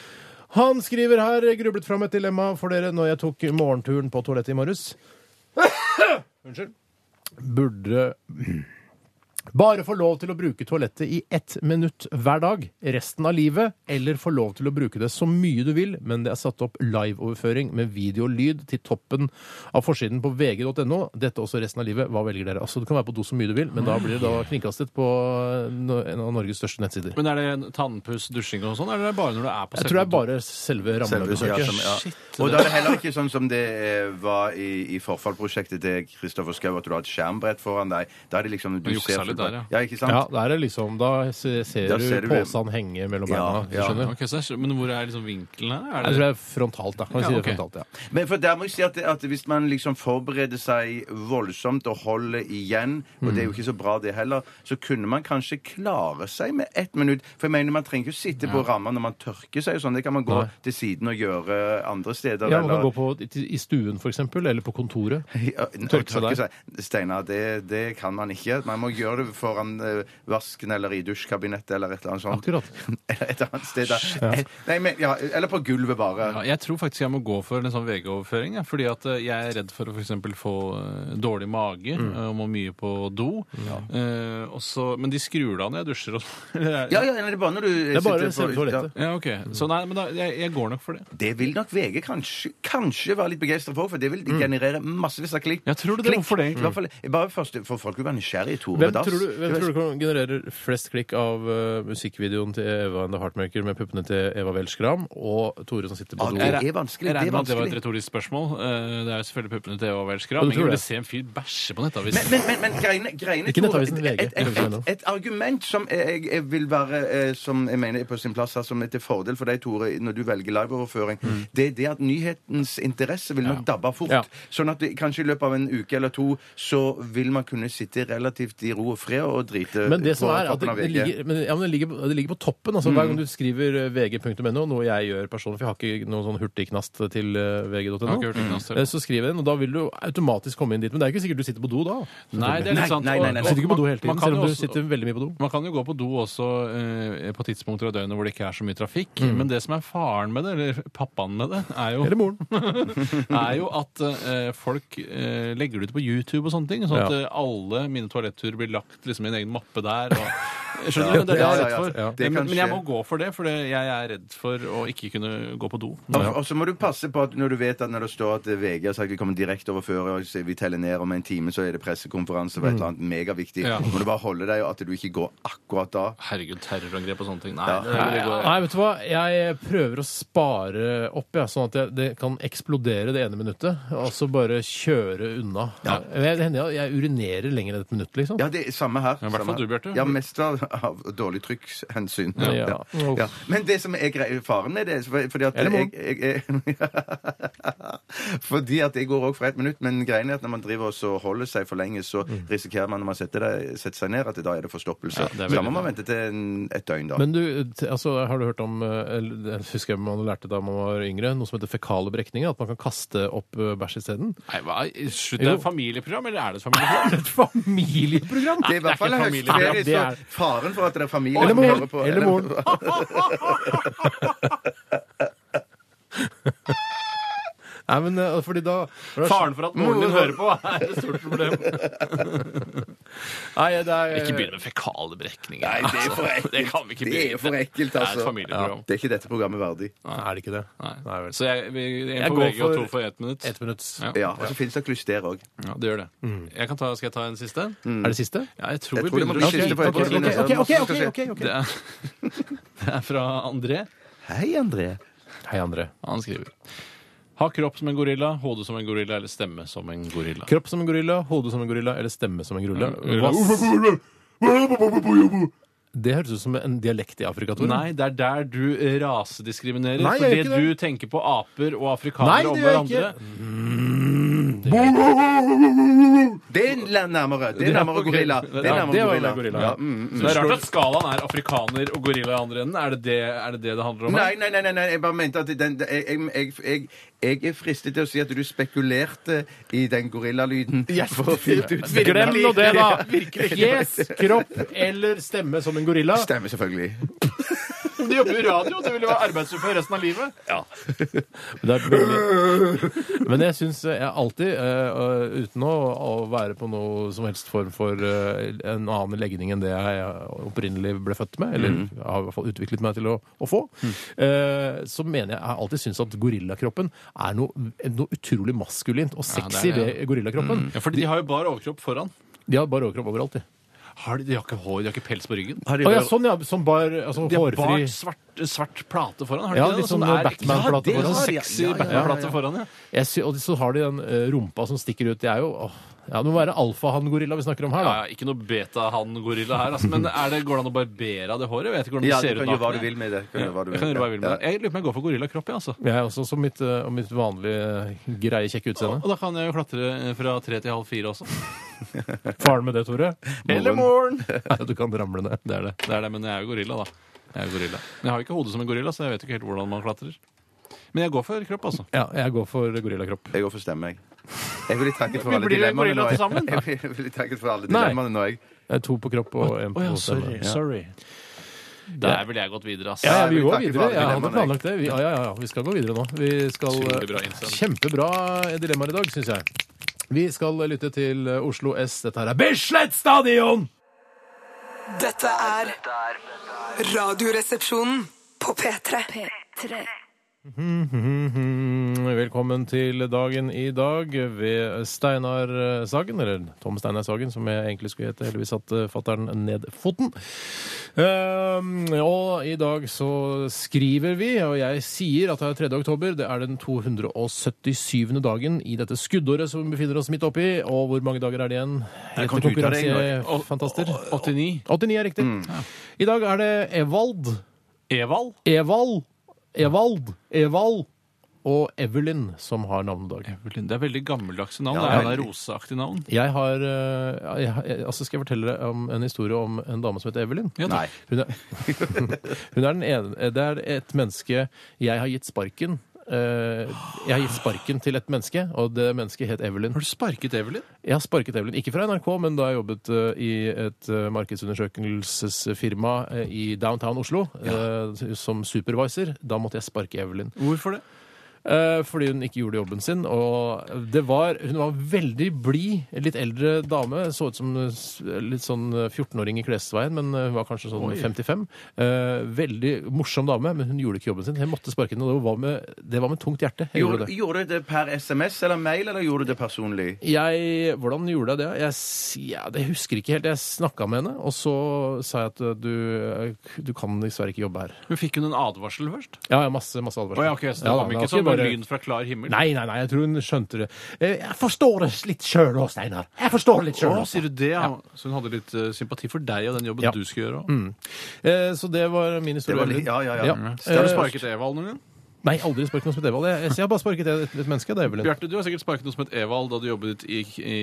[SPEAKER 1] Han skriver her grublet fram et dilemma for dere når jeg tok morgenturen på toalettet i morges. Unnskyld. Burde bare få lov til å bruke toalettet i ett minutt hver dag resten av livet, eller få lov til å bruke det så mye du vil, men det er satt opp liveoverføring med video og lyd til toppen av forsiden på vg.no. Dette også resten av livet. Hva velger dere? Altså, Du kan være på do så mye du vil, men da blir det da kringkastet på no- en av Norges største nettsider.
[SPEAKER 2] Men er det tannpuss, dusjing og sånn, eller er det bare når du er på
[SPEAKER 1] Jeg tror det er
[SPEAKER 2] selve-
[SPEAKER 1] bare selve
[SPEAKER 3] Selve
[SPEAKER 1] rammebesøket.
[SPEAKER 3] som- ja. Og da er det heller ikke sånn som det eh, var i, i forfallprosjektet til Kristoffer Schou, at du har et skjermbrett foran deg. Da er det liksom du
[SPEAKER 2] Du juksa
[SPEAKER 3] ser
[SPEAKER 2] litt
[SPEAKER 3] fullt-
[SPEAKER 2] der,
[SPEAKER 3] ja. ikke sant?
[SPEAKER 1] Ja, da er det liksom Da se- ser,
[SPEAKER 3] Da
[SPEAKER 1] du,
[SPEAKER 3] ser du-
[SPEAKER 1] posen henge mellom
[SPEAKER 3] Ja,
[SPEAKER 1] beina. hvis
[SPEAKER 3] ja.
[SPEAKER 1] du skjønner?
[SPEAKER 2] Ok, så, er- Men hvor er liksom vinkelen her? Er
[SPEAKER 1] Jeg tror det er frontalt, da. Kan vi
[SPEAKER 2] Ja,
[SPEAKER 1] si det
[SPEAKER 2] ok.
[SPEAKER 1] frontalt, ja.
[SPEAKER 3] Men for der må jeg si at, at hvis man liksom forbereder seg voldsomt og holder igjen, og det er jo ikke så bra det heller, så kunne man kanskje klare seg med ett minutt. For jeg mener, man trenger ikke å sitte på ramma når man tørker seg og sånn. Det kan man gå
[SPEAKER 1] Nei.
[SPEAKER 3] til siden og gjøre andre steder.
[SPEAKER 1] ja man kan gå på, i stuen, for eksempel, eller på kontoret.
[SPEAKER 3] Ja, n-
[SPEAKER 1] Tørke
[SPEAKER 3] tørke
[SPEAKER 1] seg der.
[SPEAKER 3] seg. Steinar, det, det kan man ikke. Man må gjøre det foran eh, vasken eller i dusjkabinettet eller et eller annet sånt.
[SPEAKER 1] Akkurat.
[SPEAKER 3] Eller et annet sted. Der. Eh, Nei, men, ja, eller på gulvet, bare.
[SPEAKER 2] Ja, jeg tror faktisk jeg må gå for en sånn VG-overføring. jeg, Fordi at eh, jeg er redd for å for eksempel få eh, dårlig mage
[SPEAKER 3] Mm.
[SPEAKER 2] eh, og må mye på do. Eh, og så- men de skrur det av når jeg dusjer. Og, sånn. eh,
[SPEAKER 3] Ja, ja, nei, det er bare når du
[SPEAKER 1] Det er bare selve toalettet.
[SPEAKER 2] ja, ok. Så nei, men da, jeg, jeg går nok for det.
[SPEAKER 3] Det vil nok VG kanskje, kanskje være litt begeistra for, for det vil
[SPEAKER 1] Mm.
[SPEAKER 3] generere massevis av klikk.
[SPEAKER 2] Ja, tror du det?
[SPEAKER 3] Klikk. Mm.
[SPEAKER 2] Hvorfor det egentlig?
[SPEAKER 3] I hvert fall, bare først, for folk vil være nysgjerrige, Tore
[SPEAKER 1] Hvem
[SPEAKER 3] Dass.
[SPEAKER 1] tror, du, hvem
[SPEAKER 3] Det
[SPEAKER 1] tror du
[SPEAKER 3] var-
[SPEAKER 1] kan- genererer flest klikk av eh, musikkvideoen til Eva and the Heartmaker med puppene til Eva Welschgram og Tore som sitter på
[SPEAKER 3] Ah,
[SPEAKER 1] do?
[SPEAKER 3] det er-
[SPEAKER 1] Ja,
[SPEAKER 3] vanskelig,
[SPEAKER 2] Jeg regner
[SPEAKER 3] det er
[SPEAKER 2] med at det var et
[SPEAKER 3] vanskelig.
[SPEAKER 2] retorisk spørsmål. Eh, det er jo selvfølgelig puppene til Eva
[SPEAKER 1] Ja,
[SPEAKER 2] Welschgrav.
[SPEAKER 1] du
[SPEAKER 2] Men
[SPEAKER 1] tror
[SPEAKER 2] jeg ville
[SPEAKER 1] det.
[SPEAKER 2] se en fyr bæsje på
[SPEAKER 3] Men,
[SPEAKER 2] nettavisen.
[SPEAKER 3] men, men, men greiene, greiene
[SPEAKER 1] Ikke
[SPEAKER 3] Tore,
[SPEAKER 1] Nettavisen, VG.
[SPEAKER 3] Et, et, et, et argument som jeg, jeg vil være eh, som jeg mener er på sin plass her, som er til fordel for deg, Tore, når du velger liveoverføring, det er det at nyhetens interesse vil nok dabbe av fort.
[SPEAKER 1] Mm. Ja.
[SPEAKER 3] Sånn at det, kanskje i løpet av en uke eller to så vil man kunne sitte relativt i ro og fred og drite
[SPEAKER 1] Men det som
[SPEAKER 3] på
[SPEAKER 1] er at
[SPEAKER 3] toppen
[SPEAKER 1] det,
[SPEAKER 3] av
[SPEAKER 1] det,
[SPEAKER 3] VG. Mm.
[SPEAKER 1] ligger, men, ja, men det, ligger, det ligger på toppen. Altså, Hver gang du skriver eh, vg.no, noe jeg gjør personlig, for jeg har ikke noen sånn hurtigknast til eh, vg.no,
[SPEAKER 2] Jeg har ikke hurtigknast,
[SPEAKER 1] eh, så skriver jeg den, og da vil du automatisk komme inn dit. Men det er ikke sikkert du sitter på do da.
[SPEAKER 2] Nei, det er
[SPEAKER 3] Nei,
[SPEAKER 2] litt sant.
[SPEAKER 3] nei,
[SPEAKER 2] Og-
[SPEAKER 3] nei, nei.
[SPEAKER 2] og
[SPEAKER 1] Du sitter ikke på do
[SPEAKER 2] man-
[SPEAKER 1] hele
[SPEAKER 2] man
[SPEAKER 1] tiden,
[SPEAKER 2] kan
[SPEAKER 1] selv
[SPEAKER 2] jo
[SPEAKER 1] om du
[SPEAKER 2] også-
[SPEAKER 1] sitter veldig mye på do.
[SPEAKER 2] Man kan jo gå på do også eh, på tidspunkter av døgnet hvor det ikke er så mye trafikk. Men det som er faren med det, eller pappaen med det, er jo,
[SPEAKER 1] Eller moren.
[SPEAKER 2] er jo at eh, folk eh, legger det ut på YouTube og sånne ting. Sånn at
[SPEAKER 1] Ja.
[SPEAKER 2] eh, alle mine toaletturer blir lagt liksom, i en egen mappe der. Og, skjønner
[SPEAKER 3] Ja,
[SPEAKER 2] du? Det er det jeg
[SPEAKER 3] ja,
[SPEAKER 2] er
[SPEAKER 3] ja,
[SPEAKER 2] redd
[SPEAKER 3] ja.
[SPEAKER 2] for.
[SPEAKER 3] Ja. Det
[SPEAKER 2] Men,
[SPEAKER 3] kan
[SPEAKER 2] men jeg må
[SPEAKER 3] skje.
[SPEAKER 2] gå for det, for det, jeg er redd for å ikke kunne gå på do.
[SPEAKER 3] Og, og så må du passe på at når du vet at når det står at eh, VG har sagt vi kommer direkte over før, og så vi teller ned om en time, så er det pressekonferanse og
[SPEAKER 1] Mm.
[SPEAKER 3] et eller annet megaviktig.
[SPEAKER 2] Ja.
[SPEAKER 3] Må du bare holde deg og at du ikke går akkurat da.
[SPEAKER 2] Herregud, terrorangrep og sånne ting. Nei,
[SPEAKER 3] Ja.
[SPEAKER 2] det, det går
[SPEAKER 1] Nei, vet du hva? Jeg prøver å spare opp, ja, sånn at jeg, det kan eksplodere det ene minuttet, og så bare kjøre unna. Jeg, det hender jeg, jeg urinerer lenger enn et minutt, liksom.
[SPEAKER 3] Ja, det er samme her.
[SPEAKER 2] Ja, i hvert
[SPEAKER 3] samme
[SPEAKER 2] fall du,
[SPEAKER 3] her.
[SPEAKER 2] Bjarte.
[SPEAKER 3] Ja, mest av, av dårlig trykkshensyn.
[SPEAKER 1] Ja.
[SPEAKER 3] Ja. Ja. Men det som er grei, faren med det er for- fordi at
[SPEAKER 1] Eller
[SPEAKER 3] jeg, jeg, jeg Fordi at jeg går òg for ett minutt, men greien er at når man driver og så holder seg for lenge, så risikerer man når man setter, deg, setter seg ned, at da er det forstoppelse.
[SPEAKER 2] Mm. Ja, det er veldig
[SPEAKER 3] så da må man
[SPEAKER 2] bra.
[SPEAKER 3] vente til en, et døgn, da.
[SPEAKER 1] Men du, t- altså, har du hørt om eh, eller, Det husker jeg man lærte da man var yngre, noe som heter fekale brekninger? At man kan kaste opp eh, bæsj isteden?
[SPEAKER 2] Nei, hva? Slutt, det er
[SPEAKER 1] Jo.
[SPEAKER 2] et familieprogram, eller er det et familieprogram?
[SPEAKER 1] Et familieprogram!
[SPEAKER 3] Det er i hvert fall
[SPEAKER 2] ikke familieprogram,
[SPEAKER 3] høyesterie,
[SPEAKER 1] det
[SPEAKER 3] så
[SPEAKER 1] er-
[SPEAKER 3] faren for at det er familie
[SPEAKER 1] Eller
[SPEAKER 3] som hører
[SPEAKER 1] moren!
[SPEAKER 3] på-
[SPEAKER 1] Eller moren. Nei, men eh, fordi da
[SPEAKER 2] Faren for at moren din hører på er et stort problem. Nei, det er,
[SPEAKER 7] Ikke begynn med fekale berekninger.
[SPEAKER 3] Nei, det er for ekkelt.
[SPEAKER 7] Det kan vi ikke
[SPEAKER 3] Det
[SPEAKER 7] begynne
[SPEAKER 3] er for
[SPEAKER 7] med. Det
[SPEAKER 3] ekkelt,
[SPEAKER 7] er
[SPEAKER 3] altså.
[SPEAKER 7] et familieprogram.
[SPEAKER 3] Det er ikke dette programmet verdig.
[SPEAKER 1] Nei, er det ikke det?
[SPEAKER 7] Nei.
[SPEAKER 1] vel.
[SPEAKER 2] Så jeg, vi, en
[SPEAKER 1] Jeg
[SPEAKER 2] på
[SPEAKER 1] går
[SPEAKER 2] VG og
[SPEAKER 1] for
[SPEAKER 2] to for ett minutt.
[SPEAKER 1] Ett Mm. minutts.
[SPEAKER 2] Ja.
[SPEAKER 3] Ja, og så finnes det klyster òg.
[SPEAKER 2] Ja, det gjør det. Jeg kan ta, skal jeg ta en siste?
[SPEAKER 1] Er det siste?
[SPEAKER 2] Ja, jeg tror
[SPEAKER 3] Mm. Jeg
[SPEAKER 2] vi
[SPEAKER 3] tror det må
[SPEAKER 2] begynner
[SPEAKER 3] bli
[SPEAKER 2] å
[SPEAKER 3] siste for
[SPEAKER 2] Ok,
[SPEAKER 3] Epcot-kino.
[SPEAKER 2] ok, ok.
[SPEAKER 3] ok, ok, ok,
[SPEAKER 2] Det er, det er fra André.
[SPEAKER 3] Hei, André.
[SPEAKER 1] Hei, André.
[SPEAKER 2] Han skriver Ha kropp som en gorilla, hode som en gorilla eller stemme som en gorilla.
[SPEAKER 1] Kropp som en gorilla, hode som en gorilla eller stemme som en gorilla?
[SPEAKER 2] Gorilla.
[SPEAKER 1] Det høres ut som en dialekt i Afrika, Tore.
[SPEAKER 2] Nei, det er der du eh, rasediskriminerer.
[SPEAKER 1] Nei, jeg gjør
[SPEAKER 2] fordi
[SPEAKER 1] ikke
[SPEAKER 2] du tenker på aper og
[SPEAKER 1] Nei,
[SPEAKER 2] afrikanere
[SPEAKER 1] det
[SPEAKER 2] om
[SPEAKER 1] gjør jeg
[SPEAKER 2] hverandre.
[SPEAKER 3] Det er la- nærmere. Det er nærmere gorilla. Det er
[SPEAKER 2] Ja,
[SPEAKER 3] nærmere
[SPEAKER 1] det var
[SPEAKER 3] gorilla.
[SPEAKER 1] gorilla.
[SPEAKER 3] Ja, mm, mm.
[SPEAKER 2] Så det er rart at skalaen er afrikaner og gorilla i andre enden. Er det det er det, det, det handler om? her?
[SPEAKER 3] Nei, nei, nei, nei, nei, jeg bare mente at den, jeg, jeg, jeg, jeg, jeg er fristet til å si at du spekulerte i den gorillalyden. for å finne ut hvilken-
[SPEAKER 1] Glem nå det, da!
[SPEAKER 3] Virkelig.
[SPEAKER 1] Fjes, kropp eller stemme som en gorilla?
[SPEAKER 3] Stemmer selvfølgelig.
[SPEAKER 2] Om du jobber i radio, så vil du være arbeidsufør resten av livet.
[SPEAKER 1] Det er veldig- Men jeg syns jeg alltid, eh, uten å, å være på noe som helst form for eh, en annen legning enn det jeg eh, opprinnelig ble født med, eller
[SPEAKER 2] Mm.
[SPEAKER 1] har i hvert fall utviklet meg til å, å få, eh, så mener jeg jeg har alltid syns at gorillakroppen er noe, noe utrolig maskulint og
[SPEAKER 2] det er
[SPEAKER 1] sexy
[SPEAKER 2] det, Mm. ja.
[SPEAKER 1] ved gorillakroppen.
[SPEAKER 2] Ja, fordi de har jo bar overkropp foran.
[SPEAKER 1] De har bare overkropp overalt, de.
[SPEAKER 2] Har de, de har ikke hår, de har ikke pels på ryggen.
[SPEAKER 1] Å ja, sånn ja, som bar, altså
[SPEAKER 2] De har
[SPEAKER 1] hårfri
[SPEAKER 2] bart svart, svart plate foran. Har de
[SPEAKER 1] Ja,
[SPEAKER 2] ikke det?
[SPEAKER 1] litt
[SPEAKER 2] Som
[SPEAKER 1] sånn
[SPEAKER 2] er-
[SPEAKER 1] Batman-plate
[SPEAKER 2] Ja, det er
[SPEAKER 1] foran.
[SPEAKER 2] Sexy
[SPEAKER 3] Ja, ja, ja, ja, ja.
[SPEAKER 2] Batman-plate foran, ja.
[SPEAKER 1] jeg sy Og så har de den eh, rumpa som stikker ut. Det er jo åh, ja, Det må være alfahann-gorilla vi snakker om her,
[SPEAKER 2] Ja,
[SPEAKER 1] da.
[SPEAKER 2] ja, ikke noe beta-han-gorilla her, altså. Men er det, går det an å barbere av det håret? Jeg vet ikke hvordan det
[SPEAKER 3] Ja, du
[SPEAKER 2] ser
[SPEAKER 3] kan
[SPEAKER 2] ut
[SPEAKER 3] gjøre hva du
[SPEAKER 2] nakne.
[SPEAKER 3] vil med det. Du Kan gjøre hva du
[SPEAKER 2] Jeg kan gjøre hva jeg vil
[SPEAKER 3] Ja.
[SPEAKER 2] med det. Jeg lurer på om jeg går for gorillakropp, jeg, altså.
[SPEAKER 1] Jeg er også som mitt, eh, og mitt vanlige eh, greie, kjekke utseende.
[SPEAKER 2] Og da kan jeg jo klatre eh, fra tre til halv fire også.
[SPEAKER 1] Faren med det, Tore?
[SPEAKER 2] Eller morgen!
[SPEAKER 1] Nei, du kan ramle ned.
[SPEAKER 2] Det er det. det er det, Men jeg er jo gorilla, da. Jeg er jo gorilla. Men jeg har jo ikke hodet som en gorilla, så jeg vet jo ikke helt hvordan man klatrer. Men jeg går for kropp, altså.
[SPEAKER 1] Ja, jeg går for gorillakropp.
[SPEAKER 3] Jeg går for stemme, jeg. Jeg vil litt takket for
[SPEAKER 2] Vi
[SPEAKER 3] alle
[SPEAKER 2] blir jo
[SPEAKER 3] dilemmaene
[SPEAKER 2] gorilla
[SPEAKER 3] nå.
[SPEAKER 2] til sammen.
[SPEAKER 3] Jeg vil- jeg vil litt takket for alle
[SPEAKER 1] Nei.
[SPEAKER 3] dilemmaene nå, jeg.
[SPEAKER 1] Det er to på kropp og én på stemme. Ja.
[SPEAKER 2] Der ville jeg gått videre, ass.
[SPEAKER 1] Ja, ja, vi
[SPEAKER 3] jeg vil
[SPEAKER 1] går
[SPEAKER 3] takke for
[SPEAKER 1] videre.
[SPEAKER 3] alle
[SPEAKER 1] Jeg hadde
[SPEAKER 3] dilemmaene,
[SPEAKER 1] planlagt det. Vi, ja, ja, ja, vi skal gå videre nå. Vi skal eh,
[SPEAKER 2] Utrolig bra innsend.
[SPEAKER 1] Kjempebra dilemmaer i dag, syns jeg. Vi skal lytte til eh, Oslo S. Dette her er Bislett Stadion!
[SPEAKER 4] Dette er Radioresepsjonen på P3. P3.
[SPEAKER 1] Mhm. Velkommen til dagen i dag ved Steinar eh, Sagen, eller Tom Steinar Sagen, som jeg egentlig skulle hete. Heldigvis satte fattern ned foten. Ehm, og i dag så skriver vi, og jeg sier at det er 3. oktober. Det er den 277. dagen i dette skuddåret som vi befinner oss midt oppi. Og hvor mange dager er det igjen?
[SPEAKER 3] Jeg kom
[SPEAKER 1] Etter
[SPEAKER 3] ikke ut av det engang.
[SPEAKER 1] konkurransefantaster.
[SPEAKER 2] 89.
[SPEAKER 1] 89 er riktig. I dag er det Evald.
[SPEAKER 2] Evald.
[SPEAKER 1] Evald, Evald, Evald og Evelyn som har navnedag.
[SPEAKER 2] Det er veldig gammeldagse navn.
[SPEAKER 3] Ja,
[SPEAKER 2] det er jo
[SPEAKER 3] veldig.
[SPEAKER 2] det roseaktige navn.
[SPEAKER 1] Jeg har, eh, jeg, jeg- altså Skal jeg fortelle deg om en historie om en dame som heter Evelyn?
[SPEAKER 2] Ja, takk.
[SPEAKER 1] Hun er, hun er den ene, eh, Det er et menneske jeg har gitt sparken. eh, jeg har gitt sparken til et menneske, og det mennesket het Evelyn.
[SPEAKER 2] Har du sparket Evelyn?
[SPEAKER 1] Jeg har sparket Evelyn, ikke fra NRK, men da jeg jobbet eh, i et eh, markedsundersøkelsesfirma eh, i downtown Oslo eh, som supervisor, da måtte jeg sparke Evelyn.
[SPEAKER 2] Hvorfor det?
[SPEAKER 1] Eh, fordi hun ikke gjorde jobben sin. Og det var, hun var en veldig blid, litt eldre dame. Så ut som eh, s- litt sånn eh, 14-åring i klesveien, men eh, hun var kanskje sånn 55. Eh, veldig morsom dame, men hun gjorde ikke jobben sin. Jeg måtte sparke henne, og det var med, det var med tungt hjerte. Jeg gjorde
[SPEAKER 3] Gjorde,
[SPEAKER 1] det.
[SPEAKER 3] gjorde du det per SMS eller mail, eller gjorde du det personlig?
[SPEAKER 1] Jeg, hvordan gjorde jeg det? Jeg, s- ja, det husker ikke helt. Jeg snakka med henne, og så sa jeg at eh, du, du kan dessverre ikke jobbe her.
[SPEAKER 2] Men fikk hun en advarsel først?
[SPEAKER 1] Ja, ja, masse, masse
[SPEAKER 2] Å
[SPEAKER 1] advarsler.
[SPEAKER 2] ja, ok, så det
[SPEAKER 1] Ja,
[SPEAKER 2] kom
[SPEAKER 1] da,
[SPEAKER 2] ikke
[SPEAKER 1] det
[SPEAKER 2] som
[SPEAKER 1] var
[SPEAKER 2] en lyn fra klar himmel?
[SPEAKER 1] Nei, nei, nei, jeg tror hun skjønte det. Eh, Jeg forstår det litt sjøl òg, Steinar. Jeg forstår det litt
[SPEAKER 2] Å,
[SPEAKER 1] sjøl.
[SPEAKER 2] sier du det? ja. Så hun hadde litt eh, sympati for deg og den jobben
[SPEAKER 1] Ja.
[SPEAKER 2] du skulle gjøre? også?
[SPEAKER 1] Eh, Så det var min
[SPEAKER 3] Det
[SPEAKER 1] historie.
[SPEAKER 3] var
[SPEAKER 1] Evelyn.
[SPEAKER 3] litt, ja, ja, ja.
[SPEAKER 2] Har du
[SPEAKER 1] Eh,
[SPEAKER 2] sparket Evald noen gang?
[SPEAKER 1] Nei, aldri sparket noe som et Evald. Jeg, jeg har bare sparket et, et menneske. Det er Evelyn.
[SPEAKER 2] Bjarte, du har sikkert sparket noe som het Evald da du jobbet i, i,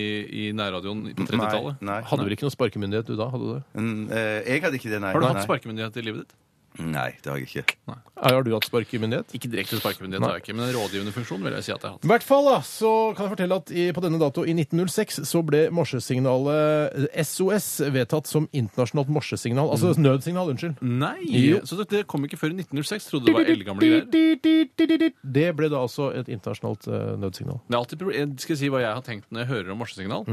[SPEAKER 2] i nærradioen på
[SPEAKER 3] Nei,
[SPEAKER 2] 30-tallet.
[SPEAKER 3] nei.
[SPEAKER 1] Hadde vel ikke noe sparkemyndighet du da? hadde du det?
[SPEAKER 3] Mm, eh, Jeg hadde ikke det, nei.
[SPEAKER 2] Har du hatt
[SPEAKER 3] Nei.
[SPEAKER 2] sparkemyndighet i livet ditt?
[SPEAKER 3] Nei, det har jeg ikke.
[SPEAKER 1] Ja, Har du hatt sparkemyndighet?
[SPEAKER 2] Ikke direkte sparkemyndighet, har jeg ikke, men en rådgivende funksjon vil jeg si at jeg har hatt.
[SPEAKER 1] I hvert fall da, så kan jeg fortelle at i, på denne dato i 1906 så ble morsesignalet SOS vedtatt som internasjonalt morsesignal. Altså
[SPEAKER 2] Mm.
[SPEAKER 1] nødsignal, unnskyld.
[SPEAKER 2] Nei!
[SPEAKER 1] Jo.
[SPEAKER 2] Så det, det kom ikke før i 1906. Trodde det var eldgamle greier.
[SPEAKER 1] Det ble da altså et internasjonalt eh, nødsignal. Mm.
[SPEAKER 2] Det er alltid proble- jeg skal si hva jeg har tenkt når jeg hører om morsesignal.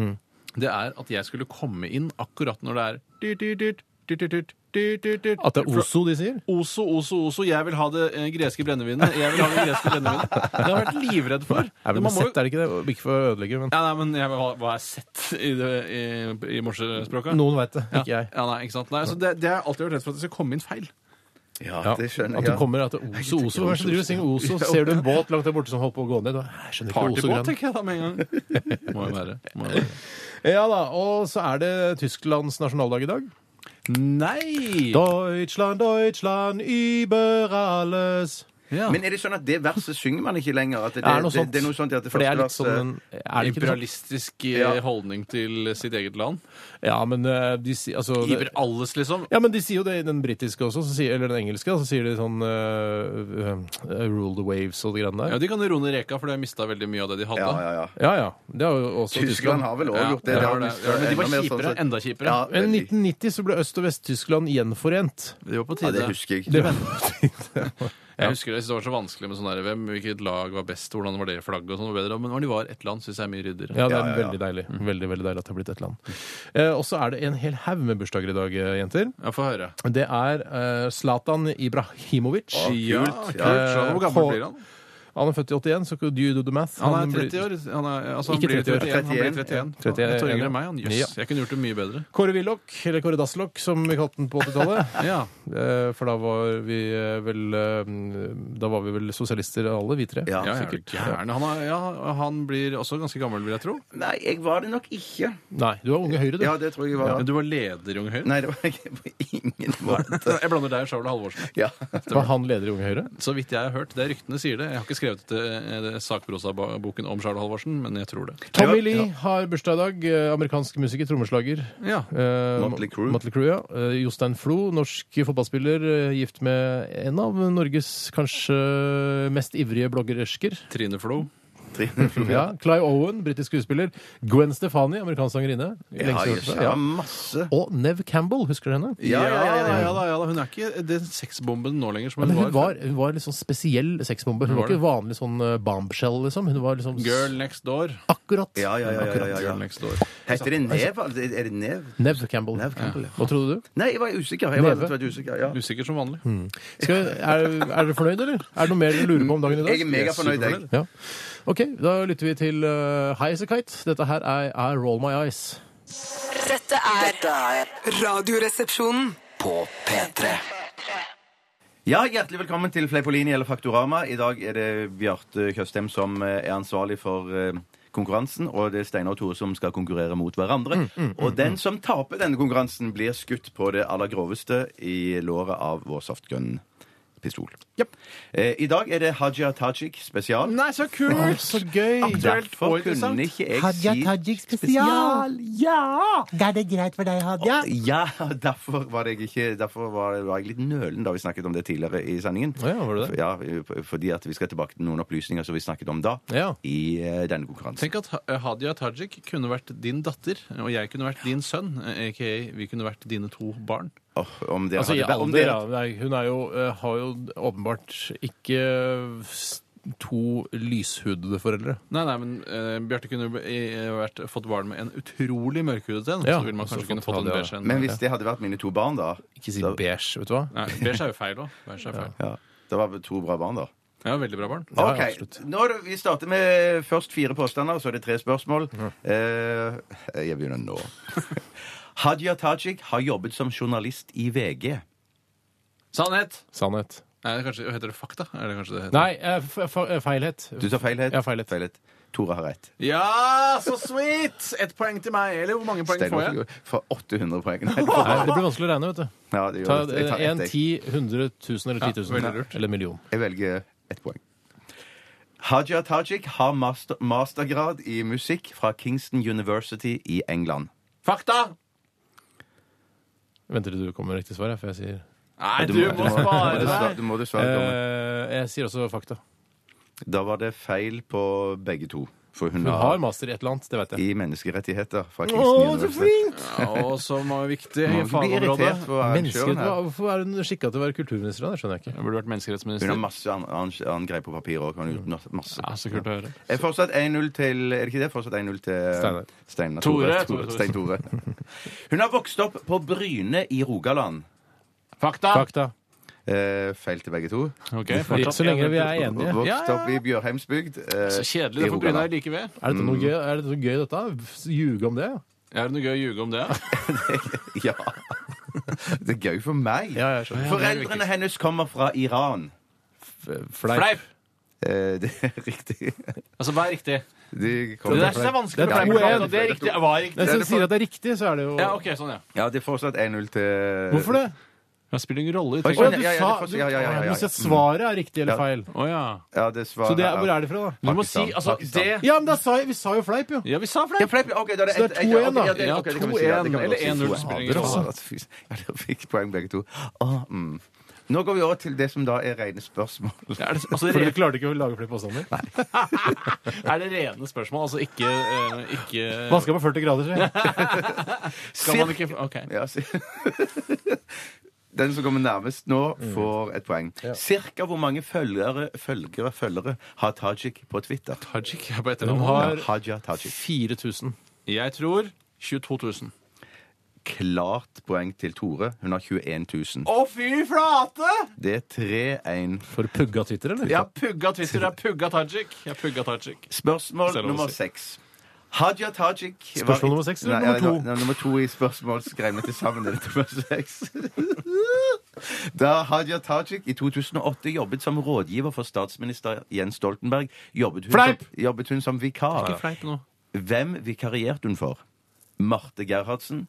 [SPEAKER 2] det er at jeg skulle komme inn akkurat når det er dyrt, dyrt, dyrt, dyrt, dyrt, dyrt, dyrt, dyrt.
[SPEAKER 1] At det er Ozo de sier?
[SPEAKER 2] Oso, oso, oso. Jeg vil ha det eh, greske brennevinet. Jeg vil ha det greske brennevinet. Det har jeg vært livredd for.
[SPEAKER 1] Er det
[SPEAKER 2] Man må jo-
[SPEAKER 1] sett, er det ikke det? Ikke for å ødelegge, men
[SPEAKER 2] Ja, nei, men jeg var, var jeg sett i, det, i, i morsespråket?
[SPEAKER 1] noen veit det.
[SPEAKER 2] ja.
[SPEAKER 1] Ikke jeg.
[SPEAKER 2] Ja, nei, ikke sant? Nei, så det, det har jeg alltid vært redd for at det skal komme inn feil.
[SPEAKER 3] Ja, det skjønner
[SPEAKER 1] At
[SPEAKER 3] jeg.
[SPEAKER 1] det kommer at det er Ozo, Ozo. Hva er det som driver og synger Ozo? Så Ser du en båt langt der borte som holder på å gå ned? og, Jeg skjønner ikke
[SPEAKER 2] Partybåt,
[SPEAKER 1] Ozo-greia.
[SPEAKER 2] tenker jeg da med en gang. Må jo være. Må jo være.
[SPEAKER 1] Ja da. Og så er det Tysklands nasjonaldag i dag.
[SPEAKER 2] Nei!
[SPEAKER 1] Deutschland, Deutschland, über alles.
[SPEAKER 2] Ja.
[SPEAKER 3] Men er det sånn at det verset synger man ikke lenger? At det,
[SPEAKER 1] Det er noe
[SPEAKER 3] det,
[SPEAKER 1] sånt.
[SPEAKER 3] det er noe sånt at det
[SPEAKER 1] For det er
[SPEAKER 3] første
[SPEAKER 1] litt sånn en- er det sånn? ikke det?
[SPEAKER 2] Imperialistisk eh,
[SPEAKER 3] Ja.
[SPEAKER 2] holdning til sitt eget land.
[SPEAKER 1] Ja, men eh, de sier altså det-
[SPEAKER 2] Iber alles, liksom.
[SPEAKER 1] Ja, men de sier jo det i den britiske også, så sier, eller den engelske, da, så sier de sånn eh, eh, Rule the waves og det greiene
[SPEAKER 2] Ja,
[SPEAKER 1] der.
[SPEAKER 2] De kan jo roe ned reka, for de har mista veldig mye av det de hadde.
[SPEAKER 3] Ja, ja, ja.
[SPEAKER 1] Ja ja. Det har jo også Tyskland.
[SPEAKER 3] Tyskland har vel òg
[SPEAKER 2] Ja,
[SPEAKER 3] gjort det.
[SPEAKER 2] det
[SPEAKER 3] har
[SPEAKER 2] har
[SPEAKER 3] de
[SPEAKER 2] det.
[SPEAKER 3] større-
[SPEAKER 2] Men de var
[SPEAKER 3] enda mer
[SPEAKER 2] kjipere,
[SPEAKER 3] sånn sett.
[SPEAKER 2] enda kjipere.
[SPEAKER 3] Ja,
[SPEAKER 1] Men
[SPEAKER 3] veldig.
[SPEAKER 1] 1990 så ble Øst- og Vest-Tyskland gjenforent.
[SPEAKER 2] Det var på
[SPEAKER 3] Ja,
[SPEAKER 2] tide.
[SPEAKER 3] det husker jeg.
[SPEAKER 1] Det,
[SPEAKER 2] Jeg husker det, jeg synes det var så vanskelig med sånn der, hvem, hvilket lag var best, hvordan var det flagget og sånn. var bedre, Men når de var ett land, syns jeg er mye ryddigere.
[SPEAKER 1] ja, det
[SPEAKER 3] Ja,
[SPEAKER 1] er
[SPEAKER 3] ja, ja.
[SPEAKER 1] veldig deilig Veldig, veldig deilig at det har blitt et land. Eh, og så er det en hel haug med bursdager i dag, eh, jenter.
[SPEAKER 2] Ja, Få høre.
[SPEAKER 1] Det er eh, Zlatan Ibrahimovic.
[SPEAKER 3] Å, kult.
[SPEAKER 2] Ja,
[SPEAKER 3] Ja.
[SPEAKER 2] kult. Så Hvor gammel
[SPEAKER 1] På-
[SPEAKER 2] blir han?
[SPEAKER 1] Han er født i 81, så do you do the math?
[SPEAKER 2] Han er
[SPEAKER 1] blir-
[SPEAKER 2] 30 år. Han er, altså, han
[SPEAKER 1] Ikke
[SPEAKER 2] blir
[SPEAKER 1] 30 år.
[SPEAKER 2] 31. Han blir 31.
[SPEAKER 3] 31,
[SPEAKER 2] Faen, Ett år
[SPEAKER 1] ja.
[SPEAKER 2] yngre enn meg. Han, jøss.
[SPEAKER 1] Ja.
[SPEAKER 2] Jeg kunne gjort det mye bedre.
[SPEAKER 1] Kåre Willoch, eller Kåre Dasslok, som vi kalte den på 80-tallet.
[SPEAKER 2] Ja.
[SPEAKER 1] Eh, For da var vi eh, vel eh, Da var vi vel sosialister alle, vi tre.
[SPEAKER 3] Ja.
[SPEAKER 2] Ja, ja, er du gæren? han, er, ja, han blir også ganske gammel, vil jeg tro.
[SPEAKER 3] Nei, jeg var det nok ikke.
[SPEAKER 1] Nei, du var Unge Høyre, du.
[SPEAKER 3] Ja, det tror jeg var.
[SPEAKER 2] Men du var leder i Unge Høyre?
[SPEAKER 3] Nei, det var ikke på ingen måte.
[SPEAKER 2] Jeg blander deg og Sjavle Halvorsen.
[SPEAKER 3] Ja.
[SPEAKER 1] var han leder i Unge Høyre?
[SPEAKER 2] Så vidt jeg har hørt. Det er ryktene sier det. Jeg har ikke skrevet det, det sakprosa-boken om Sjavle Halvorsen, men jeg tror det.
[SPEAKER 1] Tommy Lee har bursdag i dag. eh, Amerikansk musiker, trommeslager.
[SPEAKER 2] Ja.
[SPEAKER 1] Eh,
[SPEAKER 3] Motley Crue.
[SPEAKER 1] Motley Crue, ja. Eh, Jostein Flo, norsk fotballspiller, eh, gift med en av Norges kanskje mest ivrige bloggerersker.
[SPEAKER 2] Trine Flo.
[SPEAKER 1] Ja. Clive Owen, britisk skuespiller. Gwen Stefani, amerikansk sangerinne.
[SPEAKER 3] Ja,
[SPEAKER 1] Lengst
[SPEAKER 3] jøss,
[SPEAKER 1] borte,
[SPEAKER 3] ja, masse.
[SPEAKER 1] Og Nev Campbell, husker du henne?
[SPEAKER 3] Ja, ja, ja, ja, ja.
[SPEAKER 2] da, da. Hun er ikke den sexbomben nå lenger som
[SPEAKER 1] Men hun var, hun var litt sånn spesiell sexbombe. Hun
[SPEAKER 2] Hun
[SPEAKER 1] var
[SPEAKER 2] var
[SPEAKER 1] ikke vanlig sånn eh, bombshell, liksom. Hun var liksom s-
[SPEAKER 2] Girl next door.
[SPEAKER 1] akkurat.
[SPEAKER 3] Ja, ja, ja, ja, ja, ja.
[SPEAKER 2] Girl next door.
[SPEAKER 3] Heter det nev? altså? Er det nev?
[SPEAKER 1] Nev Campbell.
[SPEAKER 3] Nev Campbell, ja.
[SPEAKER 1] Hva trodde du?
[SPEAKER 3] Nei, jeg var usikker. Jeg var
[SPEAKER 1] Neve?
[SPEAKER 3] rett og slett usikker, ja.
[SPEAKER 2] Usikker som vanlig.
[SPEAKER 3] Hmm.
[SPEAKER 1] Skal, er, er dere fornøyd, eller? Er det noe mer dere lurer på om dagen i dag?
[SPEAKER 3] Jeg er megafornøyd, jeg.
[SPEAKER 1] Ja. OK, da lytter vi til uh, Highas a Kite. Dette her er, er Roll My Eyes.
[SPEAKER 4] Dette er
[SPEAKER 5] Dette er
[SPEAKER 4] Radioresepsjonen.
[SPEAKER 5] på P3.
[SPEAKER 3] Ja, Hjertelig velkommen til Fleipolini eller Faktorama. I dag er det Bjarte Tjøstheim som eh, er ansvarlig for eh, konkurransen, og det er Steinar og Tore som skal konkurrere mot hverandre. og den som taper denne konkurransen, blir skutt på det aller groveste i låret av vår softgun-pistol. Eh, I dag er det Haja Tajik spesial.
[SPEAKER 2] Nei, så
[SPEAKER 1] Å,
[SPEAKER 2] kult!
[SPEAKER 1] så gøy!
[SPEAKER 3] Derfor kunne ikke jeg si
[SPEAKER 8] spesial. Ja! Er det greit for deg, Hadia?
[SPEAKER 3] Ja, derfor var, jeg ikke, derfor var, var jeg litt nølen da vi snakket om det tidligere i sendingen.
[SPEAKER 1] Ja, var det det?
[SPEAKER 3] Ja, fordi at vi skal tilbake til noen opplysninger som vi snakket om da
[SPEAKER 1] Ja.
[SPEAKER 3] i eh, denne konkurransen.
[SPEAKER 2] Tenk at Ha- eh, Hadia Tajik kunne vært din datter, og jeg kunne vært din sønn, eh, aka vi kunne vært dine to barn.
[SPEAKER 3] Åh, om dere
[SPEAKER 1] Altså i
[SPEAKER 3] hadde- om
[SPEAKER 1] alder, ja.
[SPEAKER 3] dere-
[SPEAKER 1] Nei, hun er jo, eh, har jo åpenbart ikke eh, s- to lyshudede foreldre.
[SPEAKER 2] Nei, nei, men eh, Bjarte kunne eh, vært, fått barn med en utrolig mørkhudet en.
[SPEAKER 1] Ja,
[SPEAKER 2] så ville man
[SPEAKER 1] så
[SPEAKER 2] kanskje kunne
[SPEAKER 1] fått
[SPEAKER 2] fått en
[SPEAKER 1] Hadia.
[SPEAKER 2] beige en.
[SPEAKER 3] Men hvis det hadde vært mine to barn, da
[SPEAKER 1] Ikke si
[SPEAKER 3] da,
[SPEAKER 1] beige, vet du hva.
[SPEAKER 2] Nei, beige er jo feil òg. Ja.
[SPEAKER 3] ja, da var det to bra barn, da.
[SPEAKER 2] ja, veldig bra barn.
[SPEAKER 1] Ja,
[SPEAKER 3] Ok,
[SPEAKER 1] absolutt.
[SPEAKER 3] Nå er det, Vi starter med først fire påstander, så er det tre spørsmål. Eh, jeg begynner nå. Hadia Tajik har jobbet som journalist i VG.
[SPEAKER 2] Sannhet!
[SPEAKER 1] Sannhet.
[SPEAKER 2] Nei, det er kanskje, heter det fakta? Er det kanskje det heter?
[SPEAKER 1] Nei, eh, f- f- eh, feilhet.
[SPEAKER 3] Du sa feilhet?
[SPEAKER 1] Ja, feilhet.
[SPEAKER 3] feilhet. Tore har rett.
[SPEAKER 2] Ja, så sweet! Ett poeng til meg. Eller hvor mange poeng
[SPEAKER 3] Steinar
[SPEAKER 2] får
[SPEAKER 3] får
[SPEAKER 2] jeg?
[SPEAKER 3] jo- får 800 poeng. Nei, det
[SPEAKER 1] Nei,
[SPEAKER 3] får-
[SPEAKER 1] det blir vanskelig å regne, vet du.
[SPEAKER 3] Ja, det
[SPEAKER 1] Ta
[SPEAKER 3] gjør det. Jeg tar
[SPEAKER 1] en
[SPEAKER 3] ett, jeg.
[SPEAKER 1] 10, 100 000 eller 10 000.
[SPEAKER 2] Ja, veldig lurt.
[SPEAKER 1] eller million.
[SPEAKER 3] Jeg velger ett poeng. Haja Tajik har master, mastergrad i musikk fra Kingston University i England.
[SPEAKER 2] Fakta!
[SPEAKER 1] Venter til du kommer med riktig svar, jeg, for jeg sier
[SPEAKER 2] Nei, du
[SPEAKER 3] du
[SPEAKER 2] må
[SPEAKER 3] du må
[SPEAKER 2] svare
[SPEAKER 3] dessverre-
[SPEAKER 2] deg!
[SPEAKER 3] du må dessverre domme.
[SPEAKER 1] eh, Jeg sier også fakta.
[SPEAKER 3] Da var det feil på begge to. For hun,
[SPEAKER 1] Hun
[SPEAKER 3] har,
[SPEAKER 1] har master i et eller annet, det vet jeg.
[SPEAKER 3] i menneskerettigheter fra Kingston
[SPEAKER 1] Å, så
[SPEAKER 3] University.
[SPEAKER 1] flink!
[SPEAKER 2] Ja, og som er viktig i
[SPEAKER 3] Må ikke bli
[SPEAKER 2] fagområdet.
[SPEAKER 3] irritert på
[SPEAKER 1] Mennesker,
[SPEAKER 3] arrangøren her.
[SPEAKER 1] hva- hvorfor er hun skikka til å være kulturminister? da? Det skjønner jeg ikke.
[SPEAKER 2] Jeg burde vært
[SPEAKER 3] Hun har
[SPEAKER 2] menneskerettsminister.
[SPEAKER 3] masse an- an- annen greie på papir òg. Hun har gjort no- masse.
[SPEAKER 2] Ja, så kult å høre.
[SPEAKER 3] Er fortsatt 1-0 til Er det ikke det? Fortsatt 1-0 til
[SPEAKER 1] Steinar.
[SPEAKER 3] Steinar
[SPEAKER 2] Tore, Tore,
[SPEAKER 3] Tore. Tore,
[SPEAKER 2] Tore.
[SPEAKER 3] Stein Tore. Hun har vokst opp på Bryne i Rogaland.
[SPEAKER 2] Fakta!
[SPEAKER 1] Fakta.
[SPEAKER 3] Eh, feil til begge to.
[SPEAKER 2] Ok,
[SPEAKER 1] Fordi-
[SPEAKER 2] fortsatt
[SPEAKER 1] Så lenge
[SPEAKER 2] en-
[SPEAKER 1] vi er
[SPEAKER 3] Og
[SPEAKER 1] enige.
[SPEAKER 2] Ja,
[SPEAKER 3] Vokst
[SPEAKER 2] ja.
[SPEAKER 3] opp i Bjørheimsbygd. eh,
[SPEAKER 2] Så kjedelig.
[SPEAKER 3] i
[SPEAKER 2] Derfor Bryne
[SPEAKER 3] Rogaland.
[SPEAKER 2] er like ved.
[SPEAKER 1] Er dette noe gøy, er dette noe gøy dette? Ljuge om det?
[SPEAKER 2] Er det noe gøy å ljuge om det?
[SPEAKER 3] Ja. Det er gøy for meg.
[SPEAKER 1] Ja, jeg skjønner.
[SPEAKER 3] Foreldrene hennes kommer fra Iran.
[SPEAKER 1] Fleip.
[SPEAKER 2] Fleip!
[SPEAKER 3] Eh, det er riktig.
[SPEAKER 2] Altså, hva er riktig?
[SPEAKER 3] De
[SPEAKER 2] Det
[SPEAKER 3] kommer
[SPEAKER 2] der synes jeg er
[SPEAKER 1] Det
[SPEAKER 2] vanskelig for
[SPEAKER 1] er
[SPEAKER 2] fleip. å ta,
[SPEAKER 1] 2-1.
[SPEAKER 2] Det er riktig. Hva er riktig?
[SPEAKER 1] Men Hvis du sier at det er riktig, så er det jo
[SPEAKER 2] Ja, ok, sånn, ja.
[SPEAKER 3] Ja, det er fortsatt 1-0 til
[SPEAKER 1] Hvorfor det?
[SPEAKER 2] Det spiller ingen rolle.
[SPEAKER 3] Oi,
[SPEAKER 2] Å
[SPEAKER 1] Å, ja,
[SPEAKER 3] sånn,
[SPEAKER 1] du
[SPEAKER 3] ja, ja,
[SPEAKER 1] sa
[SPEAKER 3] det får- ja, ja, ja, ja, ja.
[SPEAKER 1] Du sier at svaret er riktig eller
[SPEAKER 3] Ja.
[SPEAKER 1] feil.
[SPEAKER 2] ja.
[SPEAKER 3] Ja, det svaret
[SPEAKER 1] Så det er, hvor er det fra, da?
[SPEAKER 2] Du må si
[SPEAKER 3] Pakistan.
[SPEAKER 2] altså
[SPEAKER 3] Pakistan.
[SPEAKER 2] det
[SPEAKER 1] Ja, men da sa jeg, vi sa jo fleip, jo.
[SPEAKER 2] Ja, vi sa
[SPEAKER 3] Ja,
[SPEAKER 2] fleip!
[SPEAKER 3] fleip. Ok, da er det
[SPEAKER 1] Så det er
[SPEAKER 3] ett- ett-
[SPEAKER 1] 2-1 da.
[SPEAKER 3] ja, det-
[SPEAKER 2] Ja,
[SPEAKER 3] ok, det kan vi si, ja, det kan vi
[SPEAKER 2] 2-1
[SPEAKER 3] godt si.
[SPEAKER 2] eller 1-0
[SPEAKER 3] 2-1.
[SPEAKER 2] spiller ingen
[SPEAKER 3] Ja,
[SPEAKER 2] rolle.
[SPEAKER 3] at vi- Ja, dere fikk poeng begge to. Å, mm. Nå går vi over til det som da er rene spørsmål.
[SPEAKER 2] Er det, altså,
[SPEAKER 1] For
[SPEAKER 2] re,
[SPEAKER 1] du klarte ikke å lage flere påstander?
[SPEAKER 2] er det rene spørsmål? Altså ikke, eh, ikke
[SPEAKER 1] Vaska på 40 grader, sier jeg.
[SPEAKER 2] Skal man ikke OK.
[SPEAKER 3] Ja, si- Den som kommer nærmest nå,
[SPEAKER 2] Mm.
[SPEAKER 3] får et poeng. Cirka hvor mange følgere, følgere, følgere har Tajik på Twitter?
[SPEAKER 2] Tajik er på
[SPEAKER 1] Hun
[SPEAKER 2] etternavn.
[SPEAKER 1] har
[SPEAKER 3] Ja, Haja Tajik.
[SPEAKER 1] 4000.
[SPEAKER 2] Jeg tror 22 000.
[SPEAKER 3] Klart poeng til Tore. Hun har 21 000.
[SPEAKER 2] Å, fy flate!
[SPEAKER 3] Det er 3-1.
[SPEAKER 1] For pugga Twitter, eller?
[SPEAKER 2] Jeg har pugga Twitter. Jeg har pugga Tajik. Jeg har pugga Tajik.
[SPEAKER 3] Spørsmål
[SPEAKER 2] Selv om å
[SPEAKER 3] nummer
[SPEAKER 2] si.
[SPEAKER 3] seks. Hadia Tajik var-
[SPEAKER 1] Spørsmål nummer seks eller
[SPEAKER 3] Nei,
[SPEAKER 1] nummer to?
[SPEAKER 3] ja, Nei, nummer to i spørsmålsgreiene til sammen. Er det nummer seks. Da Hadia Tajik i 2008 jobbet som rådgiver for statsminister Jens Stoltenberg, jobbet hun,
[SPEAKER 1] Fleip!
[SPEAKER 3] Som, jobbet hun som vikar.
[SPEAKER 2] Fleip nå.
[SPEAKER 3] Hvem vikarierte hun for? Marte Gerhardsen,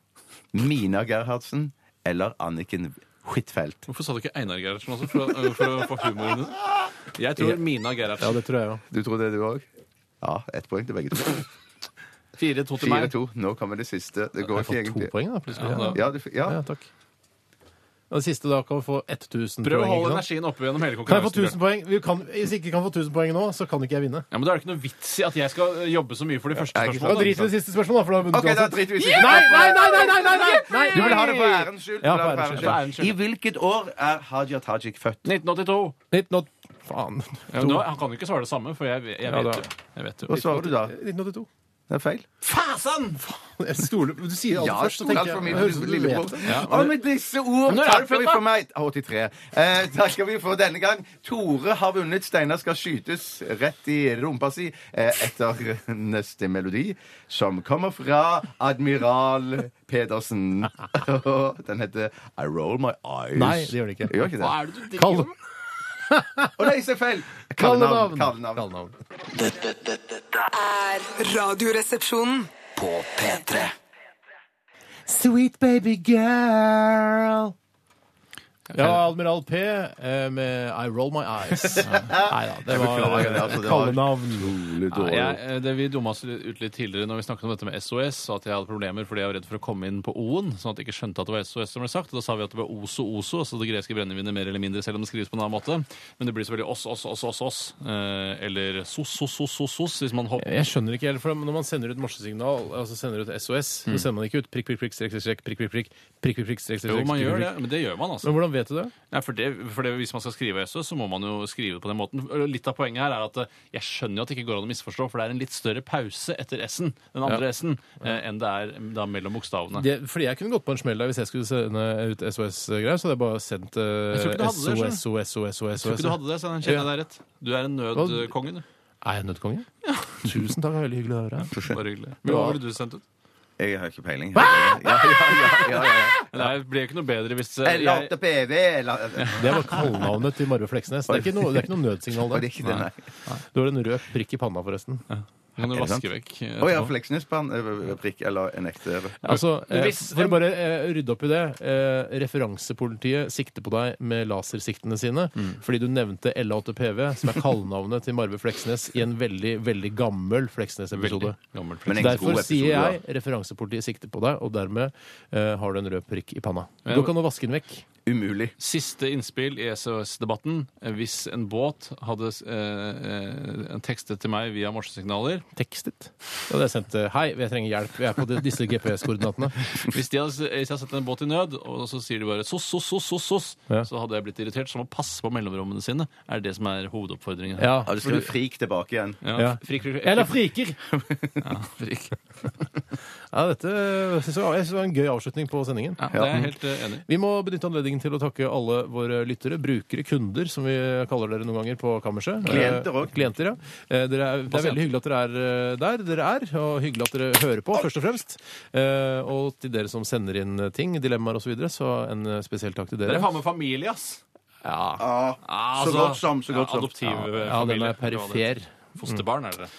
[SPEAKER 3] Mina Gerhardsen eller Anniken Huitfeldt?
[SPEAKER 2] Hvorfor sa du ikke Einar Gerhardsen også, for, å- øh, for å få humoren din? Jeg tror Mina
[SPEAKER 1] Ja,
[SPEAKER 2] Gerhardsen.
[SPEAKER 1] det tror jeg òg.
[SPEAKER 3] Du tror det, du òg? Ja, ett poeng til begge to.
[SPEAKER 2] 4-2 til meg.
[SPEAKER 3] 4-2. Nå kommer det siste. Det går
[SPEAKER 1] Jeg får
[SPEAKER 3] ikke
[SPEAKER 1] to
[SPEAKER 3] egentlig.
[SPEAKER 1] poeng, da, plutselig.
[SPEAKER 2] Ja, da.
[SPEAKER 3] Ja, du, f- ja.
[SPEAKER 1] Ja, takk. Og det siste da kan vi få 1000
[SPEAKER 2] Prøv å
[SPEAKER 1] poeng.
[SPEAKER 2] holde
[SPEAKER 1] ikke sant?
[SPEAKER 2] energien oppe gjennom hele
[SPEAKER 1] Kan jeg få
[SPEAKER 2] konkurransen.
[SPEAKER 1] 1000 poeng? Vi kan, hvis ikke jeg kan få 1000 poeng nå, så kan ikke jeg vinne.
[SPEAKER 2] Ja, men Da er det ikke noe vits i at jeg skal eh, jobbe så mye for de første
[SPEAKER 3] jeg er ikke
[SPEAKER 1] Ja,
[SPEAKER 2] spørsmålene.
[SPEAKER 1] Drit i det siste spørsmålet, da, for da har jeg
[SPEAKER 3] Ok,
[SPEAKER 1] vunnet
[SPEAKER 3] da
[SPEAKER 1] uansett.
[SPEAKER 3] driter vi i
[SPEAKER 1] Nei, nei, nei! nei, nei, nei, nei, nei.
[SPEAKER 3] Du vil ha det på ærens skyld.
[SPEAKER 1] Ja,
[SPEAKER 3] Du vil ha
[SPEAKER 1] på
[SPEAKER 3] det på
[SPEAKER 1] ærens
[SPEAKER 2] skyld.
[SPEAKER 3] ærens skyld. I hvilket år er Hadia Tajik født?
[SPEAKER 2] 1982.
[SPEAKER 1] 19... Faen.
[SPEAKER 2] Ja, nå, han kan jo ikke svare det samme, for jeg, jeg,
[SPEAKER 1] da.
[SPEAKER 2] vet, jo. jeg vet jo.
[SPEAKER 3] Hva svarer du da?
[SPEAKER 1] 1982.
[SPEAKER 3] Det er feil.
[SPEAKER 2] Fasan!
[SPEAKER 1] Jeg stoler Du sier alt
[SPEAKER 3] Ja,
[SPEAKER 1] først, så tenker
[SPEAKER 3] alt for
[SPEAKER 1] jeg
[SPEAKER 3] mye.
[SPEAKER 1] det høres ut som du vet
[SPEAKER 3] Lillebror.
[SPEAKER 1] det.
[SPEAKER 3] Og med disse ord
[SPEAKER 2] Men når er du
[SPEAKER 3] takker
[SPEAKER 2] født,
[SPEAKER 3] vi
[SPEAKER 2] da?
[SPEAKER 3] for meg Å, 83. Eh, takker vi for denne gang. Tore har vunnet. Steinar skal skytes rett i rumpa si eh, etter neste melodi, som kommer fra Admiral Pedersen. Den heter I Roll My Eyes.
[SPEAKER 1] Nei, det gjør det ikke.
[SPEAKER 3] Gjør ikke
[SPEAKER 2] Hva
[SPEAKER 3] det?
[SPEAKER 2] er det du driver
[SPEAKER 1] Kall
[SPEAKER 2] med?
[SPEAKER 3] Å nei, se feil!
[SPEAKER 1] Kallenavn.
[SPEAKER 3] Kallenavn.
[SPEAKER 1] Kallenavn.
[SPEAKER 5] Dette, dette, dette
[SPEAKER 4] er Radioresepsjonen.
[SPEAKER 5] på P3.
[SPEAKER 8] Sweet baby girl.
[SPEAKER 1] Ja, Admiral P eh, med I Roll My Eyes. Nei da, det var
[SPEAKER 3] beklager det, altså, det var-
[SPEAKER 1] kallenavn.
[SPEAKER 2] Nei, jeg, eh, det Vi dumma oss ut litt tidligere når vi snakket om dette med SOS, og at jeg hadde problemer fordi jeg var redd for å komme inn på O-en. Sånn at jeg ikke skjønte at det var SOS som ble sagt. Og da sa vi at det var Oso Oso, altså det greske brennevinet mer eller mindre, selv om det skrives på en annen måte. Men det blir selvfølgelig Oss Oss Oss Oss Oss. eh, Eller Sos Sos Sos Sos Sos, hvis man hopper
[SPEAKER 1] Jeg skjønner ikke helt, for Når man sender ut morsesignal, altså sender ut SOS, så sender man ikke ut prikk, prikk, prikk, strekk, strekk, prikk, prikk, prikk, prikk, prikk, strek, strek, strek,
[SPEAKER 2] Mm. Jo, man
[SPEAKER 1] prikk,
[SPEAKER 2] gjør det.
[SPEAKER 1] prikk.
[SPEAKER 2] Men det gjør man, altså.
[SPEAKER 1] Men hvordan vet du det?
[SPEAKER 2] Nei, for det, for det, Hvis man skal skrive SOS, så må man jo skrive det på den måten. Og Litt av poenget her er at eh, jeg skjønner jo at det ikke går an å misforstå, for det er en litt større pause etter S-en, den andre S-en, eh, enn det er mm, da mellom bokstavene.
[SPEAKER 1] det? Fordi jeg kunne gått på en smell der hvis jeg skulle sende ut SOS-greier, så hadde jeg bare sendt eh,
[SPEAKER 2] tror ikke du hadde det, skjønner du.
[SPEAKER 1] SOS, SOS, SOS, SOS.
[SPEAKER 2] Tror ikke du hadde det, Steinar. Kjenner jeg deg rett? Du er en nødkonge, du.
[SPEAKER 1] Er jeg nødkonge? Tusen takk, veldig hyggelig å høre.
[SPEAKER 2] Bare hyggelig. Men hva ville du sendt ut?
[SPEAKER 3] Jeg har ikke peiling. Ja, ja, ja, ja, ja.
[SPEAKER 2] Nei, det ble ikke noe bedre hvis eh,
[SPEAKER 3] Eller
[SPEAKER 2] jeg,
[SPEAKER 3] 8 PV, eller
[SPEAKER 1] Det var kallenavnet til Marve Fleksnes. Det er ikke noe, det er ikke noe nødsignal
[SPEAKER 3] Var
[SPEAKER 1] der.
[SPEAKER 3] det ikke det, nei?
[SPEAKER 1] Du har en rød prikk i panna, forresten.
[SPEAKER 2] Kan du
[SPEAKER 3] Er det sant?
[SPEAKER 2] vaske vekk eh,
[SPEAKER 3] Å ja,
[SPEAKER 2] etterpå?
[SPEAKER 3] Fleksnes-band, eh, prikk, eller en ekte
[SPEAKER 1] Altså, eh,
[SPEAKER 2] Hvis-
[SPEAKER 1] for å bare eh, rydde opp i det. Eh, referansepolitiet sikter på deg med lasersiktene sine
[SPEAKER 2] Mm.
[SPEAKER 1] fordi du nevnte LA8PV, som er kallenavnet til Marve Fleksnes, i en veldig, veldig gammel
[SPEAKER 2] Veldig
[SPEAKER 1] Fleksnes-episode.
[SPEAKER 2] gammel
[SPEAKER 3] Men
[SPEAKER 2] flekk.
[SPEAKER 3] egentlig god
[SPEAKER 1] Derfor
[SPEAKER 3] episode,
[SPEAKER 1] sier
[SPEAKER 3] ja.
[SPEAKER 1] jeg referansepolitiet sikter på deg, og dermed eh, har du en rød prikk i panna.
[SPEAKER 2] Men-
[SPEAKER 1] Går ikke an å vaske den vekk.
[SPEAKER 3] Umulig.
[SPEAKER 2] Siste innspill i E SOS-debatten. Eh, Hvis en båt hadde eh, eh, tekstet til meg via morsesignaler
[SPEAKER 1] Tekstet. Da hadde jeg sendt eh, 'Hei, jeg trenger hjelp. Jeg er på de- disse GPS-koordinatene'.
[SPEAKER 2] Hvis de hadde, hvis jeg hadde sett en båt i nød, og så sier de bare sos, sos, sos, sos, sos
[SPEAKER 1] Ja.
[SPEAKER 2] så hadde jeg blitt irritert. Så man må passe på mellomrommene sine, er det som er hovedoppfordringen. her.
[SPEAKER 1] Ja.
[SPEAKER 3] Ja, det skal du frik tilbake igjen.
[SPEAKER 1] Ja.
[SPEAKER 2] Frik, frik, frik.
[SPEAKER 1] Eller friker!
[SPEAKER 2] Ja, frik.
[SPEAKER 1] Ja, dette synes jeg, var- jeg synes det var en gøy avslutning på sendingen.
[SPEAKER 2] Ja, det er jeg helt eh, enig i.
[SPEAKER 1] Vi må benytte anledningen til å takke alle våre lyttere, brukere, kunder, som vi kaller dere noen ganger på kammerset.
[SPEAKER 3] Klienter
[SPEAKER 1] Eh,
[SPEAKER 3] også.
[SPEAKER 1] Klienter, ja. Eh, Dere er, det er veldig hyggelig at dere er eh, der dere er, og hyggelig at dere hører på, først og fremst. Eh, Og til dere som sender inn eh, ting, dilemmaer osv., så, videre, så en eh, spesiell takk til dere.
[SPEAKER 2] Dere har med familie, ass.
[SPEAKER 1] Ja,
[SPEAKER 3] Ja, så
[SPEAKER 2] Altså,
[SPEAKER 3] godt som. så
[SPEAKER 2] ja,
[SPEAKER 3] godt som.
[SPEAKER 2] adoptiv eh,
[SPEAKER 1] ja den
[SPEAKER 2] familie.
[SPEAKER 1] er perifer.
[SPEAKER 2] Fosterbarn er dere.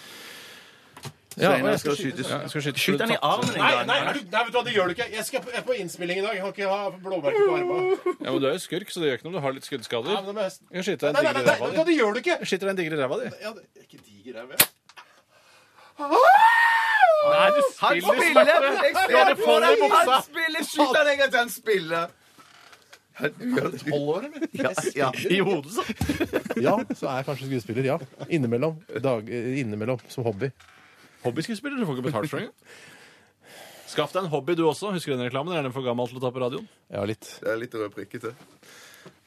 [SPEAKER 1] Ja,
[SPEAKER 3] Steinar
[SPEAKER 1] og jeg skal
[SPEAKER 3] skal skytes.
[SPEAKER 1] Ja, jeg skal skyte.
[SPEAKER 3] Skyt den i armen en gang.
[SPEAKER 1] vet du hva, det gjør du ikke. Jeg, er på innspilling i dag. Jeg kan ikke ha blåbærke på armen.
[SPEAKER 2] Ja, men Du er jo skurk, så det gjør ikke noe om du har litt skuddskader. Jeg skyter
[SPEAKER 1] Nei, nei, nei, nei, det gjør du ikke!
[SPEAKER 2] Skyter deg en digre ræva di.
[SPEAKER 1] Ja, det er ikke diger ræv, jeg.
[SPEAKER 2] Nei, du
[SPEAKER 3] Han spiller! Jeg ser det på deg! Han spiller! Skyt han en gang til han spiller! Tolv år, eller? Ja, ja.
[SPEAKER 2] i hodet, så.
[SPEAKER 1] Ja, så er jeg kanskje skuespiller. Ja. Innimellom. Dag, eh, innimellom som hobby.
[SPEAKER 2] Hobbyskuespiller, du får ikke betalt for det engang. Skaff deg en hobby, du også. Husker du den reklamen? Er den for gammel til å ta på radioen?
[SPEAKER 1] Ja, litt.
[SPEAKER 3] Det er litt rød prikkete.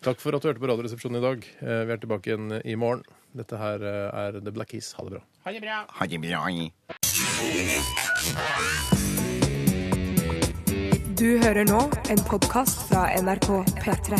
[SPEAKER 1] Takk for at du hørte på Radioresepsjonen i dag. Eh, Vi er tilbake igjen i morgen. Dette her eh, er The Black Keys. Ha det bra.
[SPEAKER 9] Du hører nå en podkast fra NRK P3.